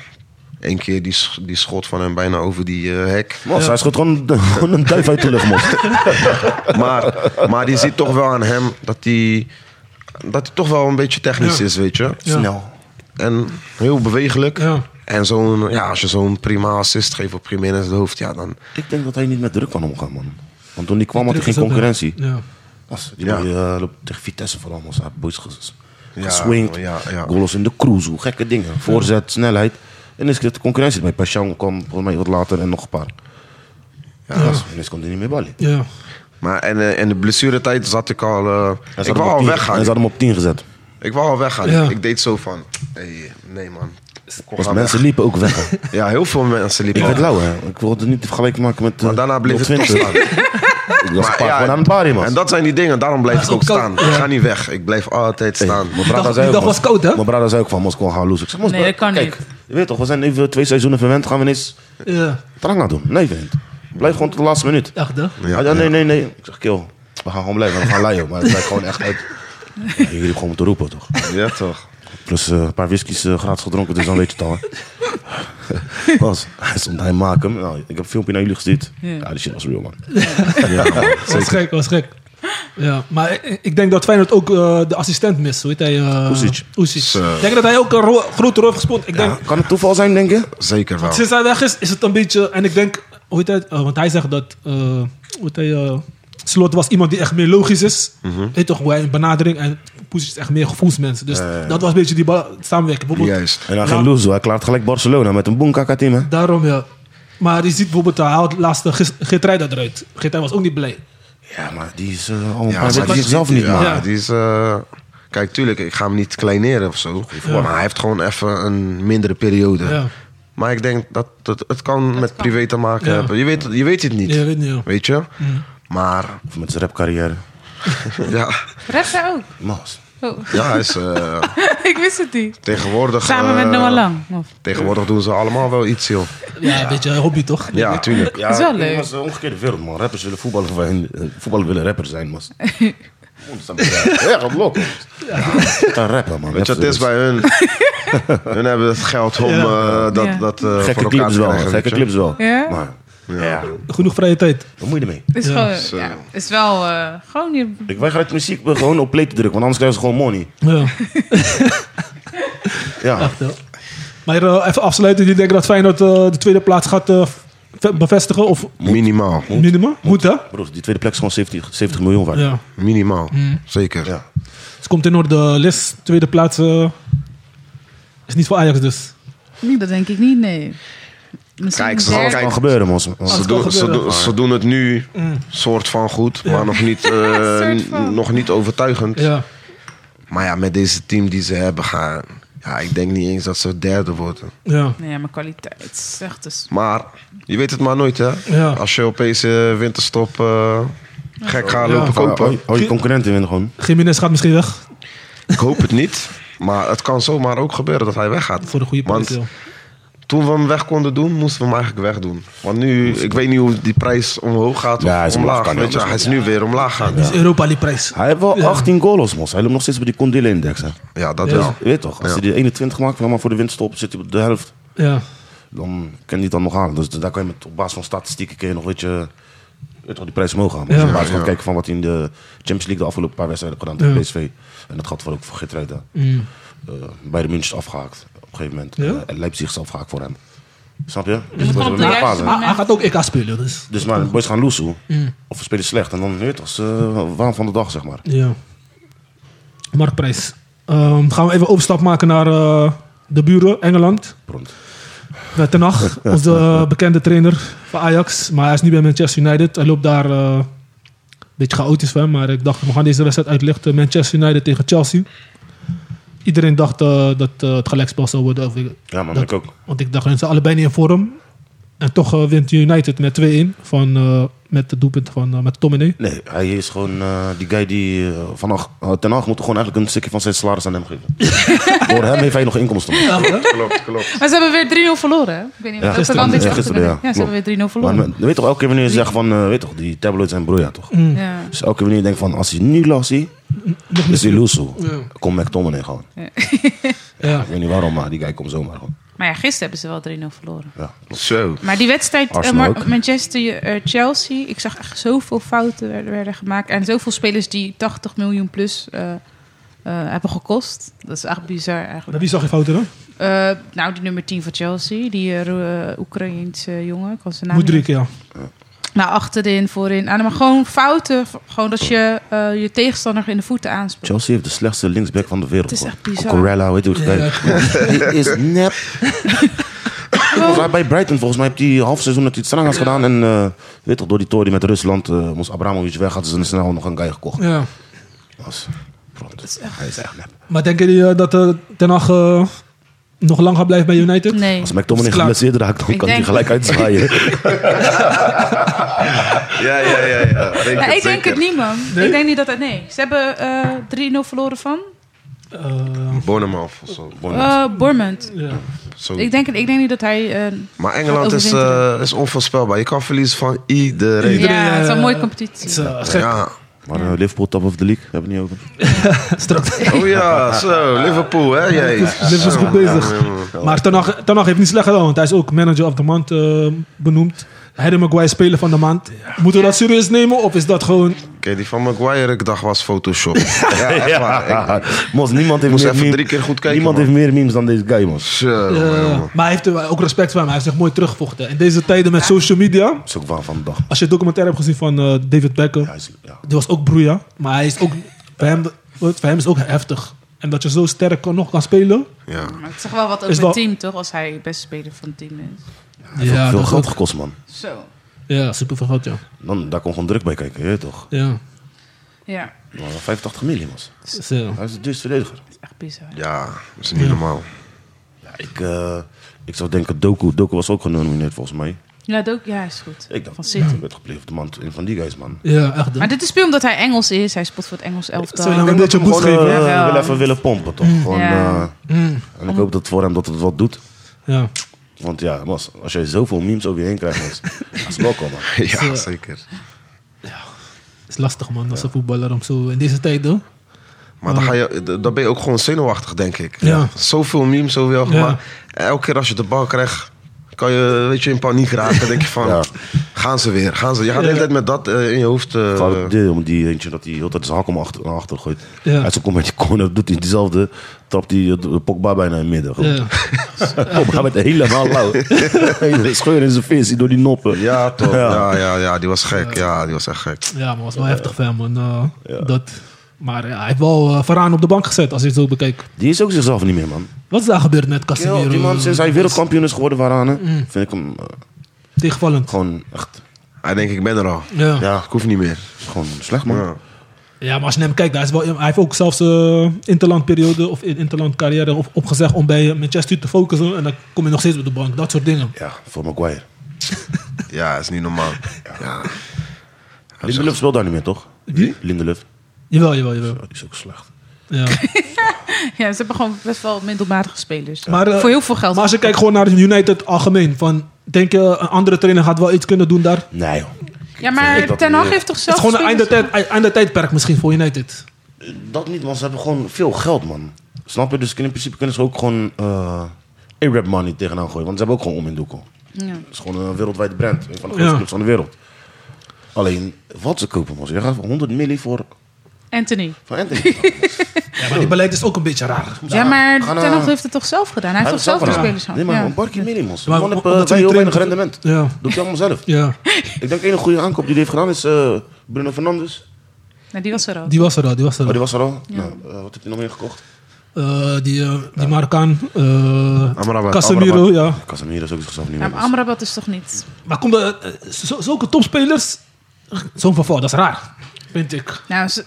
Speaker 3: één keer die, sch- die schot van hem bijna over die eh, hek.
Speaker 4: Mos, hij schoot gewoon, gewoon een duif uit de lucht, Mos.
Speaker 3: Maar, maar je ziet toch wel aan hem dat hij... Dat hij toch wel een beetje technisch
Speaker 2: Ja.
Speaker 3: is, weet je.
Speaker 2: Ja.
Speaker 4: Snel.
Speaker 3: En heel bewegelijk.
Speaker 2: Ja.
Speaker 3: En zo'n, ja, als je zo'n prima assist geeft op Jiménez het hoofd, ja, dan...
Speaker 4: Ik denk dat hij niet met druk kan omgaan, man. Want toen die kwam had
Speaker 2: Druk
Speaker 4: hij geen
Speaker 2: is ook, ja.
Speaker 4: concurrentie.
Speaker 2: Ja.
Speaker 4: Mos, die
Speaker 3: Ja.
Speaker 4: boy, eh, loopt tegen Vitesse vooral, Mos. Hij heeft boys ges-
Speaker 3: Ja,
Speaker 4: geswingd.
Speaker 3: ja, ja.
Speaker 4: Goals in de cruise, hoe gekke dingen. Voorzet, snelheid. En is de concurrentie ermee. Passion kwam volgens mij wat later en nog een paar. Ja, Mos, en is kon hij niet meer ballen.
Speaker 2: Ja.
Speaker 3: Maar en, eh, in de blessuretijd zat ik al... eh,
Speaker 4: Hij
Speaker 3: ik
Speaker 4: zat
Speaker 3: wou
Speaker 4: hem
Speaker 3: al
Speaker 4: op 10
Speaker 3: weggaan.
Speaker 4: Hij zat hem op 10 gezet.
Speaker 3: Ik wou al weggaan.
Speaker 2: Ja.
Speaker 3: Ik deed zo van. hey, nee man.
Speaker 4: Want Dus mensen liepen ook weg. hè.
Speaker 3: Ja, heel veel mensen liepen
Speaker 4: Ik werd
Speaker 3: weg.
Speaker 4: lauw, hè. Ik wilde het niet vergelijken maken met... eh,
Speaker 3: Maar daarna bleef het
Speaker 4: 020.
Speaker 3: staan.
Speaker 4: Ik was
Speaker 3: Maar
Speaker 4: een paar
Speaker 3: ja,
Speaker 4: gewoon aan het party, man.
Speaker 3: En dat zijn die dingen, daarom blijf
Speaker 2: Maar
Speaker 3: ik ook
Speaker 2: ook
Speaker 3: staan.
Speaker 2: koud,
Speaker 3: Ik
Speaker 2: ja.
Speaker 3: ga niet weg, ik blijf altijd staan.
Speaker 4: Mijn
Speaker 2: Die
Speaker 4: brada
Speaker 2: dag-
Speaker 4: zei
Speaker 2: die
Speaker 4: ook,
Speaker 2: dag was koud, hè?
Speaker 4: Mijn brada zei ook van, Moskou, gaan loose. Ik zeg, Moskou,
Speaker 5: Nee, dat kan
Speaker 4: kijk,
Speaker 5: niet.
Speaker 4: Je weet toch, we zijn even twee seizoenen verwend. Gaan we eens
Speaker 2: Ja,
Speaker 4: te lang aan doen? Nee, vriend. Blijf gewoon tot de laatste minuut. Ah,
Speaker 2: echt, hè?
Speaker 4: Ja, ja, nee, nee, nee. Ik zeg, kill. We gaan gewoon blijven. We gaan leien. Maar het blijkt gewoon echt uit. Ja, jullie hebben gewoon moeten roepen, toch?
Speaker 3: Ja, toch?
Speaker 4: Plus eh, een paar whiskies eh, gratis gedronken, dus dan weet je het al. hè. Was. Hij stond, hij maakt hem. Nou, ik heb een filmpje naar jullie gestuurd. Ja, die shit was real, man. Ja, man.
Speaker 2: was gek, was gek. Ja, maar ik, ik denk dat Feyenoord ook eh, de assistent mist. Hoe heet hij? eh
Speaker 4: Oesic.
Speaker 2: Oesic. Ik denk dat hij ook een ro- grote rol heeft gespeeld. Ik denk,
Speaker 4: Kan het toeval zijn, denk je?
Speaker 3: Zeker wel.
Speaker 2: sinds hij weg is, is het een beetje... En ik denk, hoe heet hij? eh, want hij zegt dat... eh, hoe heet hij? eh, Slot was iemand die echt meer logisch is. Weet je toch, hoe hij een benadering... En Oesic is echt meer gevoelsmens. Dus dat was een beetje die ba- samenwerking. Bijvoorbeeld,
Speaker 3: Juist.
Speaker 4: En dan
Speaker 2: Ja.
Speaker 4: ging Loes, hij klaart gelijk Barcelona met een boomkaka-team, hè?
Speaker 2: Daarom ja. Maar je ziet bijvoorbeeld, hij haalt laatst eh, Gis- Geertruida eruit. Geertruida was ook niet blij.
Speaker 4: Ja, maar die is eh al een
Speaker 3: Ja,
Speaker 4: paar
Speaker 3: maar
Speaker 4: weken
Speaker 3: die-
Speaker 4: zichzelf niet,
Speaker 3: Ja,
Speaker 4: man.
Speaker 2: Ja.
Speaker 3: die is... eh, Kijk, tuurlijk, ik ga hem niet kleineren of zo. Maar hij heeft gewoon even een mindere periode.
Speaker 2: Ja.
Speaker 3: Maar ik denk dat het, het kan met privé te maken
Speaker 2: Ja.
Speaker 3: hebben. Je weet, je weet het niet.
Speaker 2: Je weet niet, ja.
Speaker 3: Weet je? Maar
Speaker 4: Of met zijn rapcarrière.
Speaker 3: ja,
Speaker 5: Ref zij ook.
Speaker 4: Mas.
Speaker 5: Oh,
Speaker 3: ja hij is eh,
Speaker 5: ik wist het niet.
Speaker 3: tegenwoordig...
Speaker 5: Samen
Speaker 3: eh,
Speaker 5: met Noah Lang. Of?
Speaker 3: Tegenwoordig doen ze allemaal wel iets, joh.
Speaker 2: ja, een beetje een hobby toch?
Speaker 3: Ja, tuurlijk.
Speaker 4: Ja,
Speaker 5: Is wel leuk.
Speaker 4: Dat is de omgekeerde wereld, man. Rappers willen voetballen van, eh, voetballers willen rappers zijn, man. Ja, op blok. man. Ja, kan rappen, man.
Speaker 3: Weet je, het is bij hun. hun hebben het geld om eh, dat,
Speaker 5: Ja.
Speaker 3: dat eh, voor
Speaker 4: Gekke
Speaker 3: elkaar
Speaker 4: clips
Speaker 3: te
Speaker 4: wel,
Speaker 3: krijgen.
Speaker 4: gekke
Speaker 3: weet je.
Speaker 4: clips wel.
Speaker 5: Ja?
Speaker 4: Maar, ja,
Speaker 2: Genoeg vrije tijd.
Speaker 4: wat moet je ermee?
Speaker 5: Is,
Speaker 2: Ja,
Speaker 5: gewoon,
Speaker 3: zo.
Speaker 5: ja, is wel eh, gewoon je
Speaker 4: Ik weiger uit muziek gewoon op play te drukken, want anders krijgen ze gewoon money.
Speaker 2: Ja,
Speaker 4: Ja,
Speaker 2: echt wel. Maar eh, even afsluiten. Jullie denken dat Feyenoord eh, de tweede plaats gaat eh, ve- bevestigen? Of
Speaker 3: Minimaal.
Speaker 2: minimaal? Moet hè?
Speaker 4: broer, die tweede plek is gewoon 70, 70 miljoen waard.
Speaker 2: Ja.
Speaker 3: Minimaal.
Speaker 5: Mm.
Speaker 3: Zeker.
Speaker 4: Ja.
Speaker 2: Dus komt in orde. Lis, tweede plaats. eh, is niet voor Ajax dus.
Speaker 5: Nee, dat denk ik niet, nee. Misschien
Speaker 3: Kijk,
Speaker 5: Kijk,
Speaker 3: ze
Speaker 5: derde,
Speaker 4: Dat
Speaker 3: kijk,
Speaker 4: kan gebeuren, man.
Speaker 3: Ze,
Speaker 2: het
Speaker 3: doen-
Speaker 2: kan
Speaker 3: ze,
Speaker 2: gebeuren.
Speaker 3: doen- ze doen het nu soort van goed, maar nog niet, eh,
Speaker 5: Mm. Soort van.
Speaker 3: nog niet overtuigend.
Speaker 2: Ja.
Speaker 3: Maar ja, met deze team die ze hebben gaan. Ja, ik denk niet eens dat ze derde worden.
Speaker 2: Ja.
Speaker 5: Nee, maar kwaliteit is echt dus...
Speaker 3: Maar je weet het maar nooit, hè?
Speaker 2: Ja.
Speaker 3: Als je opeens eh, winterstop eh, gek gaat
Speaker 2: Ja.
Speaker 3: lopen kopen.
Speaker 4: Hou je concurrenten winnen gewoon.
Speaker 2: Jiménez gaat misschien weg.
Speaker 3: Ik hoop het niet. Maar het kan zomaar ook gebeuren dat hij weggaat.
Speaker 2: Voor de goede
Speaker 3: Want
Speaker 2: prijs. ja.
Speaker 3: Toen we hem weg konden doen, moesten we hem eigenlijk wegdoen. Want nu, ik weet niet hoe die prijs omhoog gaat of
Speaker 4: Ja, hij is omlaag,
Speaker 3: omlaag.
Speaker 4: kan
Speaker 3: Weet
Speaker 4: niet
Speaker 3: je, hij is nu weer omlaag gaan.
Speaker 2: Dus Europa League prijs.
Speaker 4: Hij heeft wel 18 goals, mos. Hij loopt nog steeds bij die Condile-index, hè.
Speaker 3: Ja, dat
Speaker 2: Ja.
Speaker 3: wel.
Speaker 4: Je weet toch, als
Speaker 3: Ja.
Speaker 4: hij die 21 maakt, nou, maar voor de winststop zit hij op de helft.
Speaker 2: Ja.
Speaker 4: Dan kan hij het dan nog halen. Dus daar kan je met, op basis van statistieken kun je nog, weet je, weet je wel, die prijs omhoog gaan. Maar
Speaker 2: Ja.
Speaker 4: op basis van
Speaker 3: Ja.
Speaker 4: kijken van wat hij in de Champions League de afgelopen paar wedstrijden heeft gedaan tegen PSV. En dat gaat voor ook voor Geertruida.
Speaker 2: Mm.
Speaker 4: Eh, bij de München is afgehaakt op een gegeven moment.
Speaker 2: Ja?
Speaker 4: Eh, en Leipzig is afgehaakt voor hem. Snap je? Dus
Speaker 5: moet
Speaker 4: de boys
Speaker 5: op de
Speaker 4: hebben
Speaker 5: juiste
Speaker 4: fase.
Speaker 5: man-
Speaker 2: Ah, Hij, hij gaat ook EK spelen dus.
Speaker 4: Dus maar de boys gaan loesoe. Of we spelen slecht. En dan weet je toch, ze warm van de dag, zeg maar.
Speaker 2: Ja. Marktprijs. Ehm, gaan we even overstap maken naar eh, de buren, Engeland.
Speaker 4: Pront.
Speaker 2: Bij Ten Hag, onze eh, bekende trainer van Ajax. Maar hij is nu bij Manchester United. Hij loopt daar eh, een beetje chaotisch van. Maar ik dacht, we gaan deze wedstrijd uitlichten. Manchester United tegen Chelsea. Iedereen dacht eh, dat eh, het gelijkspel zou worden. Of ik-
Speaker 4: Ja, man,
Speaker 2: Dat-
Speaker 4: ik ook.
Speaker 2: want ik dacht, ze zijn allebei niet in vorm. En toch eh, wint United met 2-1. Van, eh, met het doelpunt van eh met Tomine.
Speaker 4: Nee, hij is gewoon eh, die guy die eh, van Hag- eh, Ten Hag moet gewoon eigenlijk een stukje van zijn salaris aan hem geven. Voor hem heeft hij nog inkomsten.
Speaker 3: Klopt, klopt.
Speaker 5: Maar ze hebben weer 3-0 verloren, hè? Ik weet niet,
Speaker 4: Ja,
Speaker 5: wat dat
Speaker 2: gisteren.
Speaker 5: kan dit
Speaker 4: Ja,
Speaker 5: achter-
Speaker 4: gisteren, ja.
Speaker 5: ze hebben weer 3-0
Speaker 4: Maar
Speaker 5: verloren.
Speaker 4: men- weet toch, elke keer wanneer je zegt van, eh, weet toch, die tabloids zijn broeia toch?
Speaker 5: ja.
Speaker 4: Dus elke keer wanneer je denkt van, als hij nu last ziet, is hij loeso. Komt McTominay gewoon.
Speaker 2: Ja.
Speaker 4: Ik weet niet waarom, maar die guy komt zomaar gewoon.
Speaker 5: maar ja, gisteren hebben ze wel 3-0 verloren.
Speaker 4: Ja.
Speaker 3: Zo.
Speaker 5: Maar die wedstrijd eh,
Speaker 4: Arsenal
Speaker 5: Mar-
Speaker 4: ook.
Speaker 5: Manchester eh, Chelsea, ik zag echt zoveel fouten werden, werden gemaakt. En zoveel spelers die 80 miljoen plus eh, eh, hebben gekost. Dat is echt bizar
Speaker 2: Bij
Speaker 5: eigenlijk.
Speaker 2: wie zag je fouten dan?
Speaker 5: Eh, nou, die nummer 10 van Chelsea, die eh, Ro- eh, Oekraïense jongen, ik kan zijn naam niet
Speaker 2: Moedrik, ja.
Speaker 5: Nou, achterin, voorin. Ah, maar gewoon fouten. Gewoon dat je eh, je tegenstander in de voeten aanspeelt.
Speaker 4: Chelsea heeft de slechtste linksback van de wereld.
Speaker 5: Het is
Speaker 4: gewoon.
Speaker 5: echt bizar.
Speaker 4: Cucurella, weet je hoe het heet. Die is nep. Volgens mij bij Brighton, volgens mij, heeft hij half seizoen dat hij het strang had gedaan. En eh, weet toch, door die tory met Rusland, eh moest Abramovic weg, hadden ze dan snel nog een guy gekocht.
Speaker 2: ja.
Speaker 4: Dat is- hij is echt nep.
Speaker 2: Maar denken jullie eh, dat eh, Ten Hag eh, nog lang gaat blijven bij United?
Speaker 5: Nee.
Speaker 4: Als McTominay geblesseerd raakt, dan
Speaker 5: Ik
Speaker 4: kan hij
Speaker 5: denk-
Speaker 4: gelijk uitzwaaien.
Speaker 3: Ja, ja, ja. ja. Denk
Speaker 5: Ja,
Speaker 3: het
Speaker 5: ik denk
Speaker 3: zeker.
Speaker 5: het niet, man. Ik denk niet dat het... Nee. Ze hebben eh 3-0 verloren van
Speaker 2: Eh,
Speaker 3: Bournemouth of zo.
Speaker 5: eh Bournemouth.
Speaker 2: ja.
Speaker 3: Zo.
Speaker 5: Ik denk, ik denk niet dat hij... eh,
Speaker 3: Maar Engeland
Speaker 5: Gaat
Speaker 3: is,
Speaker 5: overwinteren.
Speaker 3: eh, is onvoorspelbaar. Je kan verliezen van iedereen.
Speaker 2: Iedereen,
Speaker 5: ja, het is een
Speaker 2: eh,
Speaker 5: mooie
Speaker 2: Het is
Speaker 5: competitie.
Speaker 2: eh, gek.
Speaker 3: Ja.
Speaker 4: Maar eh, Liverpool top of the league, hebben we het niet over.
Speaker 2: Straks.
Speaker 3: Oh ja, zo. Liverpool, hè? Jij.
Speaker 2: Liverpool is
Speaker 3: Zo,
Speaker 2: goed bezig.
Speaker 3: ja, man.
Speaker 2: Maar Ten Hag- Ten Hag heeft niet slecht gedaan, want hij is ook manager of the month eh, benoemd. Harry Maguire speler van de maand. Moeten we dat serieus nemen of is dat gewoon...
Speaker 3: Oké, die van Maguire, ik dacht was Photoshop. ja, echt waar. Ik-
Speaker 4: Mos, niemand heeft,
Speaker 3: Moest
Speaker 4: meer
Speaker 3: even
Speaker 4: meme-
Speaker 3: drie keer goed kijken,
Speaker 4: niemand
Speaker 3: man.
Speaker 4: heeft meer memes dan deze guy, man. Dat
Speaker 3: Zo,
Speaker 2: eh,
Speaker 3: ja, man.
Speaker 2: maar hij heeft er ook respect voor hem. Hij heeft zich mooi teruggevochten. In deze tijden met social media...
Speaker 4: is ook waar van de dag.
Speaker 2: Als je het documentaire hebt gezien van eh, David Beckham...
Speaker 4: Hij is- ja.
Speaker 2: Die was ook broeia, maar hij is ook, bij hem, voor hem is ook heftig. En dat je zo sterk kan- nog kan spelen.
Speaker 3: Ja.
Speaker 5: Maar het zegt wel wat
Speaker 2: Is
Speaker 5: over
Speaker 2: wel-
Speaker 5: het team, toch? Als hij beste speler van het team is.
Speaker 2: Ja,
Speaker 4: Veel
Speaker 2: dat
Speaker 4: geld
Speaker 2: ook-
Speaker 4: gekost, man.
Speaker 5: Zo.
Speaker 2: Ja, super veel geld, ja.
Speaker 4: Dan, daar kon gewoon druk bij kijken, je weet toch?
Speaker 2: Ja,
Speaker 5: Ja,
Speaker 4: Maar 85 miljoen, man.
Speaker 2: zo.
Speaker 4: Hij is de duurste verdediger.
Speaker 5: het is echt bizar.
Speaker 3: ja, dat is niet normaal.
Speaker 4: Ja, ik, eh, ik zou denken Doku. Doku was ook genomineerd, volgens mij.
Speaker 5: Ja, dat ook, ja, is goed.
Speaker 4: Ik dacht,
Speaker 5: van City.
Speaker 4: ja, werd gepleegd. Man, een van die guys, man.
Speaker 2: ja echt.
Speaker 5: Maar dit is puur omdat hij Engels is. Hij spot voor het Engels elftal.
Speaker 2: Zullen we hem een
Speaker 4: Ik
Speaker 2: beetje
Speaker 4: heb hem
Speaker 2: boost
Speaker 4: gewoon,
Speaker 2: geven?
Speaker 4: eh,
Speaker 5: Ja.
Speaker 4: wil even willen pompen, toch? Gewoon,
Speaker 5: Ja.
Speaker 4: eh, en ik hoop dat voor hem dat het wat doet.
Speaker 2: Ja.
Speaker 4: Want ja, Mas, als jij zoveel memes over je heen krijgt, Mas, dat is welkom, man.
Speaker 3: Ja, zeker.
Speaker 2: is lastig, man, als een voetballer om zo in deze tijd, hoor.
Speaker 3: Maar dan, ga je, d- dan ben je ook gewoon zenuwachtig, denk ik.
Speaker 2: Ja.
Speaker 3: Zoveel memes, zoveel gemaakt. Elke keer als je de bal krijgt, kan je weet je, in paniek raken. Dan denk je van,
Speaker 4: Ja.
Speaker 3: gaan ze weer, gaan ze. Je gaat de hele tijd met dat eh, in je hoofd. eh,
Speaker 4: Vooral het deel om die eentje dat hij heel de tijd zijn hak om achter, naar achter gooit.
Speaker 2: Ja.
Speaker 4: Hij zo komt met die corner, doet hij dezelfde, trapt hij eh, Pogba bijna in het midden. Gewoon.
Speaker 2: Ja.
Speaker 4: Pogba werd helemaal lauw. Hele Scheur in zijn vis, door die noppen.
Speaker 3: ja, toch.
Speaker 4: Ja.
Speaker 3: Ja, ja, ja, die was gek. Ja, die was echt gek.
Speaker 2: ja, maar was wel heftig van hem, man. eh, dat, maar ja, hij heeft wel eh, vooraan op de bank gezet, als je het zo bekijkt.
Speaker 4: Die is ook zichzelf niet meer, man.
Speaker 2: Wat is eh, daar gebeurd met
Speaker 4: Kerel,
Speaker 2: Casemiro?
Speaker 4: die man, sinds hij wereldkampioen is geworden, waaraan,
Speaker 2: Mm.
Speaker 4: vind ik hem eh,
Speaker 2: Tegenvallend.
Speaker 4: gewoon echt
Speaker 3: Hij denkt, ik ben er al.
Speaker 2: Ja. Ja.
Speaker 4: ja,
Speaker 3: Ik hoef niet meer.
Speaker 4: gewoon slecht, man.
Speaker 3: Ja.
Speaker 2: maar als je naar hem kijkt, hij, is wel, hij heeft ook zelfs eh interlandperiode of interlandcarrière op, opgezegd om bij eh, Manchester te focussen. En dan kom je nog steeds op de bank, dat soort dingen.
Speaker 4: Ja, voor Maguire.
Speaker 3: Ja, is niet normaal. Ja.
Speaker 4: Lindelöf speelt daar niet meer, toch?
Speaker 2: Wie?
Speaker 4: Lindelöf.
Speaker 2: Jawel, jawel, jawel.
Speaker 4: Dat is ook slecht.
Speaker 2: Ja.
Speaker 5: Ja, ze hebben gewoon best wel middelmatige spelers.
Speaker 2: Maar, eh,
Speaker 5: voor heel veel geld.
Speaker 2: Maar als je kijkt gewoon naar United algemeen, van, denk je een andere trainer gaat wel iets kunnen doen daar?
Speaker 4: Nee, joh.
Speaker 5: ja,
Speaker 4: Ik
Speaker 5: maar
Speaker 4: dat
Speaker 5: Ten Hag
Speaker 4: niet.
Speaker 5: heeft toch
Speaker 2: Het
Speaker 5: zelf
Speaker 2: is gewoon een
Speaker 5: spelers-
Speaker 2: einde, tijd, einde tijdperk misschien voor United.
Speaker 4: Dat niet, want ze hebben gewoon veel geld, man. Snap je? Dus in principe kunnen ze ook gewoon eh Arab money tegenaan gooien. Want ze hebben ook gewoon om in doekel.
Speaker 5: Ja.
Speaker 4: Het is gewoon een wereldwijde brand. Een van de grootste
Speaker 2: Ja.
Speaker 4: clubs van de wereld. Alleen, wat ze kopen, man. Je gaat 100 milli voor,
Speaker 5: Anthony.
Speaker 4: voor Anthony.
Speaker 2: Ja, maar die beleid is ook een beetje raar.
Speaker 5: Ja, maar
Speaker 4: gaan,
Speaker 5: Ten
Speaker 4: eh,
Speaker 5: Hag heeft het toch zelf gedaan? Hij heeft toch
Speaker 4: Hij
Speaker 5: zelf
Speaker 4: heeft
Speaker 5: de
Speaker 4: het zelf gedaan. Nee,
Speaker 5: spelers gehad?
Speaker 4: maar
Speaker 5: Ja.
Speaker 4: een barkie milli, man.
Speaker 2: Maar
Speaker 4: Die man heeft
Speaker 2: omdat
Speaker 4: eh,
Speaker 2: ze
Speaker 4: bij heel
Speaker 2: die
Speaker 4: weinig
Speaker 2: trainer-
Speaker 4: rendement.
Speaker 2: Ja.
Speaker 4: Doet hij allemaal zelf.
Speaker 2: Ja,
Speaker 4: Ik denk de enige goede aankoop die hij heeft gedaan is eh, Bruno Fernandes.
Speaker 5: Nee, die was er al.
Speaker 2: die was er al, die was er
Speaker 4: Oh,
Speaker 2: al.
Speaker 4: die was er al. Nou, eh, wat heb je nog meer gekocht?
Speaker 2: Eh, die, eh, die Marokkaan, eh,
Speaker 3: Amrabat,
Speaker 2: Casemiro,
Speaker 3: Amrabat.
Speaker 2: ja.
Speaker 4: Casemiro is ook zichzelf niet
Speaker 5: Ja,
Speaker 4: meer.
Speaker 5: maar
Speaker 4: dus-
Speaker 5: Amrabat is toch niet...
Speaker 2: Maar komt er, eh, zo- zulke topspelers, zo'n verval, dat is raar, vind ik.
Speaker 5: Nou, ze,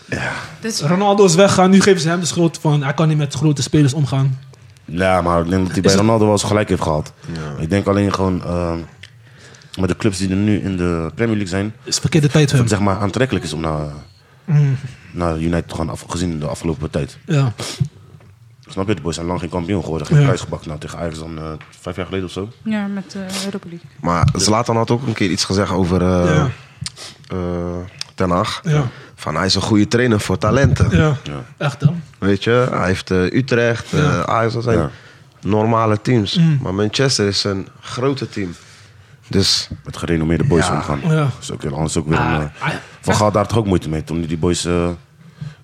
Speaker 5: dus,
Speaker 2: Ronaldo is weggaan, nu geven ze hem de schuld van, hij kan niet met grote spelers omgaan.
Speaker 4: Ja, maar ik denk dat hij bij Ronaldo wel eens gelijk heeft gehad. Ik denk alleen gewoon ehm, met de clubs die er nu in de Premier League zijn,
Speaker 2: Het is verkeerde tijd voor hem.
Speaker 4: dat het zeg maar aantrekkelijk is om naar, naar United te gaan, af, gezien de afgelopen tijd.
Speaker 2: Ja,
Speaker 4: Snap je? De boys zijn lang geen kampioen geworden, geen
Speaker 2: Ja.
Speaker 4: prijs gepakt. Nou, tegen Ajax dan eh, vijf jaar geleden of zo.
Speaker 5: ja, met de Europa League.
Speaker 3: Maar Zlatan had ook een keer iets gezegd over eh,
Speaker 2: Dus- Ja.
Speaker 3: eh, Ten Hag.
Speaker 2: Ja.
Speaker 3: Van hij is een goede trainer voor talenten.
Speaker 2: ja.
Speaker 4: Ja.
Speaker 2: echt hè.
Speaker 3: Weet je, hij heeft eh, Utrecht, eh Ajax, dat zijn
Speaker 4: Ja.
Speaker 3: normale teams.
Speaker 2: Mm.
Speaker 3: Maar Manchester is een grote team. Dus
Speaker 4: Met gerenommeerde boys
Speaker 3: Ja.
Speaker 4: omgaan.
Speaker 2: Ja.
Speaker 4: Dat is ook heel anders. Ook weer een, eh,
Speaker 2: Ah,
Speaker 4: van Gaal daar toch ook moeite mee. Toen die boys eh,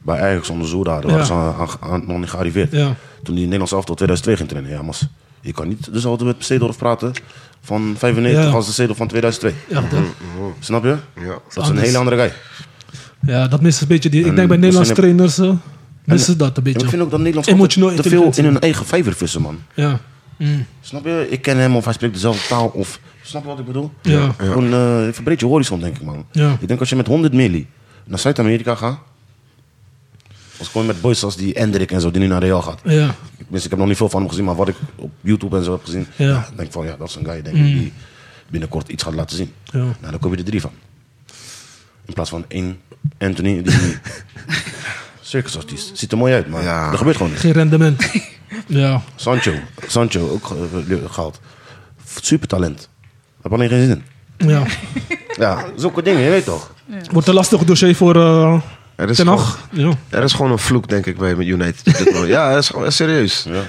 Speaker 4: bij Ajax onder Zoer
Speaker 2: Ja.
Speaker 4: hadden, waren ze aan- aan- aan- nog niet gearriveerd.
Speaker 2: Ja.
Speaker 4: Toen die Nederlands elftal 2002 ging trainen. Ja, mas, je kan niet dus altijd met Seedorf praten van 95
Speaker 2: Ja.
Speaker 4: als de Seedorf van 2002.
Speaker 2: Echt, hè?
Speaker 4: Snap je?
Speaker 3: ja.
Speaker 4: Dat is een hele andere guy.
Speaker 2: Ja, dat mist een beetje. Die, ik denk bij
Speaker 4: dat
Speaker 2: Nederlandse
Speaker 4: zijn
Speaker 2: trainers eh, missen dat een
Speaker 4: En ik vind
Speaker 2: beetje.
Speaker 4: ook dat Nederlands
Speaker 2: Emotioneel
Speaker 4: altijd te veel in
Speaker 2: intelligentie.
Speaker 4: hun eigen vijver vissen, man.
Speaker 2: Ja. Mm.
Speaker 4: Snap je? Ik ken hem of hij spreekt dezelfde taal of... Snap je wat ik bedoel?
Speaker 2: Ja.
Speaker 4: Gewoon eh, verbreed je horizon, denk ik, man.
Speaker 2: Ja.
Speaker 4: Ik denk als je met 100 milli naar Zuid-Amerika gaat... Als ik gewoon met boys als die Endrik en zo, die nu naar Real gaat.
Speaker 2: Ja.
Speaker 4: tenminste, ik heb nog niet veel van hem gezien, maar wat ik op YouTube en zo heb gezien,
Speaker 2: Ja. Mm.
Speaker 4: ja, denk ik van ja, dat is een guy denk ik, die binnenkort iets gaat laten zien.
Speaker 2: Ja.
Speaker 4: Nou, dan kom je er drie van. In plaats van één Anthony die circusartiest. Ziet er mooi uit, maar
Speaker 3: Ja.
Speaker 4: er gebeurt gewoon niks.
Speaker 2: Geen rendement. ja.
Speaker 4: Sancho, Sancho ook eh, gehaald. Super talent. Heb alleen geen zin in.
Speaker 2: ja.
Speaker 4: Ja, zulke dingen, je weet toch?
Speaker 2: Wordt een lastig dossier voor eh
Speaker 3: Er is,
Speaker 2: Ten
Speaker 3: gewoon,
Speaker 2: Hag. Ja.
Speaker 3: er is gewoon een vloek, denk ik, bij United. op dit moment. ja, dat is gewoon- serieus.
Speaker 4: Ja.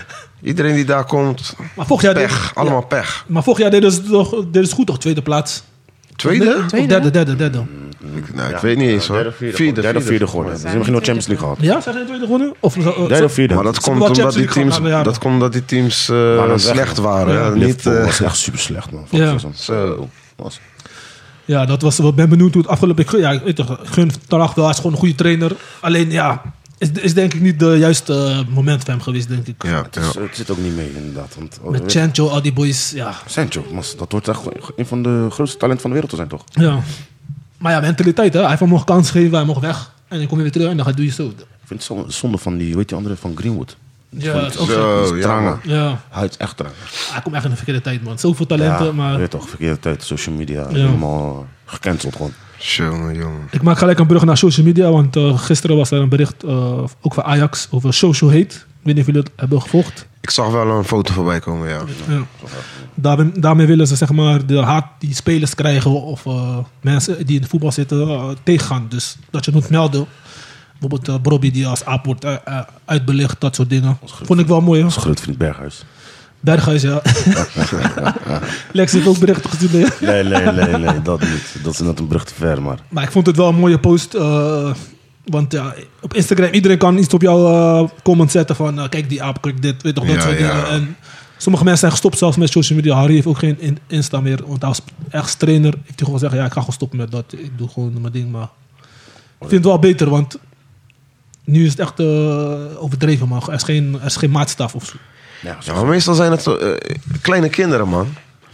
Speaker 3: Iedereen die daar komt,
Speaker 2: Maar vorig jaar...
Speaker 3: pech. Allemaal pech.
Speaker 2: Maar vorig jaar deden ze toch, deden ze goed toch? Tweede plaats.
Speaker 3: Tweede?
Speaker 2: Of derde, derde, derde.
Speaker 3: Ik, nou, ik weet niet eens hoor.
Speaker 4: Derde, vierde, vierde, derde, vierde geworden. Ze hebben misschien nog Champions League gehad.
Speaker 2: Ja, zijn ze tweede gewonnen? Of, eh,
Speaker 4: Derde, vierde.
Speaker 3: Maar dat
Speaker 2: hebben wel
Speaker 3: komt omdat
Speaker 2: Champions
Speaker 3: die
Speaker 2: League
Speaker 3: teams,
Speaker 2: gehad, maar ja.
Speaker 3: dat komt omdat die teams eh,
Speaker 4: Waren weg.
Speaker 3: slecht waren.
Speaker 4: Ja,
Speaker 3: hè. Niet,
Speaker 4: Liverpool
Speaker 3: eh,
Speaker 4: was echt super slecht, man.
Speaker 2: Ja.
Speaker 4: Zo. Was.
Speaker 2: Ja, dat was wat ben benieuwd hoe het afgelopen. Ik gun- Ja, ik weet toch, ik gun Ten Hag wel, hij is gewoon een goede trainer. Alleen ja, is, is denk ik niet de juiste eh, moment voor hem geweest, denk ik.
Speaker 3: ja,
Speaker 4: Het,
Speaker 3: ja.
Speaker 4: is, eh, het zit ook niet mee, inderdaad. Want, oh,
Speaker 2: Met
Speaker 4: weet-
Speaker 2: Chancho, al die boys, ja.
Speaker 4: Sancho, man, dat hoort echt een van de grootste talenten van de wereld te zijn, toch?
Speaker 2: ja. Maar ja, mentaliteit, hè. Hij heeft hem nog kans gegeven, hij mocht weg. En dan kom je weer terug en dan ga doe je zo.
Speaker 4: Ik vind het zo- zonde van die, weet je andere, van Greenwood.
Speaker 2: Ja, dat is ook zo.
Speaker 3: Zo, ja,
Speaker 4: Trangen.
Speaker 3: man.
Speaker 2: Ja,
Speaker 4: Hij is echt traag.
Speaker 2: hij komt echt in de verkeerde tijd, man. Zoveel talenten,
Speaker 4: ja,
Speaker 2: maar...
Speaker 4: Weet toch, verkeerde tijd, social media, helemaal gecanceld gewoon.
Speaker 3: Jongen, jongen.
Speaker 2: Ik maak gelijk een brug naar social media, want eh, gisteren was er een bericht, eh, ook van Ajax, over social hate. Ik weet niet of jullie dat hebben gevolgd.
Speaker 3: Ik zag wel een foto voorbij komen, ja.
Speaker 2: Ja. Daarmee, daarmee willen ze zeg maar de haat die spelers krijgen of eh, mensen die in de voetbal zitten eh, tegengaan. Dus dat je moet melden. Bijvoorbeeld eh, Bobby die als aap wordt eh, eh, uitbelicht, dat soort dingen. Vond ik wel mooi. hè?
Speaker 4: Dat is groot vriend Berghuis.
Speaker 2: Berghuis, ja. Lex heeft ook berichten gezien. hè?
Speaker 4: Nee, nee, nee, nee, dat niet. Dat is net een brug te ver, maar...
Speaker 2: Maar ik vond het wel een mooie post. eh, want ja, op Instagram, iedereen kan iets op jouw eh, comment zetten van... eh, kijk die aap, kijk dit, weet toch, dat
Speaker 3: Ja,
Speaker 2: soort
Speaker 3: ja.
Speaker 2: dingen. En sommige mensen zijn gestopt zelfs met social media. Harry heeft ook geen in- Insta meer. Want als echt trainer heeft hij gewoon gezegd... Ja, ik ga gewoon stoppen met dat. Ik doe gewoon mijn ding. Maar ik vind het wel beter, want... Nu is het echt eh, overdreven, man. Er is geen, er is geen maatstaf of zo.
Speaker 4: Ja,
Speaker 3: Ja, maar meestal zijn het eh, kleine kinderen, man.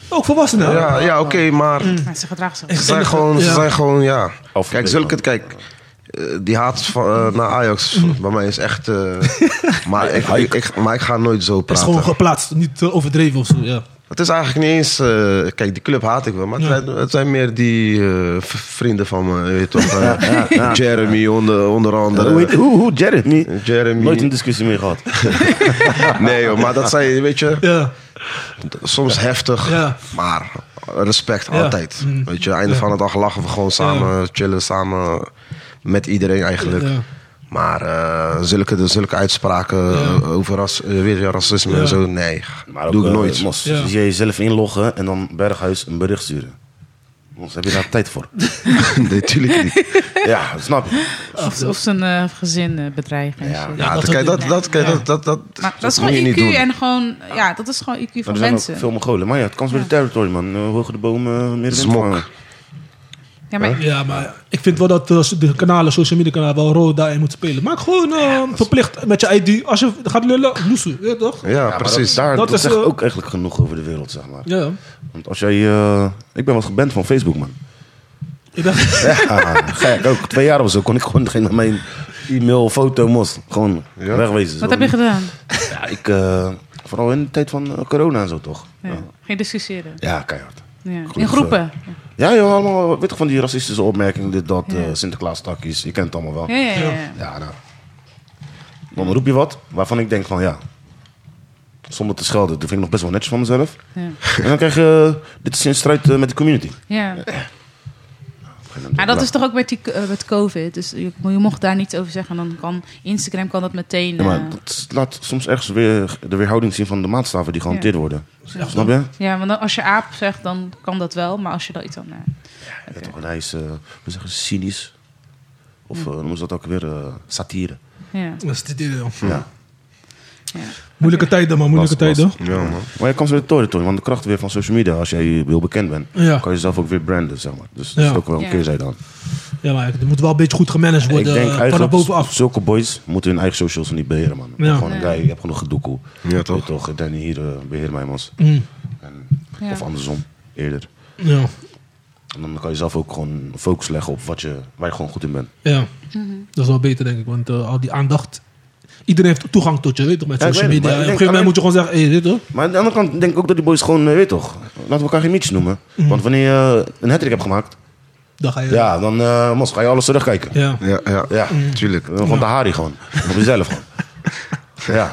Speaker 2: Ook volwassenen.
Speaker 3: Ja, ja oké, maar ze
Speaker 5: Maar ze gedragen zich.
Speaker 2: Echt
Speaker 3: zijn
Speaker 2: enige-
Speaker 3: gewoon, ze
Speaker 2: ja.
Speaker 3: zijn gewoon, ja.
Speaker 4: Of-
Speaker 3: Kijk, zulke, kijk, eh, die haat van, eh, naar Ajax bij mij is echt... eh, maar, ik, ik, ik- maar ik ga nooit zo
Speaker 2: Het is
Speaker 3: praten.
Speaker 2: gewoon geplaatst, niet eh, overdreven of zo. Ja.
Speaker 3: Het is eigenlijk niet eens... eh, kijk, die club haat ik wel, maar het,
Speaker 2: Ja.
Speaker 3: zijn, het zijn meer die eh, v- vrienden van me, weet je toch? eh, Jeremy onder, onder andere.
Speaker 4: Hoe, heet- hoe, hoe, Jeremy?
Speaker 3: Jeremy.
Speaker 4: Nooit een discussie mee gehad.
Speaker 3: Nee joh, maar dat zijn, weet je,
Speaker 2: ja.
Speaker 3: soms heftig,
Speaker 2: Ja.
Speaker 3: maar respect
Speaker 2: Ja.
Speaker 3: altijd.
Speaker 2: Mm.
Speaker 3: Weet je, einde van de dag lachen we gewoon samen, chillen samen met iedereen eigenlijk.
Speaker 2: Ja.
Speaker 3: Maar eh, zulke, zulke uitspraken over ras, eh, weer racisme
Speaker 2: Ja.
Speaker 3: en zo, nee,
Speaker 4: Maar ook,
Speaker 3: doe ik
Speaker 4: eh,
Speaker 3: nooit.
Speaker 4: Mos,
Speaker 2: Ja.
Speaker 4: dus jij jezelf inloggen en dan Berghuis een bericht sturen. Mos, heb je daar tijd voor?
Speaker 3: nee, tuurlijk niet.
Speaker 4: ja, snap je.
Speaker 5: Of, of zijn eh, gezin eh, bedreigen. en
Speaker 4: Ja.
Speaker 5: shit.
Speaker 3: Ja,
Speaker 2: dat
Speaker 3: dat, kijk,
Speaker 2: ook
Speaker 3: dat,
Speaker 2: niet.
Speaker 3: dat, kijk, dat, dat, dat,
Speaker 5: Maar dat is
Speaker 3: moet je
Speaker 5: gewoon
Speaker 3: niet doen.
Speaker 5: IQ en gewoon... Ja, dat is gewoon IQ
Speaker 4: Maar
Speaker 5: van
Speaker 4: er zijn ook
Speaker 5: mensen.
Speaker 4: veel Mongolen. Maar ja, het kan voor de territory, man. Eh, hogere bomen, meer
Speaker 3: Smok.
Speaker 4: wind.
Speaker 5: Ja, maar
Speaker 2: Ja, maar ik vind wel dat eh, de kanalen, social media kanalen, wel rood daarin moeten spelen. Maak gewoon eh, verplicht met je ID. Als je gaat lullen, loesoe, weet je toch?
Speaker 3: Ja,
Speaker 4: Ja, maar
Speaker 3: precies.
Speaker 4: Dat, daar,
Speaker 2: Dat
Speaker 4: dat
Speaker 2: is,
Speaker 4: zegt
Speaker 2: eh,
Speaker 4: ook eigenlijk genoeg over de wereld, zeg maar.
Speaker 2: Ja,
Speaker 4: Want als jij... eh, ik ben wat geband van Facebook, man.
Speaker 2: ik dacht,
Speaker 4: Ja, gek ook. Twee jaar of zo kon ik gewoon geen mijn e-mail, foto, mos. Gewoon wegwezen.
Speaker 5: wat
Speaker 4: Zo.
Speaker 5: heb je gedaan?
Speaker 4: Ja, ik... eh, vooral in de tijd van eh, corona en zo, toch?
Speaker 5: Ja.
Speaker 4: Ja,
Speaker 5: Geen discussiëren.
Speaker 4: ja keihard.
Speaker 5: Ja.
Speaker 4: Goed,
Speaker 5: In groepen.
Speaker 4: Ja, joh, allemaal, eh, weet toch van die racistische opmerkingen, dit, dat, eh Sinterklaas takjes, je kent het allemaal wel.
Speaker 5: Ja, ja, ja. ja.
Speaker 4: Ja, nou. Dan roep je wat waarvan ik denk van ja, zonder te schelden, dat vind ik nog best wel netjes van mezelf.
Speaker 5: Ja.
Speaker 4: En dan krijg je, eh, dit is in strijd eh, met de community.
Speaker 5: Ja. Maar Ah, dat is toch ook met, die, eh, met COVID. Dus je, je mocht daar niets over zeggen. Dan kan Instagram kan dat meteen.
Speaker 4: Ja, maar
Speaker 5: eh,
Speaker 4: dat laat soms ergens weer de weerhouding zien van de maatstaven die gehanteerd worden. Snap je?
Speaker 5: Ja, want dan- als je aap zegt, dan kan dat wel. Maar als je dat iets aan... eh,
Speaker 4: Ja, toch, en hij is, eh, we zeggen, cynisch. Of eh, noemen ze dat ook weer eh, satire.
Speaker 5: ja.
Speaker 2: dat is dit, ja.
Speaker 4: Ja.
Speaker 2: Moeilijke tijden, man, moeilijke
Speaker 4: Last,
Speaker 2: tijden.
Speaker 3: Ja, man.
Speaker 4: Maar je kan ze weer toren, toren, want de kracht weer van social media, als jij heel bekend bent,
Speaker 2: Ja.
Speaker 4: kan je zelf ook weer branden, zeg maar. Dus dat
Speaker 2: Ja.
Speaker 4: is ook wel een
Speaker 5: Ja.
Speaker 4: keerzijde aan.
Speaker 2: Ja, maar het moet wel een beetje goed gemanaged
Speaker 4: Ik
Speaker 2: worden.
Speaker 4: denk
Speaker 2: eh, Vanaf
Speaker 4: eigenlijk,
Speaker 2: bovenaf.
Speaker 4: zulke boys moeten hun eigen socials niet beheren, man.
Speaker 2: Ja.
Speaker 4: Gewoon een
Speaker 5: Ja.
Speaker 4: guy, je hebt genoeg gedoe.
Speaker 3: Ja, toch?
Speaker 4: Weet toch Danny, hier, eh, beheer mij, man.
Speaker 2: Mm,
Speaker 4: En,
Speaker 5: Ja.
Speaker 4: Of andersom, eerder.
Speaker 2: ja,
Speaker 4: En dan kan je zelf ook gewoon focus leggen op wat je, waar je gewoon goed in bent.
Speaker 2: ja. dat is wel beter, denk ik. Want eh, al die aandacht iedereen heeft toegang tot je, weet je toch, met
Speaker 4: Ja, ik
Speaker 2: social
Speaker 4: weet het,
Speaker 2: media.
Speaker 4: maar
Speaker 2: Op een
Speaker 4: ik
Speaker 2: gegeven moment moet je
Speaker 4: denk
Speaker 2: gewoon zeggen, hé, hey, dit hoor.
Speaker 4: Maar aan de andere kant denk ik ook dat die boys gewoon, eh, weet toch, laten we elkaar geen mietjes noemen. Want wanneer je eh, een hat hebt gemaakt,
Speaker 2: Dan ga je...
Speaker 4: ja, dan eh, mos, ga je alles terugkijken.
Speaker 2: Ja.
Speaker 3: Ja, ja,
Speaker 4: Ja.
Speaker 3: tuurlijk.
Speaker 4: Eh, Gewoon de Hari gewoon. Op jezelf gewoon. Ja,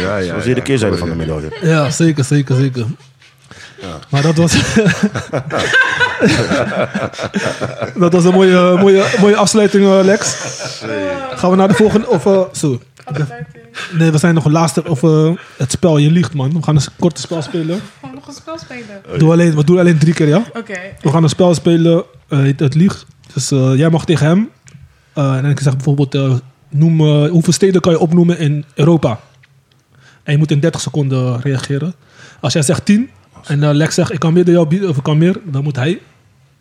Speaker 3: Ja, ja,
Speaker 4: dat is de
Speaker 3: ja.
Speaker 4: keerzijde van de medaille.
Speaker 2: Ja, zeker, zeker, zeker. Maar dat was. dat was een mooie, mooie, mooie afsluiting, eh, Lex. Gaan we naar de volgende. Of, eh, zo. Nee, we zijn nog een laatste. Of eh, het spel, je liegt, man. We gaan een korte spel spelen.
Speaker 5: Gewoon nog een spel spelen.
Speaker 2: Doe alleen, we doen alleen drie keer, ja?
Speaker 5: Oké.
Speaker 2: We gaan een spel spelen, eh, heet het liegt. Dus eh, jij mag tegen hem. Eh, en ik zeg bijvoorbeeld, eh, noem, eh, hoeveel steden kan je opnoemen in Europa? En je moet in 30 seconden reageren. Als jij zegt 10 en eh, Lex zegt, ik kan meer dan jou bieden, of ik kan meer, dan moet hij.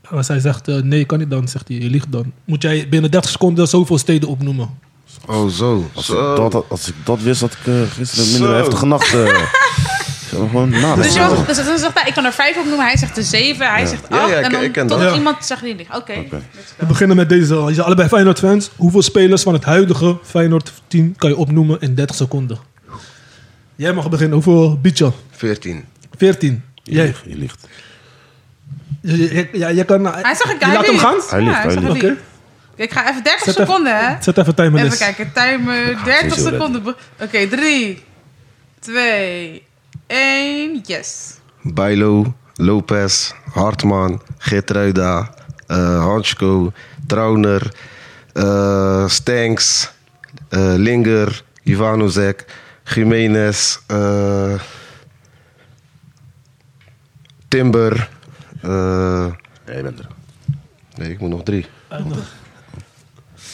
Speaker 2: En als hij zegt, eh, nee, ik kan niet, dan zegt hij, je liegt dan. Moet jij binnen 30 seconden zoveel steden opnoemen?
Speaker 3: Oh, zo.
Speaker 4: Als,
Speaker 3: Zo.
Speaker 4: ik dat had- als ik dat wist, had ik eh, gisteren een
Speaker 3: Zo.
Speaker 4: minder heftige nacht. eh, ik zou gewoon nadenken.
Speaker 5: Dus je was, dus dan zegt hij, ik kan er vijf op noemen. Hij zegt er zeven, hij zegt
Speaker 3: Ja,
Speaker 5: acht.
Speaker 3: ja, ik-
Speaker 5: en dan
Speaker 3: ik ken
Speaker 5: tot
Speaker 3: dat.
Speaker 5: iemand zegt die niet. Oké.
Speaker 4: Oké.
Speaker 5: let's
Speaker 2: We
Speaker 5: go.
Speaker 2: beginnen met deze. Je zijn allebei Feyenoord fans. Hoeveel spelers van het huidige Feyenoord team kan je opnoemen in 30 seconden? Jij mag beginnen. Hoeveel bied je?
Speaker 3: 14.
Speaker 2: 14.
Speaker 4: Je
Speaker 2: Jij,
Speaker 4: ligt, je ligt.
Speaker 2: je- je- ja, jij kan...
Speaker 5: Hij zegt, ik
Speaker 2: je laat hem gaan?
Speaker 4: Hij
Speaker 5: Ja,
Speaker 4: ligt,
Speaker 5: hij
Speaker 4: hij
Speaker 5: zegt,
Speaker 4: ligt.
Speaker 2: Oké.
Speaker 5: Ik ga even 30
Speaker 2: Zet even-
Speaker 5: seconden, hè?
Speaker 2: Zet even timer
Speaker 5: Even
Speaker 2: dus.
Speaker 5: kijken, timer, 30
Speaker 4: zo redden.
Speaker 5: seconden. Oké, 3, 2, 1, yes.
Speaker 3: Bijlo, Lopez, Hartman, Geertruida, eh Hansko, Trauner, eh Stanks, eh, Linger, Ivanozek, Jiménez, eh, Timber. eh,
Speaker 4: Ja, je bent er.
Speaker 3: nee, ik moet nog drie.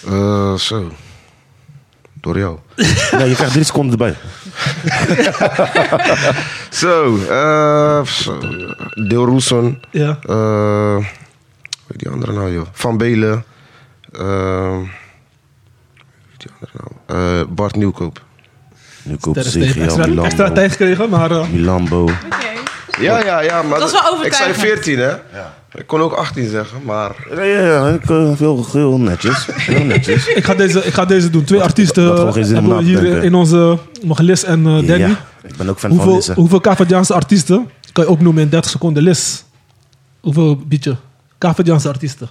Speaker 3: Eh, zo. Door jou.
Speaker 4: Nee, je krijgt drie seconden erbij.
Speaker 3: Zo, eh zo. Deel Roesen.
Speaker 2: Ja.
Speaker 3: Eh, hoe heet die andere nou, joh? Van Belen. Ehm, hoe heet die andere nou? Eh, Bart Nieuwkoop.
Speaker 4: Nu koopt
Speaker 2: Sterk
Speaker 4: zich
Speaker 2: tegen.
Speaker 4: ja,
Speaker 2: Extra, extra
Speaker 4: Milambo.
Speaker 2: tijd gekregen, maar... eh,
Speaker 4: Milambo.
Speaker 5: Oké.
Speaker 3: Ja, ja, ja. Maar
Speaker 5: Dat is wel
Speaker 3: ik zei
Speaker 5: overtuigend.
Speaker 3: 14, hè? Ik kon ook 18 zeggen, maar...
Speaker 4: Ja, ja, ja, ik, eh, heel, heel netjes. Heel netjes.
Speaker 2: ik, ga deze, ik ga deze doen. Twee artiesten eh,
Speaker 4: dat gewoon geen zin om
Speaker 2: hebben we
Speaker 4: na te
Speaker 2: hier in,
Speaker 4: denken.
Speaker 2: in onze... Nog Liz en eh, Danny.
Speaker 4: Ja, ik ben ook fan van
Speaker 2: hoeveel
Speaker 4: Lisse.
Speaker 2: hoeveel Cavadiaanse artiesten kan je opnoemen in 30 seconden? Liz, hoeveel bied je? Cavadiaanse artiesten.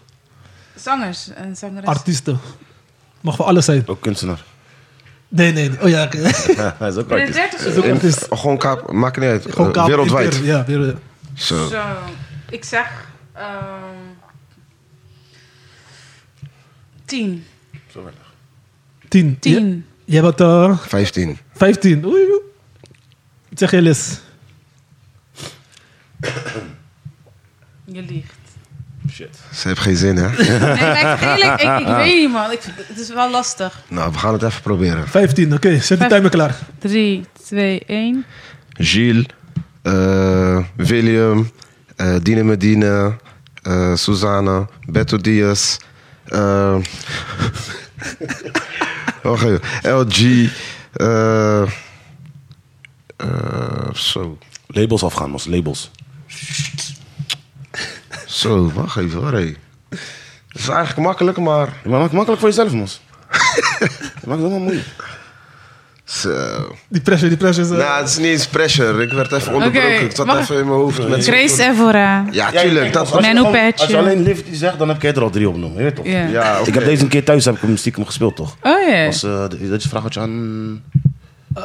Speaker 5: Zangers en zangeres.
Speaker 2: Artiesten. Mag voor alles zijn.
Speaker 4: Ook kunstenaar.
Speaker 2: Nee, nee. nee. Oh ja, oké.
Speaker 4: Hij is ook
Speaker 5: Binnen
Speaker 4: artiest.
Speaker 5: 30 seconden.
Speaker 2: Ook
Speaker 4: eh,
Speaker 2: artiest.
Speaker 3: Gewoon kaap, maakt niet uit.
Speaker 2: Gewoon
Speaker 3: Eh,
Speaker 2: kaap-
Speaker 3: wereldwijd.
Speaker 2: Ja, wereld-
Speaker 3: Zo.
Speaker 5: Zo, ik zeg... ehm 10.
Speaker 2: Tien. Je-
Speaker 5: 10.
Speaker 2: Jij bent eh
Speaker 3: 15.
Speaker 2: 15. Oei, oei. Wat Zeg je Liz?
Speaker 5: Je liegt.
Speaker 3: Ze heeft geen zin, hè?
Speaker 5: Nee, maar ik, eerlijk, ik, ik weet niet, man. Ik, vind- het is wel lastig.
Speaker 3: nou, we gaan het even proberen.
Speaker 2: 15, oké. Zet die
Speaker 5: Vijf-
Speaker 2: timer klaar.
Speaker 5: 3, 2, 1.
Speaker 3: Gilles, eh, William, eh Dine Medina, eh Susanne, Beto Diaz, eh, wacht even, LG, eh, eh, zo,
Speaker 4: Labels afgaan, mos. Labels.
Speaker 3: zo, wacht even hoor. hé. Het is eigenlijk makkelijk, maar
Speaker 4: Ja, Maar maak het makkelijk voor jezelf, mos. maak het helemaal moeilijk.
Speaker 3: zo.
Speaker 2: Die pressure, die pressure is... eh,
Speaker 3: Nou, het is niet eens pressure. Ik werd even onderbroken.
Speaker 5: Oké,
Speaker 3: Ik zat
Speaker 5: mag-
Speaker 3: even in mijn hoofd. Met
Speaker 5: Grace Evora.
Speaker 3: Ja, tuurlijk. Dat was...
Speaker 5: Menno
Speaker 4: Menno
Speaker 5: Patch,
Speaker 4: Als je
Speaker 5: ja.
Speaker 4: alleen Lift die zegt, dan heb ik er al drie op noemen. Weet je toch?
Speaker 5: Ja.
Speaker 3: Ja, oké.
Speaker 4: Ik heb deze een keer thuis heb ik hem stiekem gespeeld, toch?
Speaker 5: Oh ja.
Speaker 4: Was, eh, dat is een vraag wat je aan...
Speaker 2: eh,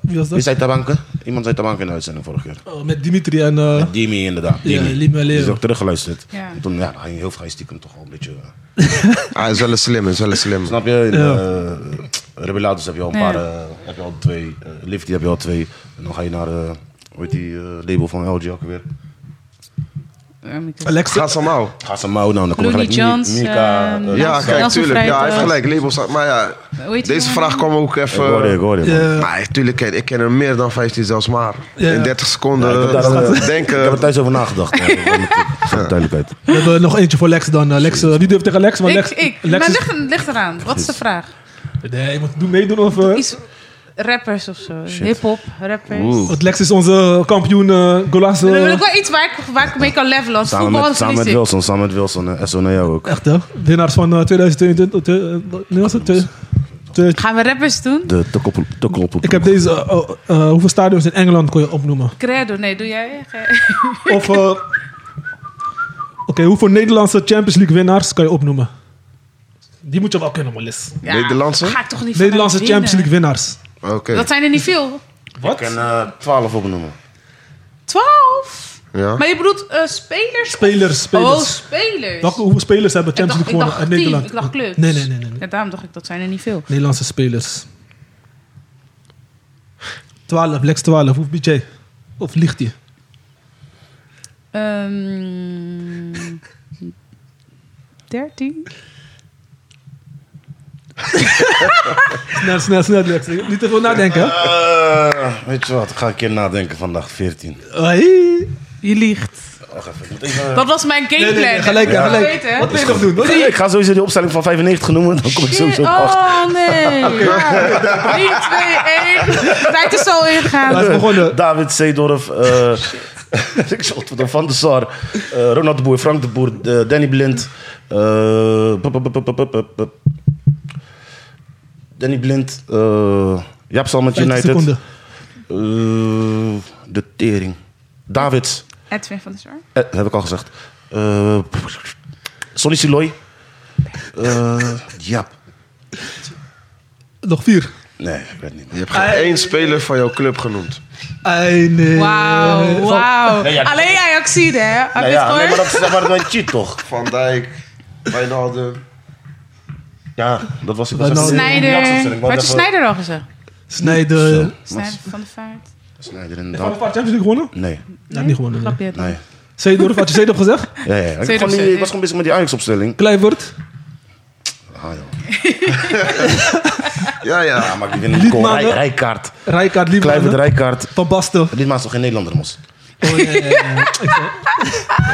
Speaker 2: Wie was
Speaker 4: Wie
Speaker 2: dat?
Speaker 4: zei Tabanke? Iemand zei Tabanke in de uitzending vorige keer.
Speaker 2: Oh, met Dimitri en... eh,
Speaker 4: Dimi, inderdaad.
Speaker 2: Ja,
Speaker 4: Dimi.
Speaker 2: Lima Leo.
Speaker 4: Die is ook teruggeluisterd.
Speaker 5: Ja.
Speaker 4: En Toen ja, dan ga je heel veel stiekem toch wel een beetje... eh,
Speaker 3: Hij Ah, is wel een slim, hij is wel een slim.
Speaker 4: Snap je? In,
Speaker 2: Ja.
Speaker 4: eh, Rebellatus heb je al een
Speaker 5: Ja.
Speaker 4: paar... eh, heb je al twee. eh, Lifty heb je al twee. En dan ga je naar... eh, hoe heet die eh, label van LG ook weer?
Speaker 5: Ehm, ik-
Speaker 2: Alex.
Speaker 3: Gaat ze allemaal.
Speaker 4: Ga ze nou, dan kom je
Speaker 5: Looney
Speaker 4: gelijk... Mi-
Speaker 5: Johns,
Speaker 4: Mika...
Speaker 5: ehm,
Speaker 4: eh,
Speaker 3: Ja,
Speaker 5: Nelson-
Speaker 3: kijk,
Speaker 5: Nelson
Speaker 3: tuurlijk. Ja, hij heeft
Speaker 5: Vrijdag.
Speaker 3: gelijk. Labels. Maar ja,
Speaker 5: Hoe heet die
Speaker 3: deze
Speaker 5: man?
Speaker 3: vraag kwam ook even.
Speaker 4: Ik hoorde, ik hoorde. man.
Speaker 2: eh,
Speaker 3: Maar natuurlijk, ken- ik ken er meer dan 15 zelfs maar.
Speaker 2: Ja.
Speaker 3: In 30 seconden
Speaker 4: Ja, ik heb daar-
Speaker 3: eh,
Speaker 4: Ik heb er
Speaker 3: denken.
Speaker 4: thuis over nagedacht. eh, Voor de duidelijkheid.
Speaker 2: we hebben nog eentje voor Lex dan. eh, Lex, eh, wie durft tegen Lex? Want
Speaker 5: Ik,
Speaker 2: Lex,
Speaker 5: ik.
Speaker 2: Lex
Speaker 5: Maar
Speaker 2: is-
Speaker 5: ligt, ligt eraan. Wat is de vraag?
Speaker 2: Nee, je moet doen, meedoen of... eh,
Speaker 5: Iets rappers of zo. Hip-hop, rappers.
Speaker 3: Oeh.
Speaker 2: want Lex is onze kampioen eh Golas. eh,
Speaker 5: Dan wil ik wel iets waar ik, waar ik mee kan levelen. Want
Speaker 4: Samen
Speaker 5: voetbal
Speaker 4: met,
Speaker 5: is
Speaker 4: samen met
Speaker 5: verlies ik.
Speaker 4: Wilson, eh, samen met Wilson en SO naar jou ook.
Speaker 2: echt, hè? Winnaars van eh, 2022... eh, nee, was het? eh, Te-
Speaker 5: Gaan we rappers doen?
Speaker 4: De tokkelploeg.
Speaker 2: Ik heb deze. eh, oh, eh, hoeveel stadions in Engeland kon je opnoemen?
Speaker 5: Credo, nee, doe jij?
Speaker 2: Of. eh, Oké, hoeveel Nederlandse Champions League winnaars kan je opnoemen? Die moet je wel kennen, maar les.
Speaker 5: Ja,
Speaker 3: Nederlandse?
Speaker 5: Ga ik toch niet
Speaker 2: Nederlandse
Speaker 5: vanuit winnen.
Speaker 2: Champions League winnaars.
Speaker 3: Oké.
Speaker 5: Dat zijn er niet veel.
Speaker 4: Ik kan eh, 12 opnoemen.
Speaker 5: Twaalf?
Speaker 3: Ja.
Speaker 5: Maar je bedoelt eh, spelers?
Speaker 2: Spelers,
Speaker 5: Oh,
Speaker 2: spelers.
Speaker 5: spelers.
Speaker 2: Welke, hoeveel spelers hebben
Speaker 5: ik
Speaker 2: Champions
Speaker 5: dacht, ik
Speaker 2: League
Speaker 5: dacht
Speaker 2: gewonnen in
Speaker 5: team,
Speaker 2: Nederland?
Speaker 5: ik dacht clubs.
Speaker 2: Nee, nee, nee, nee, nee.
Speaker 5: Ja, daarom dacht ik, dat zijn er niet veel.
Speaker 2: Nederlandse spelers. 12, Lex 12. Hoe bied jij? Of ligt hij?
Speaker 5: Ehm 13?
Speaker 2: Snel, snel, snel, Lex. Niet te veel nadenken. hè?
Speaker 4: Eh, weet je wat, ga ik een keer nadenken vandaag, 14.
Speaker 2: Hoi.
Speaker 5: Je liegt.
Speaker 4: Wacht even, ik moet even...
Speaker 5: Dat Eh, was mijn gameplan.
Speaker 2: Nee, nee, nee, gelijk,
Speaker 5: ja.
Speaker 2: gelijk.
Speaker 5: Weten, hè?
Speaker 2: Wat wil je nog doen? Wat wil je-
Speaker 4: Ik ga sowieso die opstelling van 95 noemen, dan kom ik
Speaker 5: Shit,
Speaker 4: sowieso op 8.
Speaker 5: oh nee. Ja. 3, 2, 1. Tijd is al ingegaan.
Speaker 2: Laten we begonnen.
Speaker 4: David Seedorf, eh, ik zocht wat op Van de Sar, eh, Ronald de Boer, Frank de Boer, eh, Danny Blind. eh, pup, pup, pup, pup, pup, pup, pup. Danny Blind, eh Jaap Sal met
Speaker 2: 50
Speaker 4: United.
Speaker 2: seconden.
Speaker 4: Eh, de tering. Davids,
Speaker 5: Edwin van der Sar.
Speaker 4: eh, heb ik al gezegd. Eh, Sonny Siloy. Eh Jaap.
Speaker 2: Nog vier.
Speaker 4: Nee, ik weet niet.
Speaker 3: Je hebt geen één speler van jouw club genoemd.
Speaker 2: Ai, nee. Eh,
Speaker 5: Wauw, wauw.
Speaker 4: Nee, ja, dat-
Speaker 5: Alleen Ajaxide, hè? Heb
Speaker 4: Nou
Speaker 5: je het
Speaker 4: ja, nee, maar
Speaker 5: gehoord?
Speaker 4: dat is zeg maar een cheat toch?
Speaker 3: Van Dijk, Wijnaldum.
Speaker 4: Ja, dat was ik.
Speaker 2: Wat nou?
Speaker 5: Snijder. Wat is Snijder al gezegd?
Speaker 2: Snijden.
Speaker 5: Snijder van de Vaart.
Speaker 4: Snijder
Speaker 2: Van de
Speaker 4: inderdaad.
Speaker 2: Vaart Champions League gewonnen?
Speaker 4: Nee,
Speaker 2: Nee, niet gewonnen. nee.
Speaker 5: Grapje. hè?
Speaker 4: nee.
Speaker 2: Zeedorf, had je Zeedorf gezegd?
Speaker 4: Ja, ja. Ik,
Speaker 5: Tweede
Speaker 4: gewoon niet-
Speaker 5: opzet,
Speaker 4: ik was gewoon bezig met die Ajax-opstelling.
Speaker 2: Kluivert.
Speaker 4: Ah, joh.
Speaker 3: Ja,
Speaker 4: Ja,
Speaker 3: ja.
Speaker 4: maar ik win een goal.
Speaker 2: Liedmanen.
Speaker 4: Rij- Rijkaard.
Speaker 2: Rijkaard,
Speaker 4: Kluivert,
Speaker 2: Liebman.
Speaker 4: Rijkaard.
Speaker 2: Van Basten. Oh,
Speaker 4: Ditmaal is toch geen Nederlander, mos?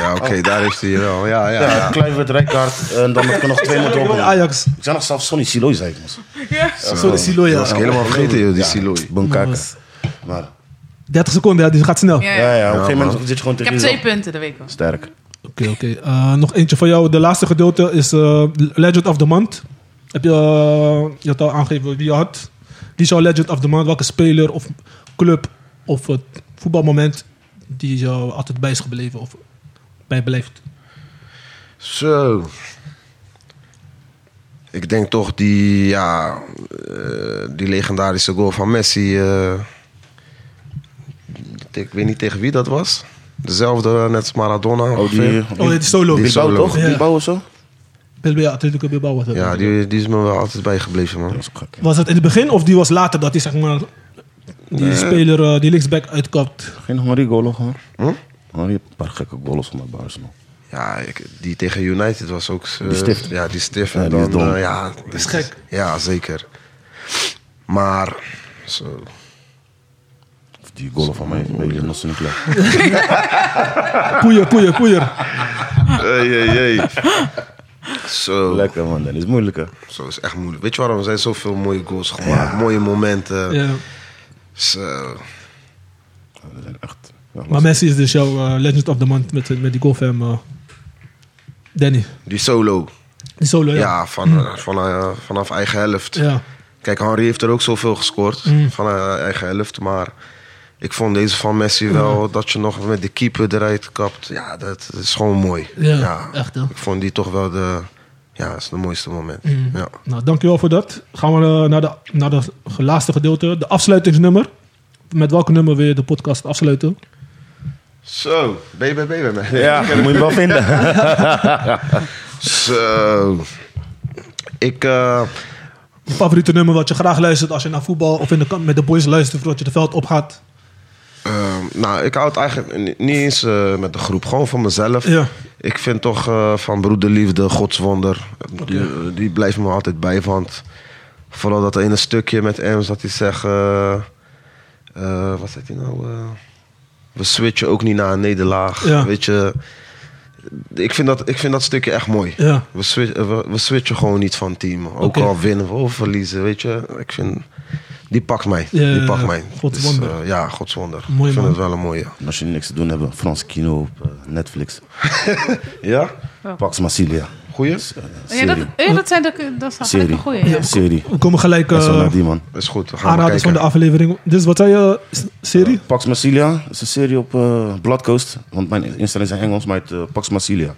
Speaker 3: Ja, oké, daar heeft hij wel. Ja, ja,
Speaker 4: Oh. Ja,
Speaker 3: ja.
Speaker 4: Kluivert, Rijkaard. eh, En dan heb ik er nog twee moeten opnemen.
Speaker 2: Ajax.
Speaker 4: Ik zei nog zelfs Sonny Siloy, zei ik, mos.
Speaker 2: Sorry, Siloy.
Speaker 3: Dat was ik helemaal vergeten, joh, die Siloy.
Speaker 4: Bonkak. Maar,
Speaker 2: 30 seconden, ja, die gaat snel. Oké,
Speaker 5: Ja,
Speaker 4: ja,
Speaker 5: ja.
Speaker 4: ja, op een gegeven
Speaker 3: man.
Speaker 4: moment zit je gewoon
Speaker 5: Ik
Speaker 4: tegen
Speaker 5: heb
Speaker 4: jezelf.
Speaker 5: twee punten, dat weet ik wel.
Speaker 4: Sterk.
Speaker 2: oké. Eh, nog eentje voor jou. De laatste gedeelte is eh, Legend of the Month. Heb je, eh, je had al aangegeven wie je had. Die is jouw Legend of the Month. Welke speler of club of het voetbalmoment die jou altijd bij is gebleven of bij beleefd?
Speaker 3: Zo. Ik denk toch die, ja, eh, die legendarische goal van Messi. eh, ik weet niet tegen wie dat was. Dezelfde, eh, net als Maradona.
Speaker 4: Oh, die...
Speaker 3: ongeveer.
Speaker 2: Oh, dit is solo.
Speaker 3: Die
Speaker 4: Bilbao,
Speaker 3: solo.
Speaker 4: toch?
Speaker 2: Ja.
Speaker 4: Bilbao of zo?
Speaker 2: Bilbao, Atletico Bilbao was het.
Speaker 3: Ja, die, die is me wel altijd bijgebleven, man.
Speaker 2: Was het in het begin of die was later dat hij zeg maar die speler eh, die linksback uitkapt?
Speaker 4: Geen Henri Golo, hoor.
Speaker 3: Hm?
Speaker 4: Henri heeft een paar gekke goals gemaakt bij Arsenal.
Speaker 3: Ja, ik- die tegen United was ook... eh,
Speaker 4: Die stift.
Speaker 3: Ja, die stift.
Speaker 4: Ja,
Speaker 3: en
Speaker 4: die is
Speaker 3: dan,
Speaker 4: dom.
Speaker 3: eh, ja, dat
Speaker 2: is gek.
Speaker 3: Ja, zeker. Maar, zo.
Speaker 4: Of die goal van mij, bij jullie nog zo niet klaar.
Speaker 2: Poeier, poeier, poeier.
Speaker 3: Zo.
Speaker 4: Lekker man, dat is moeilijker.
Speaker 3: Zo is echt moeilijk. Weet je waarom? Er zijn zoveel mooie goals gemaakt. Mooie momenten. Dus, eh,
Speaker 2: Ja.
Speaker 3: Zo.
Speaker 4: Dat zijn echt... ja,
Speaker 2: Maar Messi is dus jouw eh, Legend of the Month met, met die goal van hem, eh, Danny.
Speaker 3: Die solo.
Speaker 2: Die solo,
Speaker 3: Ja,
Speaker 2: ja.
Speaker 3: van, van, eh, vanaf eigen helft.
Speaker 2: Ja. Mm.
Speaker 3: Kijk, Henry heeft er ook zoveel gescoord. Van eh, eigen helft. Maar ik vond deze van Messi wel... dat je nog met de keeper eruit kapt. Ja, dat is gewoon mooi.
Speaker 2: Ja, echt, hè?
Speaker 3: Ik vond die toch wel de... Ja, dat is het mooiste moment. Ja.
Speaker 2: Nou, dankjewel voor dat. Gaan we eh, naar het naar de laatste gedeelte, de afsluitingsnummer. Met welke nummer wil je de podcast afsluiten?
Speaker 3: Zo, ben je bij ben je bij mij?
Speaker 4: Ja, dat moet je hem wel vinden.
Speaker 3: Zo. Ik... eh,
Speaker 2: Je favoriete nummer wat je graag luistert als je naar voetbal of in de kamp met de boys luistert voordat je de veld opgaat?
Speaker 3: Ehm, nou, ik hou het eigenlijk ni- niet eens eh, met de groep, gewoon van mezelf.
Speaker 2: Ja.
Speaker 3: Ik vind toch eh, van broederliefde, godswonder, die, eh, die blijft me altijd bij. Want vooral dat ene stukje met Ems, dat hij zegt... eh, eh, wat zegt hij nou? eh, we switchen ook niet naar een nederlaag.
Speaker 2: Ja.
Speaker 3: Weet je, ik vind, dat, ik vind dat stukje echt mooi.
Speaker 2: Ja.
Speaker 3: We, swi- eh, we, we switchen gewoon niet van team. Ook
Speaker 2: Oké.
Speaker 3: al winnen we of verliezen, weet je. Ik vind, die pakt mij.
Speaker 2: Ja,
Speaker 3: die pakt mij.
Speaker 2: godswonder.
Speaker 3: eh, ja, godswonder.
Speaker 2: Mooi,
Speaker 3: ik vind
Speaker 2: man.
Speaker 3: het wel een mooie.
Speaker 4: En Als je niks te doen hebt, Frans Kino op eh, Netflix.
Speaker 3: Ja?
Speaker 4: Pax Massilia.
Speaker 3: Goeie?
Speaker 5: Oh Ja, dat,
Speaker 4: eh, Serie.
Speaker 5: ja, dat zijn de, dat zijn gelijk
Speaker 4: Serie.
Speaker 5: een goeie. Ja.
Speaker 4: Serie.
Speaker 2: We komen gelijk
Speaker 4: Ja, zo
Speaker 2: eh
Speaker 4: naar die man.
Speaker 3: Is goed, we gaan maar
Speaker 2: aanraders van de
Speaker 3: kijken.
Speaker 2: aflevering. Dus wat zei je, s- serie?
Speaker 4: Pax Marsilia is een serie op eh Blood Coast. Want mijn instellingen zijn Engels, maar het eh, Pax Marsilia.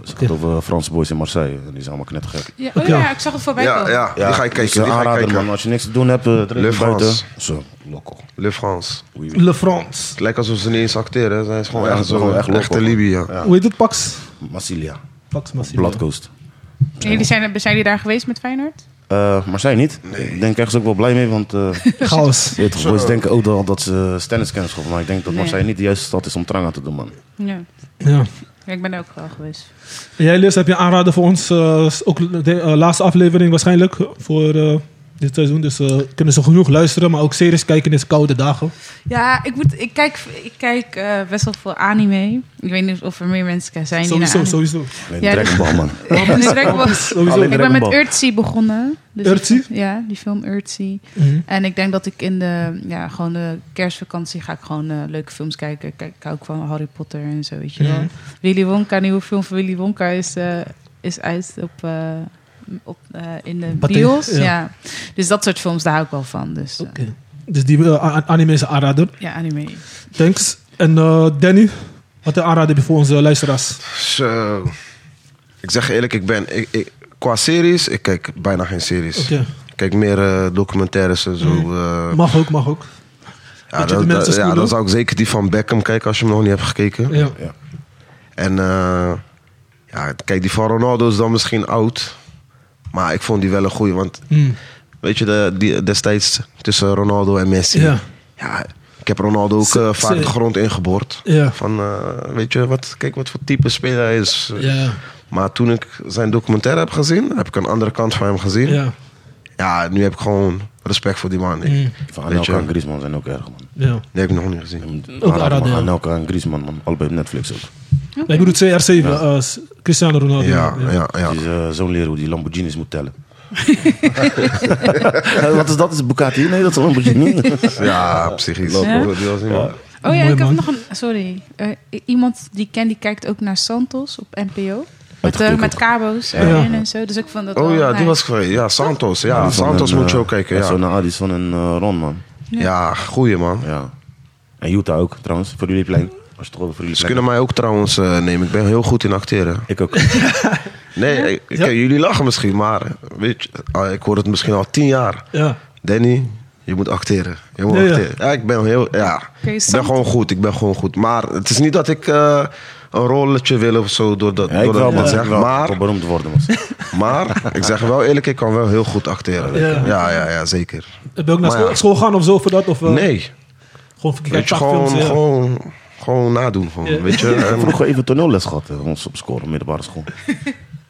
Speaker 4: Dus het gaat over Franse boys in Marseille. En die zijn allemaal knettergek.
Speaker 5: Ja, oh
Speaker 2: Oké.
Speaker 5: ja, ik zag het voorbij
Speaker 3: Ja,
Speaker 5: komen.
Speaker 3: ja, die ga ik
Speaker 4: dus,
Speaker 3: kijken,
Speaker 4: eh,
Speaker 3: die ga ik
Speaker 4: aanrader, man.
Speaker 3: kijken.
Speaker 4: Als je niks te doen hebt, eh
Speaker 3: Le
Speaker 4: drink buiten.
Speaker 3: France.
Speaker 4: Zo, lokkel.
Speaker 3: Le France.
Speaker 4: Oei, oei.
Speaker 2: Le France.
Speaker 3: Het lijkt alsof ze niet eens acteren. hè. Zij is gewoon
Speaker 4: Ja,
Speaker 3: echt
Speaker 4: ze zijn
Speaker 3: zo.
Speaker 4: gewoon echt
Speaker 3: Echt
Speaker 4: loco.
Speaker 3: echte Libië. ja.
Speaker 2: Hoe heet het? Pax?
Speaker 4: Marsilia.
Speaker 2: Pax Massilia.
Speaker 4: Blood Coast.
Speaker 5: En jullie zijn, zijn jullie daar geweest met Feyenoord?
Speaker 4: Eh, Marseille niet. Ik denk ergens ook wel blij mee, want... eh,
Speaker 2: Chaos.
Speaker 4: Weet je, boys denken ook wel dat ze stenniskennis schoppen, maar ik denk dat
Speaker 5: Nee.
Speaker 4: Marseille niet de juiste stad is om trang aan te doen, man.
Speaker 5: Ja.
Speaker 2: Ja.
Speaker 5: Ja, ik ben daar ook wel geweest.
Speaker 2: En Jij, Liz, heb je aanraden voor ons? eh, s- ook de eh, laatste aflevering waarschijnlijk voor eh, dit seizoen. Dus eh, kunnen ze genoeg luisteren, maar ook series kijken in deze koude dagen.
Speaker 5: Ja, ik, moet, ik kijk, ik kijk eh, best wel veel anime. Ik weet niet of er meer mensen zijn die
Speaker 2: Sowieso,
Speaker 5: naar
Speaker 2: sowieso.
Speaker 4: Alleen
Speaker 5: Ja,
Speaker 4: Dragon Ball, man.
Speaker 5: anime... Dus Dragon Ball-
Speaker 2: Sowieso.
Speaker 4: Alleen-
Speaker 5: Ik ben
Speaker 4: Dragon
Speaker 5: met
Speaker 4: Ball.
Speaker 5: Urtzi begonnen. Dus
Speaker 2: Urtzi?
Speaker 5: ik- ja, die film Urtzi.
Speaker 2: Mhm.
Speaker 5: En ik denk dat ik in de, ja, gewoon de kerstvakantie ga ik gewoon eh, leuke films kijken. Ik Kijk, ik hou ook van Harry Potter en zo, weet je wel.
Speaker 2: Mhm.
Speaker 5: Willy Wonka, een nieuwe film van Willy Wonka is, eh, is uit op, eh, op, eh, in de
Speaker 2: Pathé,
Speaker 5: bios.
Speaker 2: ja.
Speaker 5: Ja. Dus dat soort films, daar hou ik wel van. Dus eh,
Speaker 2: Oké. Dus die eh, a- anime is een aanrader.
Speaker 5: ja, anime. Oh
Speaker 2: Thanks. En eh, Danny, wat een aanrader heb je voor onze luisteraars?
Speaker 3: Zo. Ik zeg je eerlijk, ik ben. Ik, ik- qua series, ik kijk bijna geen series.
Speaker 2: Oké.
Speaker 3: Ik kijk meer eh, documentaires en zo. eh,
Speaker 2: Mag ook, mag ook.
Speaker 3: ja,
Speaker 2: je de
Speaker 3: dat,
Speaker 2: mensen
Speaker 3: dat- ja,
Speaker 2: spoelen?
Speaker 3: dan zou ik zeker die van Beckham kijken als je hem nog niet hebt gekeken.
Speaker 2: Ja.
Speaker 3: En eh, ja, kijk, die van Ronaldo is dan misschien oud. Maar ik vond die wel een goeie. Want
Speaker 2: Mm.
Speaker 3: weet je, de, die, destijds tussen Ronaldo en Messi.
Speaker 2: Ja.
Speaker 3: Ja, ik heb Ronaldo ook eh, vaak
Speaker 2: ze-
Speaker 3: de grond ingeboord.
Speaker 2: Ja.
Speaker 3: Van, eh, weet je, wat, kijk wat voor type speler hij is.
Speaker 2: Ja.
Speaker 3: Maar toen ik zijn documentaire heb gezien, heb ik een andere kant van hem gezien. Ja,
Speaker 2: Ja.
Speaker 3: nu heb ik gewoon respect voor die man. Ik,
Speaker 2: Mm.
Speaker 4: Van
Speaker 3: Weet je.
Speaker 4: Anelka en Griezmann zijn ook erg, man.
Speaker 2: Ja.
Speaker 3: Die heb ik nog niet gezien.
Speaker 2: Ook
Speaker 4: Aanrader,
Speaker 2: aanrader,
Speaker 4: man.
Speaker 2: ja.
Speaker 4: Anelka en Griezmann, man. Allebei op Netflix ook.
Speaker 2: Ik bedoel CR7, eh, s- Cristiano Ronaldo.
Speaker 3: Ja, ja, ja.
Speaker 4: Het is eh, zo'n leraar hoe die Lamborghinis moet tellen. Eh, Wat is dat? Is het Bucati? Nee, dat is een Lamborghini.
Speaker 3: Ja, psychisch.
Speaker 5: Ja?
Speaker 3: Die was niet man.
Speaker 5: Oh ja,
Speaker 2: Mooi,
Speaker 5: ik heb
Speaker 2: man.
Speaker 5: nog een... Sorry. Eh, i- iemand die ik ken, die kijkt ook naar Santos op NPO. Met, eh,
Speaker 4: Uitgekeken
Speaker 5: met
Speaker 4: ook.
Speaker 5: cabo's erin en zo. Dus ik vond dat
Speaker 3: Oh
Speaker 5: wel
Speaker 3: ja, die
Speaker 5: nice.
Speaker 3: was geweest. Ja, Santos. Ja,
Speaker 4: Die van
Speaker 3: Santos
Speaker 4: een,
Speaker 3: moet je
Speaker 4: eh,
Speaker 3: ook kijken.
Speaker 4: Zo
Speaker 3: Ja,
Speaker 4: naar Addison en eh, Ron, man.
Speaker 3: ja goeie man.
Speaker 4: Ja. En Utah ook, trouwens. Voor jullie plein. Als je toch over jullie
Speaker 3: Ze
Speaker 4: plein
Speaker 3: kunnen mij ook trouwens eh, nemen. Ik ben heel goed in acteren.
Speaker 4: Ik ook.
Speaker 3: Nee, ik, ik-
Speaker 2: Ja?
Speaker 3: jullie lachen misschien, maar weet je, ah, ik hoor het misschien al tien jaar.
Speaker 2: Ja.
Speaker 3: Danny, je moet acteren. Je moet
Speaker 2: Ja, ja.
Speaker 3: acteren. Ja. ik ben heel. Ja.
Speaker 5: je
Speaker 3: Ik ben
Speaker 5: zand-
Speaker 3: gewoon goed. Ik ben gewoon goed. Maar het is niet dat ik eh, een rolletje wil of zo door dat.
Speaker 4: Ja,
Speaker 3: door
Speaker 4: ik
Speaker 3: dat
Speaker 4: wel,
Speaker 3: ik
Speaker 4: man.
Speaker 3: dat zeg.
Speaker 4: Ik wil
Speaker 3: Maar,
Speaker 4: wel beroemd worden, man.
Speaker 3: maar ik zeg wel eerlijk, ik kan wel heel goed acteren.
Speaker 2: Ja.
Speaker 3: Ja, ja, ja, zeker.
Speaker 2: Heb je ook naar
Speaker 3: Maar
Speaker 2: school,
Speaker 3: ja.
Speaker 2: school gaan of zo voor dat? Of, eh,
Speaker 3: Nee,
Speaker 2: Gewoon voor
Speaker 3: weet je, gewoon,
Speaker 2: films. ja.
Speaker 3: gewoon, gewoon nadoen. Gewoon,
Speaker 2: Ja.
Speaker 3: Weet je?
Speaker 4: Ik heb
Speaker 3: En-
Speaker 4: vroeger even toneelles gehad, eh, ons op score, middelbare school.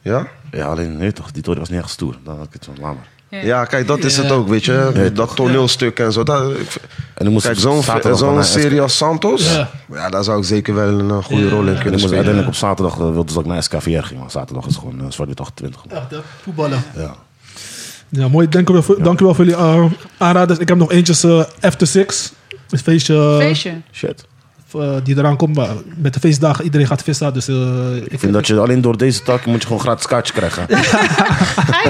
Speaker 3: ja?
Speaker 4: Ja, alleen, nee toch, die toren was niet echt stoer. Dan had ik het zo, laat maar.
Speaker 3: ja, kijk, dat is het ook, weet je? dat toneelstuk en zo. Dat, ik-
Speaker 4: En dan eh, moest
Speaker 3: kijk,
Speaker 4: ik
Speaker 3: zo'n
Speaker 4: zaterdag
Speaker 3: zo'n
Speaker 4: naar SK
Speaker 3: serie als Santos,
Speaker 2: Ja.
Speaker 3: ja. daar zou ik zeker wel een eh, goede rol in
Speaker 4: En ik
Speaker 3: kunnen
Speaker 4: moest
Speaker 3: spelen.
Speaker 4: uiteindelijk op zaterdag, eh, wilde ze dat ik naar SKVR ging. Want zaterdag is gewoon eh, zwart-wit 28. man.
Speaker 2: Ja, de voetballen.
Speaker 4: Ja.
Speaker 2: Ja, mooi. Dankjewel voor, dankjewel voor jullie eh, aanraders. Ik heb nog eentje, eh, After Six. Een feestje,
Speaker 5: Feestje.
Speaker 4: Shit.
Speaker 2: eh, die eraan komt. Maar met de feestdagen, iedereen gaat vissen. Dus eh, ik
Speaker 4: Ik vind dat je alleen door deze tak moet je gewoon gratis kaartje krijgen.
Speaker 5: Ga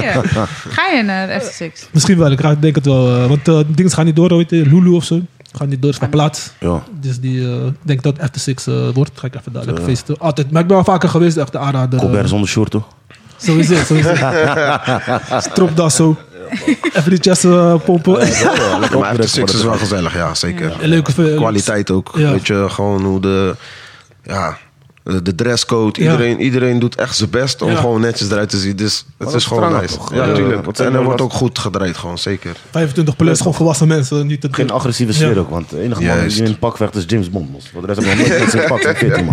Speaker 5: je? Ga je naar de FC6?
Speaker 2: Misschien wel, ik raad- denk het wel. eh, want eh dingen gaan niet door, hoe heet die, Lulu of zo. Gaan niet door, is verplaatst.
Speaker 4: Ja.
Speaker 2: Dus die, eh, ik denk dat After Six eh, wordt. Ga ik even daar lekker feesten. Altijd. Maar ik ben al vaker geweest, echt de aanrader. eh,
Speaker 4: Colbert zonder short, toch?
Speaker 2: Sowieso, sowieso. Stropdas zo. Even die chest eh, pompen.
Speaker 3: Maar After Six is wel gezellig, ja, zeker.
Speaker 2: Leuke eh,
Speaker 3: kwaliteit ook.
Speaker 2: Ja.
Speaker 3: Weet je, gewoon hoe de, ja, de dresscode.
Speaker 2: Ja.
Speaker 3: Iedereen, iedereen doet echt zijn best om
Speaker 2: Ja.
Speaker 3: gewoon netjes eruit te zien. Dus het
Speaker 4: dat
Speaker 3: is
Speaker 4: is
Speaker 3: gewoon
Speaker 4: strang
Speaker 3: nice.
Speaker 4: toch?
Speaker 3: Ja,
Speaker 4: Ja,
Speaker 3: natuurlijk.
Speaker 4: wat zijn
Speaker 3: en er
Speaker 4: we
Speaker 3: wordt
Speaker 4: wat-
Speaker 3: ook goed gedraaid, gewoon zeker.
Speaker 2: 25 plus, gewoon volwassen mensen. Niet te
Speaker 4: Geen agressieve sfeer
Speaker 2: Ja.
Speaker 4: ook, want de enige man
Speaker 3: Juist.
Speaker 4: die in een pak vecht is James Bond. mos. Voor de rest hebben we nog nooit mensen in pak van 14,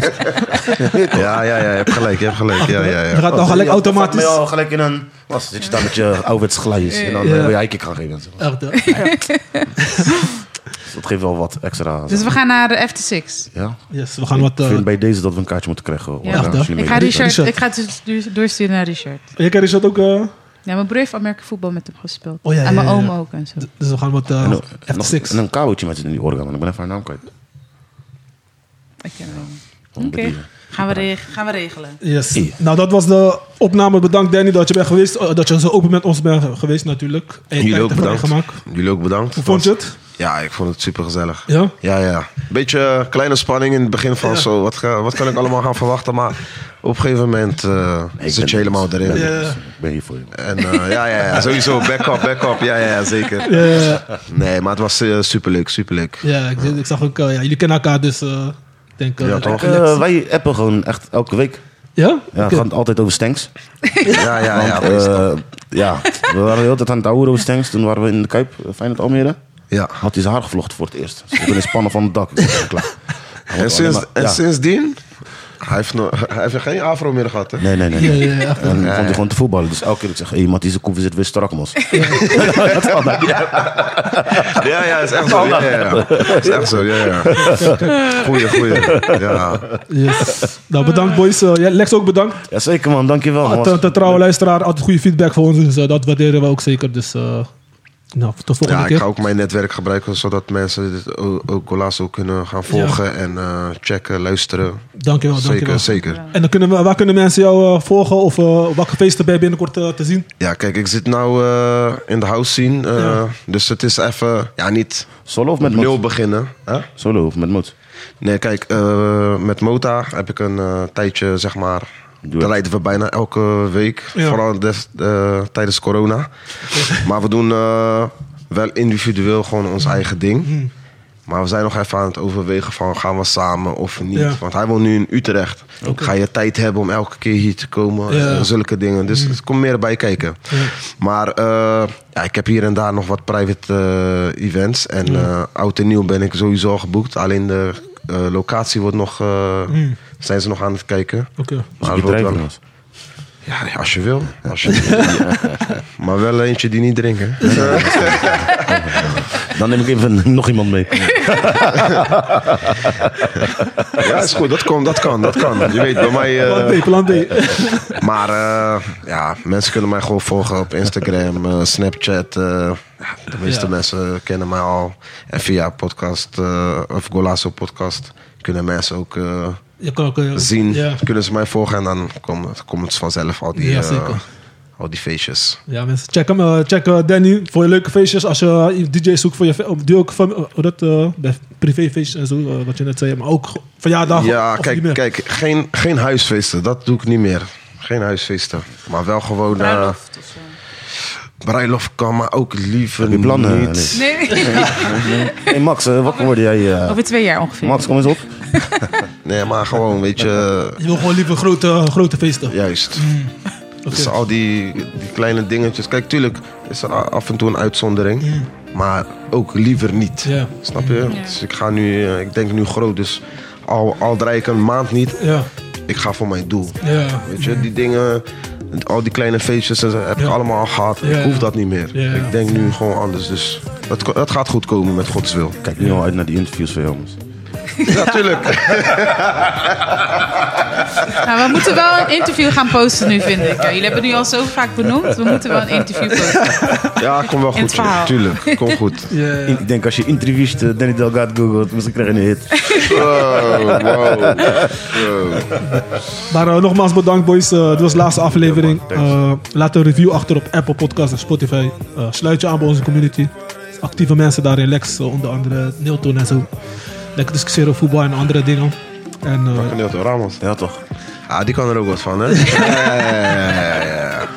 Speaker 4: man.
Speaker 3: Ja, ja, ja, je hebt gelijk, je hebt gelijk. Ja, ja,
Speaker 2: Je
Speaker 3: ja.
Speaker 2: gaat dan gelijk
Speaker 4: Oh, Ja,
Speaker 2: automatisch.
Speaker 4: vat mij al gelijk in een... Was, zit je daar met je ouderwets glijers en dan
Speaker 2: Ja.
Speaker 4: eh, wil je hijkick gaan geven. en zo.
Speaker 2: Echt, hè?
Speaker 4: Dus dat geeft wel wat extra...
Speaker 5: Dus we gaan naar de FC6.
Speaker 4: Ja?
Speaker 2: Yes, we gaan wat...
Speaker 4: Ik
Speaker 2: eh
Speaker 4: vind bij deze dat we een kaartje moeten krijgen. hoor.
Speaker 5: Ja.
Speaker 4: Als
Speaker 5: Echt,
Speaker 2: hè?
Speaker 4: jullie
Speaker 5: Ik ga,
Speaker 4: meedoen.
Speaker 5: Richard,
Speaker 2: Richard.
Speaker 5: ik ga het dus duur- doorsturen naar Richard.
Speaker 2: Jij kent Richard ook... eh,
Speaker 5: Ja, mijn broer heeft Amerika voetbal met hem gespeeld.
Speaker 2: Oh, ja,
Speaker 5: en mijn
Speaker 2: ja, ja,
Speaker 5: oom
Speaker 2: ja.
Speaker 5: ook en zo.
Speaker 2: d- dus we gaan wat... eh,
Speaker 4: En, nog-
Speaker 2: After
Speaker 4: nog-
Speaker 2: Six.
Speaker 4: en een kabeltje met in die orgaan, want ik ben even haar naam kwijt.
Speaker 5: Ik ken hem.
Speaker 4: Van
Speaker 2: eh,
Speaker 4: bedienen.
Speaker 5: Gaan, we reg- gaan we regelen.
Speaker 2: Yes.
Speaker 4: Ja.
Speaker 2: Nou, dat was de opname. Bedankt Danny dat je bent geweest. eh, dat je zo open met ons bent geweest natuurlijk. En je tijd
Speaker 3: Jullie ook
Speaker 2: hebt
Speaker 3: bedankt.
Speaker 2: vrijgemaakt.
Speaker 3: Jullie ook bedankt.
Speaker 2: Hoe vond je het?
Speaker 3: Ja, ik vond het super gezellig.
Speaker 2: Ja?
Speaker 3: Ja, ja. Beetje eh, kleine spanning in het begin van zo. Wat, ga- wat kan ik allemaal gaan verwachten? Maar op een gegeven moment eh,
Speaker 4: Ik
Speaker 3: zit je
Speaker 4: ben-
Speaker 3: helemaal erin.
Speaker 4: ben-
Speaker 2: Ja.
Speaker 4: Ik ben hier voor je. man.
Speaker 3: En eh, ja, ja, ja, sowieso. Back up, back up. Ja, ja, ja, zeker. Nee, maar het was eh, superleuk, superleuk.
Speaker 2: Eh, Ja, ik, ik zag ook... eh, ja, jullie kennen elkaar, dus eh, ik denk... eh,
Speaker 3: Ja, toch?
Speaker 4: Eh, wij appen gewoon echt elke week.
Speaker 2: Ja?
Speaker 4: Ja, het gaat altijd over Stanks.
Speaker 3: Ja, Ah, ja, ja.
Speaker 4: Eh, ja, we waren de hele tijd aan het oude over Stanks. Toen waren we in de Kuip, eh, Feyenoord Almere.
Speaker 3: ja.
Speaker 4: Had hij zijn haar gevlochten voor het eerst. Ze in de spannen van het dak. Ik dacht, klaar. Hij wordt
Speaker 3: En, sinds,
Speaker 4: alleen
Speaker 3: en
Speaker 4: maar- ja.
Speaker 3: sindsdien, hij heeft, no- hij heeft geen afro meer gehad, hè?
Speaker 4: Nee, nee, nee. nee.
Speaker 2: Ja, ja, echt.
Speaker 4: En dan vond hij gewoon te voetballen. Dus elke keer ik zeg, hey, Matthijs de Koeven zit weer strak, mos. dat valt mij niet uit.
Speaker 3: Ja, ja, is echt zo. Ja, ja, ja. Is echt zo, ja, ja. Goeie, goeie. Ja.
Speaker 2: Yes. Nou, bedankt boys. Eh, ja, Lex ook bedankt.
Speaker 3: Oh,
Speaker 4: Ja, zeker man, dankjewel. man.
Speaker 2: Altijd een trouwe luisteraar. Altijd goede feedback voor ons. Dus eh, dat waarderen we ook zeker. Dus eh, nou, tot volgende
Speaker 3: Ja, ik
Speaker 2: keer.
Speaker 3: ga ook mijn netwerk gebruiken zodat mensen dit o- ook Golazo kunnen gaan volgen en eh, checken, luisteren.
Speaker 2: Dankjewel, dankjewel.
Speaker 3: zeker, zeker.
Speaker 2: En dan kunnen we, waar kunnen mensen jou eh, volgen? Of eh welke feesten ben je binnenkort eh, te zien?
Speaker 3: Ja, kijk, ik zit nou eh, in de house scene, eh, dus het is even, ja, niet
Speaker 4: Solo of met
Speaker 3: met nul
Speaker 4: moed?
Speaker 3: beginnen. Hè?
Speaker 4: Solo of met moed?
Speaker 3: Nee, kijk, eh, met Mota heb ik een eh, tijdje, zeg maar.
Speaker 4: Doe
Speaker 3: Daar
Speaker 4: het.
Speaker 3: rijden we bijna elke week.
Speaker 2: Ja.
Speaker 3: Vooral des- eh, tijdens corona. maar we doen eh, wel individueel gewoon ons
Speaker 2: Mm.
Speaker 3: eigen ding. Maar we zijn nog even aan het overwegen van gaan we samen of niet.
Speaker 2: Ja.
Speaker 3: Want hij woont nu in Utrecht. Ga je tijd hebben om elke keer hier te komen?
Speaker 2: Ja.
Speaker 3: En zulke dingen. Dus
Speaker 4: Mm.
Speaker 3: het komt meer bij kijken. Maar eh, ja, ik heb hier en daar nog wat private eh, events. En eh, oud en nieuw ben ik sowieso al geboekt. Alleen de eh, locatie wordt nog, eh, zijn ze nog aan het kijken.
Speaker 2: Oké.
Speaker 4: Als
Speaker 3: Maar het
Speaker 4: ik Mm. je
Speaker 3: wordt
Speaker 4: drijven,
Speaker 3: wel,
Speaker 4: mos.
Speaker 3: ja, ja, als je wil. Als je wil. maar wel eentje die niet drinken.
Speaker 4: Dan neem ik even nog iemand mee.
Speaker 3: ja, is goed. Dat, komt, dat kan, dat kan. Je weet, bij mij... eh,
Speaker 2: Plan B, plan B.
Speaker 3: Maar eh, ja, mensen kunnen mij gewoon volgen op Instagram, eh, Snapchat. eh, ja, de meeste
Speaker 2: Ja.
Speaker 3: mensen kennen mij al. En via podcast eh, of Golazo podcast kunnen mensen ook eh,
Speaker 2: Je kan ook... eh,
Speaker 3: zien.
Speaker 2: Ja.
Speaker 3: Kunnen ze mij volgen en dan komen komt het vanzelf al die,
Speaker 2: Ja,
Speaker 3: eh,
Speaker 2: zeker.
Speaker 3: al die feestjes.
Speaker 2: Ja, mensen, check hem. eh, check eh, Danny voor je leuke feestjes. Als je eh, DJ zoekt voor je fe- op- doe ook van, eh, hoe dat, eh, bij privéfeestjes en zo, eh, wat je net zei. Maar ook verjaardag.
Speaker 3: ja,
Speaker 2: of niet meer.
Speaker 3: kijk, kijk geen, geen huisfeesten. Dat doe ik niet meer. Geen huisfeesten. Maar wel gewoon... eh
Speaker 5: Bruiloft of zo.
Speaker 3: bruiloft kan, maar ook liever
Speaker 4: Heb je plannen,
Speaker 3: niet.
Speaker 4: Liz?
Speaker 5: Nee,
Speaker 4: Hey Max, eh, wakker worden jij. eh.
Speaker 5: over twee jaar ongeveer.
Speaker 4: Max, kom eens op.
Speaker 3: Nee, maar gewoon, weet je...
Speaker 2: Je wil gewoon liever grote, grote feesten.
Speaker 3: Juist.
Speaker 2: Mm.
Speaker 3: Dus
Speaker 2: Oké.
Speaker 3: al die, die kleine dingetjes. Kijk, tuurlijk is er af en toe een uitzondering. Maar ook liever niet.
Speaker 2: Ja.
Speaker 3: Snap je? Dus ik ga nu, eh, ik denk nu groot. Dus al, al draai ik een maand niet,
Speaker 2: Ja,
Speaker 3: ik ga voor mijn doel.
Speaker 2: ja.
Speaker 3: Weet je, die dingen, al die kleine feestjes dat heb ik
Speaker 2: Ja.
Speaker 3: allemaal al gehad.
Speaker 2: Ja.
Speaker 3: Ik hoef dat niet meer.
Speaker 2: Ja.
Speaker 3: Ik denk nu gewoon anders. Dus dat, ko- dat gaat goed komen met Gods wil.
Speaker 4: Kijk nu al uit naar die interviews van jou, mos.
Speaker 3: Natuurlijk.
Speaker 5: Nou, we moeten wel een interview gaan posten nu, vind ik. Ja, jullie hebben het nu al zo vaak benoemd. We moeten wel een interview posten.
Speaker 3: ja, komt wel
Speaker 5: In het
Speaker 3: goed. joh.
Speaker 5: verhaal.
Speaker 3: Tuurlijk, komt goed.
Speaker 2: Ja,
Speaker 4: Ik denk als je interviewt eh, Danny Delgado googelt, misschien krijg je een hit.
Speaker 3: Wow, wow.
Speaker 2: Maar eh, nogmaals bedankt, boys. Eh, dit was de laatste aflevering. Eh, laat een review achter op Apple Podcasts en Spotify. Eh, sluit je aan bij onze community. Actieve mensen daarin. Lex, eh, onder andere Nilton en zo. Lekker discussiëren over voetbal en andere dingen. En eh,
Speaker 3: Meneer Ramos.
Speaker 4: Ja toch?
Speaker 3: Ah, die kan er ook wat van, hè? ja, ja, ja, ja,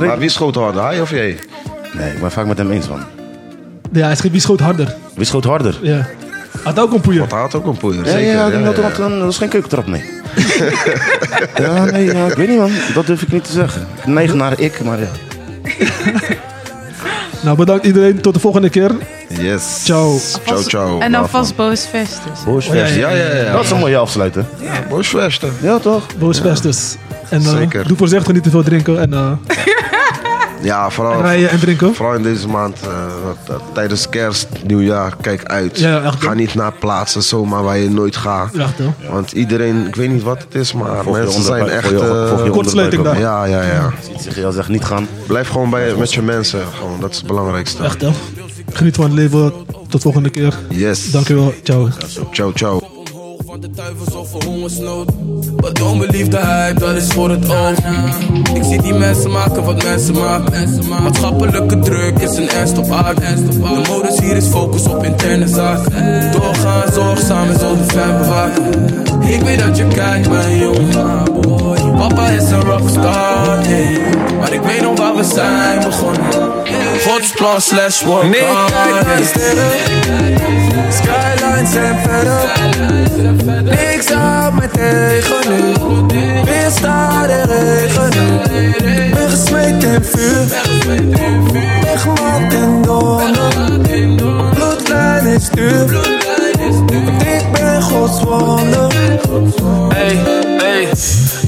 Speaker 3: ja. Maar wie schoot harder, hij of jij?
Speaker 4: Nee, ik ben vaak met hem eens man.
Speaker 2: ja, hij schiet wie schoot harder.
Speaker 4: Wie schoot harder?
Speaker 2: Ja. Ah, Had ook een poeier.
Speaker 3: Want hij had ook een poeier,
Speaker 4: Ja,
Speaker 3: zeker.
Speaker 4: ja, die had er- dat is geen keukentrap, nee. ja, nee, ja, ik weet niet man. Dat durf ik niet te zeggen. Ik neig naar ik, maar ja.
Speaker 2: Nou, bedankt iedereen. Tot de volgende keer.
Speaker 3: Yes.
Speaker 2: Ciao.
Speaker 3: Ciao, ciao.
Speaker 5: En dan vast boos vestes.
Speaker 4: Boosvesten.
Speaker 3: Ja, ja, ja.
Speaker 4: Dat is een mooie afsluiten.
Speaker 3: Boosvesten.
Speaker 4: Ja toch?
Speaker 2: Boos festus. En eh,
Speaker 3: Zeker.
Speaker 2: doe voorzichtig niet te veel drinken. En eh,
Speaker 3: Ja, vooral,
Speaker 2: rijden en drinken.
Speaker 3: vooral in deze maand, eh, dat- dat- tijdens kerst, nieuwjaar, kijk uit.
Speaker 2: Ja, echt,
Speaker 3: Ga
Speaker 2: hoor.
Speaker 3: niet naar plaatsen zomaar waar je nooit gaat.
Speaker 2: Wacht hoor.
Speaker 3: Want iedereen, ik weet niet wat het is, maar
Speaker 4: Volg je
Speaker 3: mensen zijn
Speaker 4: onderbuik-
Speaker 3: echt...
Speaker 4: volg je-
Speaker 3: eh,
Speaker 4: volg je
Speaker 2: Kortsluiting
Speaker 4: onderbuik
Speaker 2: daar.
Speaker 3: ja, ja, ja.
Speaker 4: ook. Zeg je al, zeg niet gaan.
Speaker 3: Blijf gewoon bij, met je mensen. Gewoon, dat is het belangrijkste.
Speaker 2: Echt hè. Geniet van het leven. Tot de volgende keer.
Speaker 3: Yes.
Speaker 2: Dankjewel. Ciao.
Speaker 3: Ciao, ciao.
Speaker 6: omhoog. van de duivels of een hongersnood. Wat onbeliefde hype, dat is voor het oog. Ik zie die mensen maken wat mensen maken. Maatschappelijke druk is een ernst op aarde. De modus hier is focus op interne zaken. Doorgaan, zorgzaam is over fijn bewaken. Ik weet dat je kijkt, mijn jongen. Papa is een rockstar, hey. Maar ik weet nog waar we zijn begonnen. Godsplan slash work. Nee, kijk eens Skylines en verder. Niks aan me tegen nu. Weer staat de regen. Ben gesmeed in vuur. Weggemaakt in donder. Bloedlijn is duur. Want ik ben Gods wonder. Hey, hey.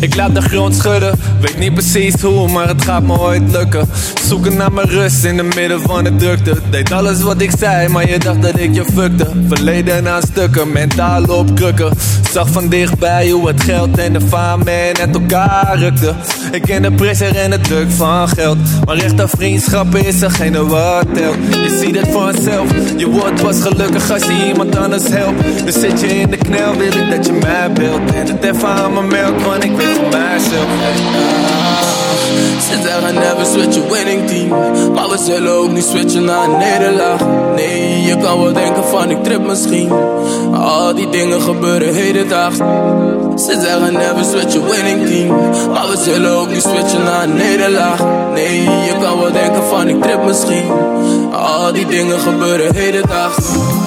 Speaker 6: Ik laat de grond schudden. Weet niet precies hoe, maar het gaat me ooit lukken. Zoeken naar mijn rust in het midden van de drukte. Deed alles wat ik zei, maar je dacht dat ik je fuckte. Verleden aan stukken, mentaal op krukken. Zag van dichtbij hoe het geld en de fame en het elkaar rukte. Ik ken de pressure en de druk van geld. Maar echt aan vriendschappen is degene wat telt. Je ziet het vanzelf, je wordt pas gelukkig als je iemand anders helpt. Dus zit je in de knel, wil ik dat je mij belt. En het even aan mijn melk, want ik weet van mijzelf. Sinds I never switch a winning team Maar we zullen ook niet switchen naar een nederlaag Nee, je kan wel denken van ik trip misschien Maar Al die dingen gebeuren hedendaags Ze zeggen never switch a winning team Maar we zullen ook niet switchen naar een nederlaag Nee, je kan wel denken van ik trip misschien Maar Al die dingen gebeuren hedendaags